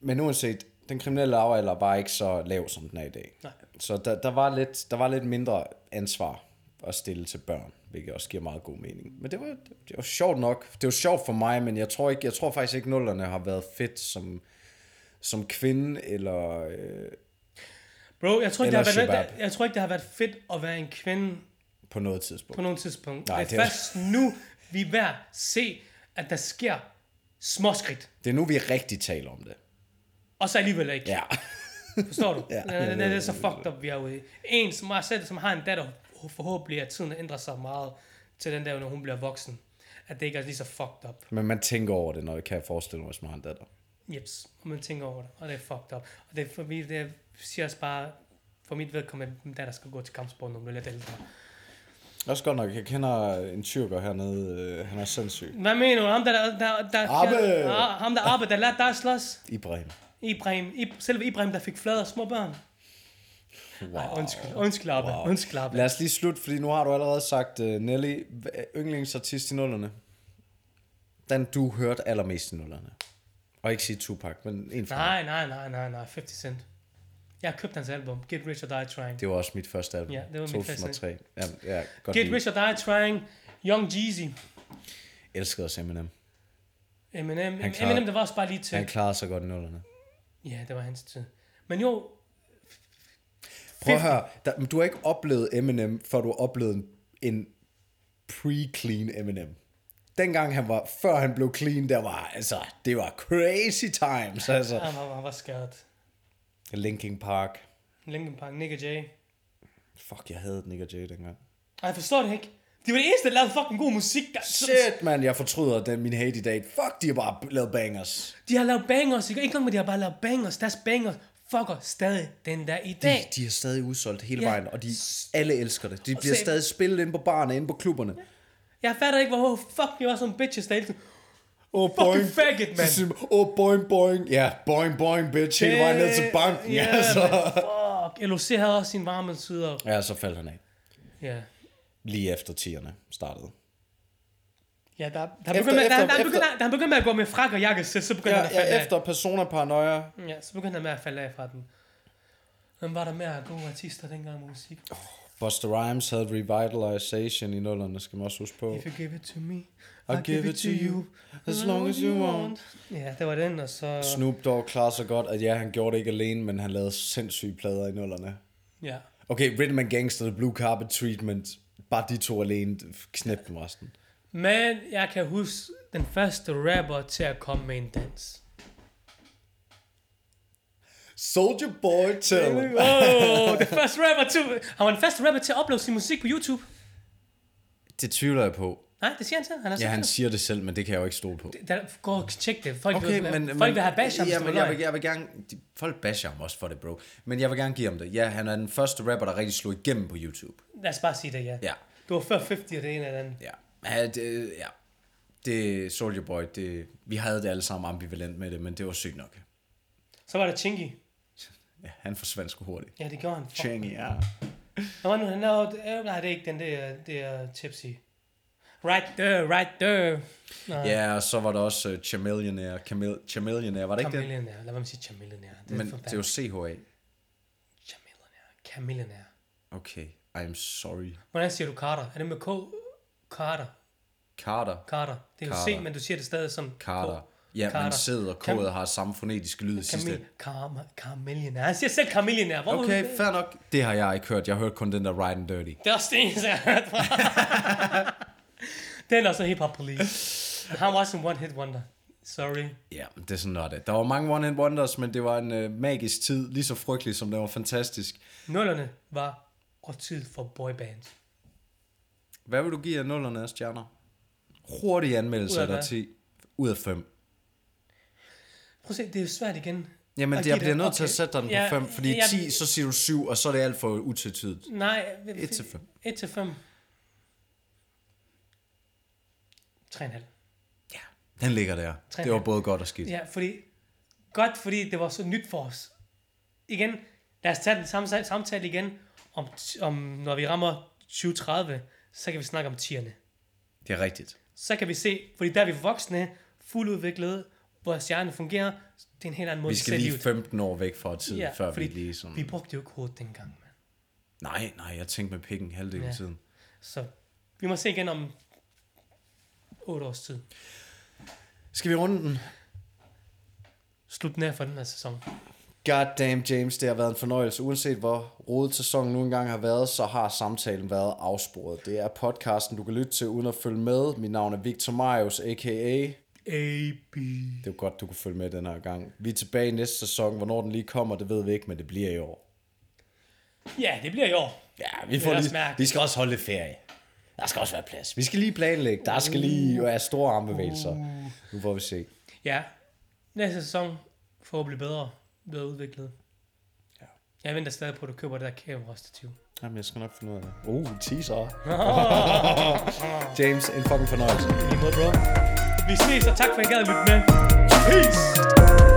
Speaker 1: Men uanset, den kriminelle lavalder var ikke så lav, som den er i dag.
Speaker 2: Nej.
Speaker 1: Så der, der, var lidt, der var lidt mindre ansvar at stille til børn, hvilket også giver meget god mening. Men det var, det var sjovt nok. Det var sjovt for mig, men jeg tror, ikke, jeg tror faktisk ikke, nullerne har været fedt som, som kvinde, eller... Øh,
Speaker 2: Bro, jeg tror, ikke, det
Speaker 1: Eller
Speaker 2: har været,
Speaker 1: Shabab.
Speaker 2: jeg tror ikke, det har været fedt at være en kvinde
Speaker 1: på noget tidspunkt.
Speaker 2: på nogen tidspunkt. Nej,
Speaker 1: Nej,
Speaker 2: det er
Speaker 1: det er-
Speaker 2: først nu, vi er ved at se, at der sker småskridt,
Speaker 1: Det er nu, vi rigtig taler om det.
Speaker 2: og så alligevel ikke.
Speaker 1: Ja.
Speaker 2: Forstår du? ja,
Speaker 1: Ja.
Speaker 2: det, det, det, er så fucked up, vi er ude i. En som mig selv, som har en datter, forhåbentlig at tiden ændrer sig meget til den der, når hun bliver voksen. At det ikke er lige så fucked up.
Speaker 1: Men man tænker over det, når jeg kan jeg forestille mig, hvis man har en datter.
Speaker 2: Jeps, og man tænker over det, og det er fucked up. Og det, er for mig, det siger også bare, for mit vedkommende, at min datter skal gå til kampsport, når hun bliver lidt ældre.
Speaker 1: Også godt nok, jeg kender en tyrker hernede, øh, han er sindssyg.
Speaker 2: Hvad mener du? Ham der, der, der, der
Speaker 1: Abbe!
Speaker 2: Ja, ham der Abbe, der lærte dig at slås?
Speaker 1: Ibrahim.
Speaker 2: Ibrahim, Ib, selve Ibrahim, der fik flader små børn. Wow. Ej, undskyld, undskyld, Abbe, wow. undskyld, Abbe.
Speaker 1: Lad os lige slutte, fordi nu har du allerede sagt, uh, Nelly, hva- yndlingsartist i nullerne. Den du hørte allermest i nullerne. Og ikke sige Tupac, men en fra
Speaker 2: Nej, nej, nej, nej, nej. 50 Cent. Jeg har købt hans album, Get Rich or Die Trying.
Speaker 1: Det var også mit første album.
Speaker 2: Ja, det var mit første.
Speaker 1: 2003. Ja, ja, godt
Speaker 2: Get
Speaker 1: lide.
Speaker 2: Rich or Die Trying, Young Jeezy,
Speaker 1: Elskede også Eminem.
Speaker 2: Eminem.
Speaker 1: Han klarer-
Speaker 2: Eminem, der var også bare lige til.
Speaker 1: Han klarede sig godt i nullerne.
Speaker 2: Ja, det var hans tid. Men jo,
Speaker 1: Prøv at høre, der, men du har ikke oplevet Eminem, før du har oplevet en, en pre-clean Eminem. Dengang han var, før han blev clean, der var, altså, det var crazy times, altså.
Speaker 2: han var, han var skadet.
Speaker 1: Linkin Park.
Speaker 2: Linkin Park, Nick og Jay.
Speaker 1: Fuck, jeg havde Nick og Jay dengang.
Speaker 2: Ej, jeg forstår det ikke. De var de eneste, der lavede fucking god musik. der-
Speaker 1: Shit, man, jeg fortryder den, min hate i dag. Fuck, de har bare lavet bangers.
Speaker 2: De har lavet bangers, ikke? Ikke nok med, de har bare lavet bangers. Deres bangers fucker stadig den der i
Speaker 1: De,
Speaker 2: dag.
Speaker 1: de har stadig udsolgt hele
Speaker 2: Ja.
Speaker 1: vejen, og de alle elsker det. De bliver
Speaker 2: se-
Speaker 1: stadig spillet inde på barne, inde på klubberne.
Speaker 2: Jeg fatter ikke, hvor fuck vi var sådan bitches, der hele tiden-
Speaker 1: Oh,
Speaker 2: Fucking faggot, mand.
Speaker 1: Oh, boing, boing. Ja, yeah, boing, boing, bitch. Hele vejen ned til banken.
Speaker 2: Ja,
Speaker 1: Ja, så.
Speaker 2: men Fuck. LOC havde også sine varme sider.
Speaker 1: Ja, så faldt han af.
Speaker 2: Ja.
Speaker 1: Lige efter 10'erne startede.
Speaker 2: Ja, der, der,
Speaker 1: Efter-
Speaker 2: begyndte, der,
Speaker 1: efter-
Speaker 2: der,
Speaker 1: efter-
Speaker 2: begyndte, han begyndte at gå med frak og jakkesæt, så begyndte han at falde
Speaker 1: Ja,
Speaker 2: af.
Speaker 1: efter Persona Paranoia.
Speaker 2: Ja, så begyndte han med at falde af fra den. Men var der mere gode artister dengang med musik?
Speaker 1: Buster Rhymes havde Revitalization i nullerne, skal man også huske på.
Speaker 2: If you give it to me,
Speaker 1: I'll give it to you, as long as you want.
Speaker 2: Ja, det var den, og så...
Speaker 1: Snoop Dogg klarer sig godt, at ja, han gjorde det ikke alene, men han lavede sindssyge plader i nullerne.
Speaker 2: Ja.
Speaker 1: Okay, Rhythm and Gangster, The Blue Carpet Treatment, bare de to alene knæbte dem resten.
Speaker 2: Men jeg kan huske den første rapper til at komme med en dans.
Speaker 1: Soldier Boy, tell him.
Speaker 2: Oh, den første rapper til... Han var den første rapper til at uploade sin musik på YouTube.
Speaker 1: Det tvivler jeg på.
Speaker 2: Nej, det siger han selv. Han er
Speaker 1: Ja, han siger det selv, men det kan jeg jo ikke stole på.
Speaker 2: Der, gå og tjek det. Folk, okay, vil, men, folk vil have bash ham,
Speaker 1: ja,
Speaker 2: hvis det
Speaker 1: men
Speaker 2: var
Speaker 1: jeg vil,
Speaker 2: løgn.
Speaker 1: jeg vil gerne, de, folk basher ham også for det, bro. Men jeg vil gerne give ham det. Ja, han er den første rapper, der rigtig slog igennem på YouTube.
Speaker 2: Lad os bare sige det, ja.
Speaker 1: Ja,
Speaker 2: Du var før 50, og det er en eller anden.
Speaker 1: ja. ja det, ja. det Soldier Boy, det, vi havde det alle sammen ambivalent med det, men det var sygt nok.
Speaker 2: Så var der Chingy.
Speaker 1: Ja, han forsvandt sgu hurtigt.
Speaker 2: Ja, det gjorde han. Fuck.
Speaker 1: Changy, ja.
Speaker 2: Han var nu, han lavede... Øh, nej, det er ikke den, det er, det er Tipsy. Right there, right øh. there. Nej,
Speaker 1: Ja, og så var der også uh, Chamillionaire. Chamil- Chamillionaire, var det ikke det?
Speaker 2: Chamillionaire. Lad mig sige Chamillionaire. Det er
Speaker 1: Men
Speaker 2: Men,
Speaker 1: det er jo CHA.
Speaker 2: Chamillionaire. Chamillionaire.
Speaker 1: Okay, I'm sorry.
Speaker 2: Hvordan siger du Carter? Er det med K? Carter.
Speaker 1: Carter.
Speaker 2: Carter. Det er jo
Speaker 1: Carter.
Speaker 2: C, men du siger det stadig som K.
Speaker 1: Carter. Ja,
Speaker 2: Carter.
Speaker 1: men sæd og
Speaker 2: Cam-
Speaker 1: k'et har samme fonetiske lyd i sidste
Speaker 2: Camille, Carma, Carmillionaire. Han siger selv Carmillionaire. Hvorfor
Speaker 1: Okay, fair nok. Det har jeg ikke hørt. Jeg har hørt kun den der Ride and Dirty.
Speaker 2: Det er også det eneste, jeg har hørt fra. Den er så hiphop police. Han var også en one hit wonder. Sorry.
Speaker 1: Ja, men det er sådan noget det. Der var mange One Hit Wonders, men det var en øh, magisk tid. Lige så frygtelig, som den var fantastisk.
Speaker 2: Nullerne var årtid for boybands.
Speaker 1: Hvad vil du give af nullerne af stjerner? Hurtig anmeldelse
Speaker 2: Ud af
Speaker 1: af der
Speaker 2: hvad?
Speaker 1: 10. Ud af 5.
Speaker 2: Prøv at se, det er jo svært igen.
Speaker 1: Jamen,
Speaker 2: at
Speaker 1: det, jeg
Speaker 2: give
Speaker 1: bliver
Speaker 2: det-
Speaker 1: nødt til at
Speaker 2: okay.
Speaker 1: sætte den
Speaker 2: Ja,
Speaker 1: på 5, fordi
Speaker 2: jeg-
Speaker 1: 10, så siger du 7, og så er det alt for utvetydigt.
Speaker 2: Nej.
Speaker 1: Et til fem.
Speaker 2: 1 til 5. 3,5.
Speaker 1: Ja. Den ligger der.
Speaker 2: Tre
Speaker 1: Det var
Speaker 2: halv.
Speaker 1: både godt og skidt.
Speaker 2: Ja, fordi... Godt, fordi det var så nyt for os. Igen, lad os tage den samme sa- samtale igen. Om, t- om, når vi rammer 2030, så kan vi snakke om tierne.
Speaker 1: Det er rigtigt.
Speaker 2: så kan vi se, fordi der er vi voksne, fuldudviklede, vores hjerne fungerer, det er en helt anden måde,
Speaker 1: Vi skal
Speaker 2: ser
Speaker 1: lige
Speaker 2: livet.
Speaker 1: 15 år væk fra tiden,
Speaker 2: Ja,
Speaker 1: før vi
Speaker 2: fordi
Speaker 1: lige sådan...
Speaker 2: Vi brugte jo ikke hovedet dengang, man.
Speaker 1: Nej, nej, jeg tænkte med pikken halvdelen
Speaker 2: Ja.
Speaker 1: af tiden.
Speaker 2: Så vi må se igen om 8 års tid.
Speaker 1: Skal vi runde den?
Speaker 2: Slut nær for den her sæson.
Speaker 1: Goddamn James, det har været en fornøjelse. Uanset hvor rodet sæsonen nu engang har været, så har samtalen været afsporet. Det er podcasten, du kan lytte til uden at følge med. Mit navn er Victor Marius, a.k.a.
Speaker 2: AB.
Speaker 1: Det er jo godt, du kan følge med den her gang. Vi er tilbage næste sæson. Hvornår den lige kommer, det ved vi ikke, men det bliver i år.
Speaker 2: Ja, det bliver i år.
Speaker 1: Ja, vi,
Speaker 2: er
Speaker 1: får
Speaker 2: også
Speaker 1: lige,
Speaker 2: mærkeligt.
Speaker 1: vi skal også holde lidt ferie. Der skal også være plads. Vi skal lige planlægge. Der skal lige være store armbevægelser. Nu får vi se.
Speaker 2: Ja, næste sæson forhåbentlig bedre, bedre udviklet.
Speaker 1: Ja.
Speaker 2: Jeg venter stadig på, at du køber det der kamerastativ.
Speaker 1: Jamen, jeg skal nok finde ud af det. Uh, teaser. James, en fucking fornøjelse.
Speaker 2: I måde, bro. Vi ses, og tak for, at I gad at lytte med. Peace!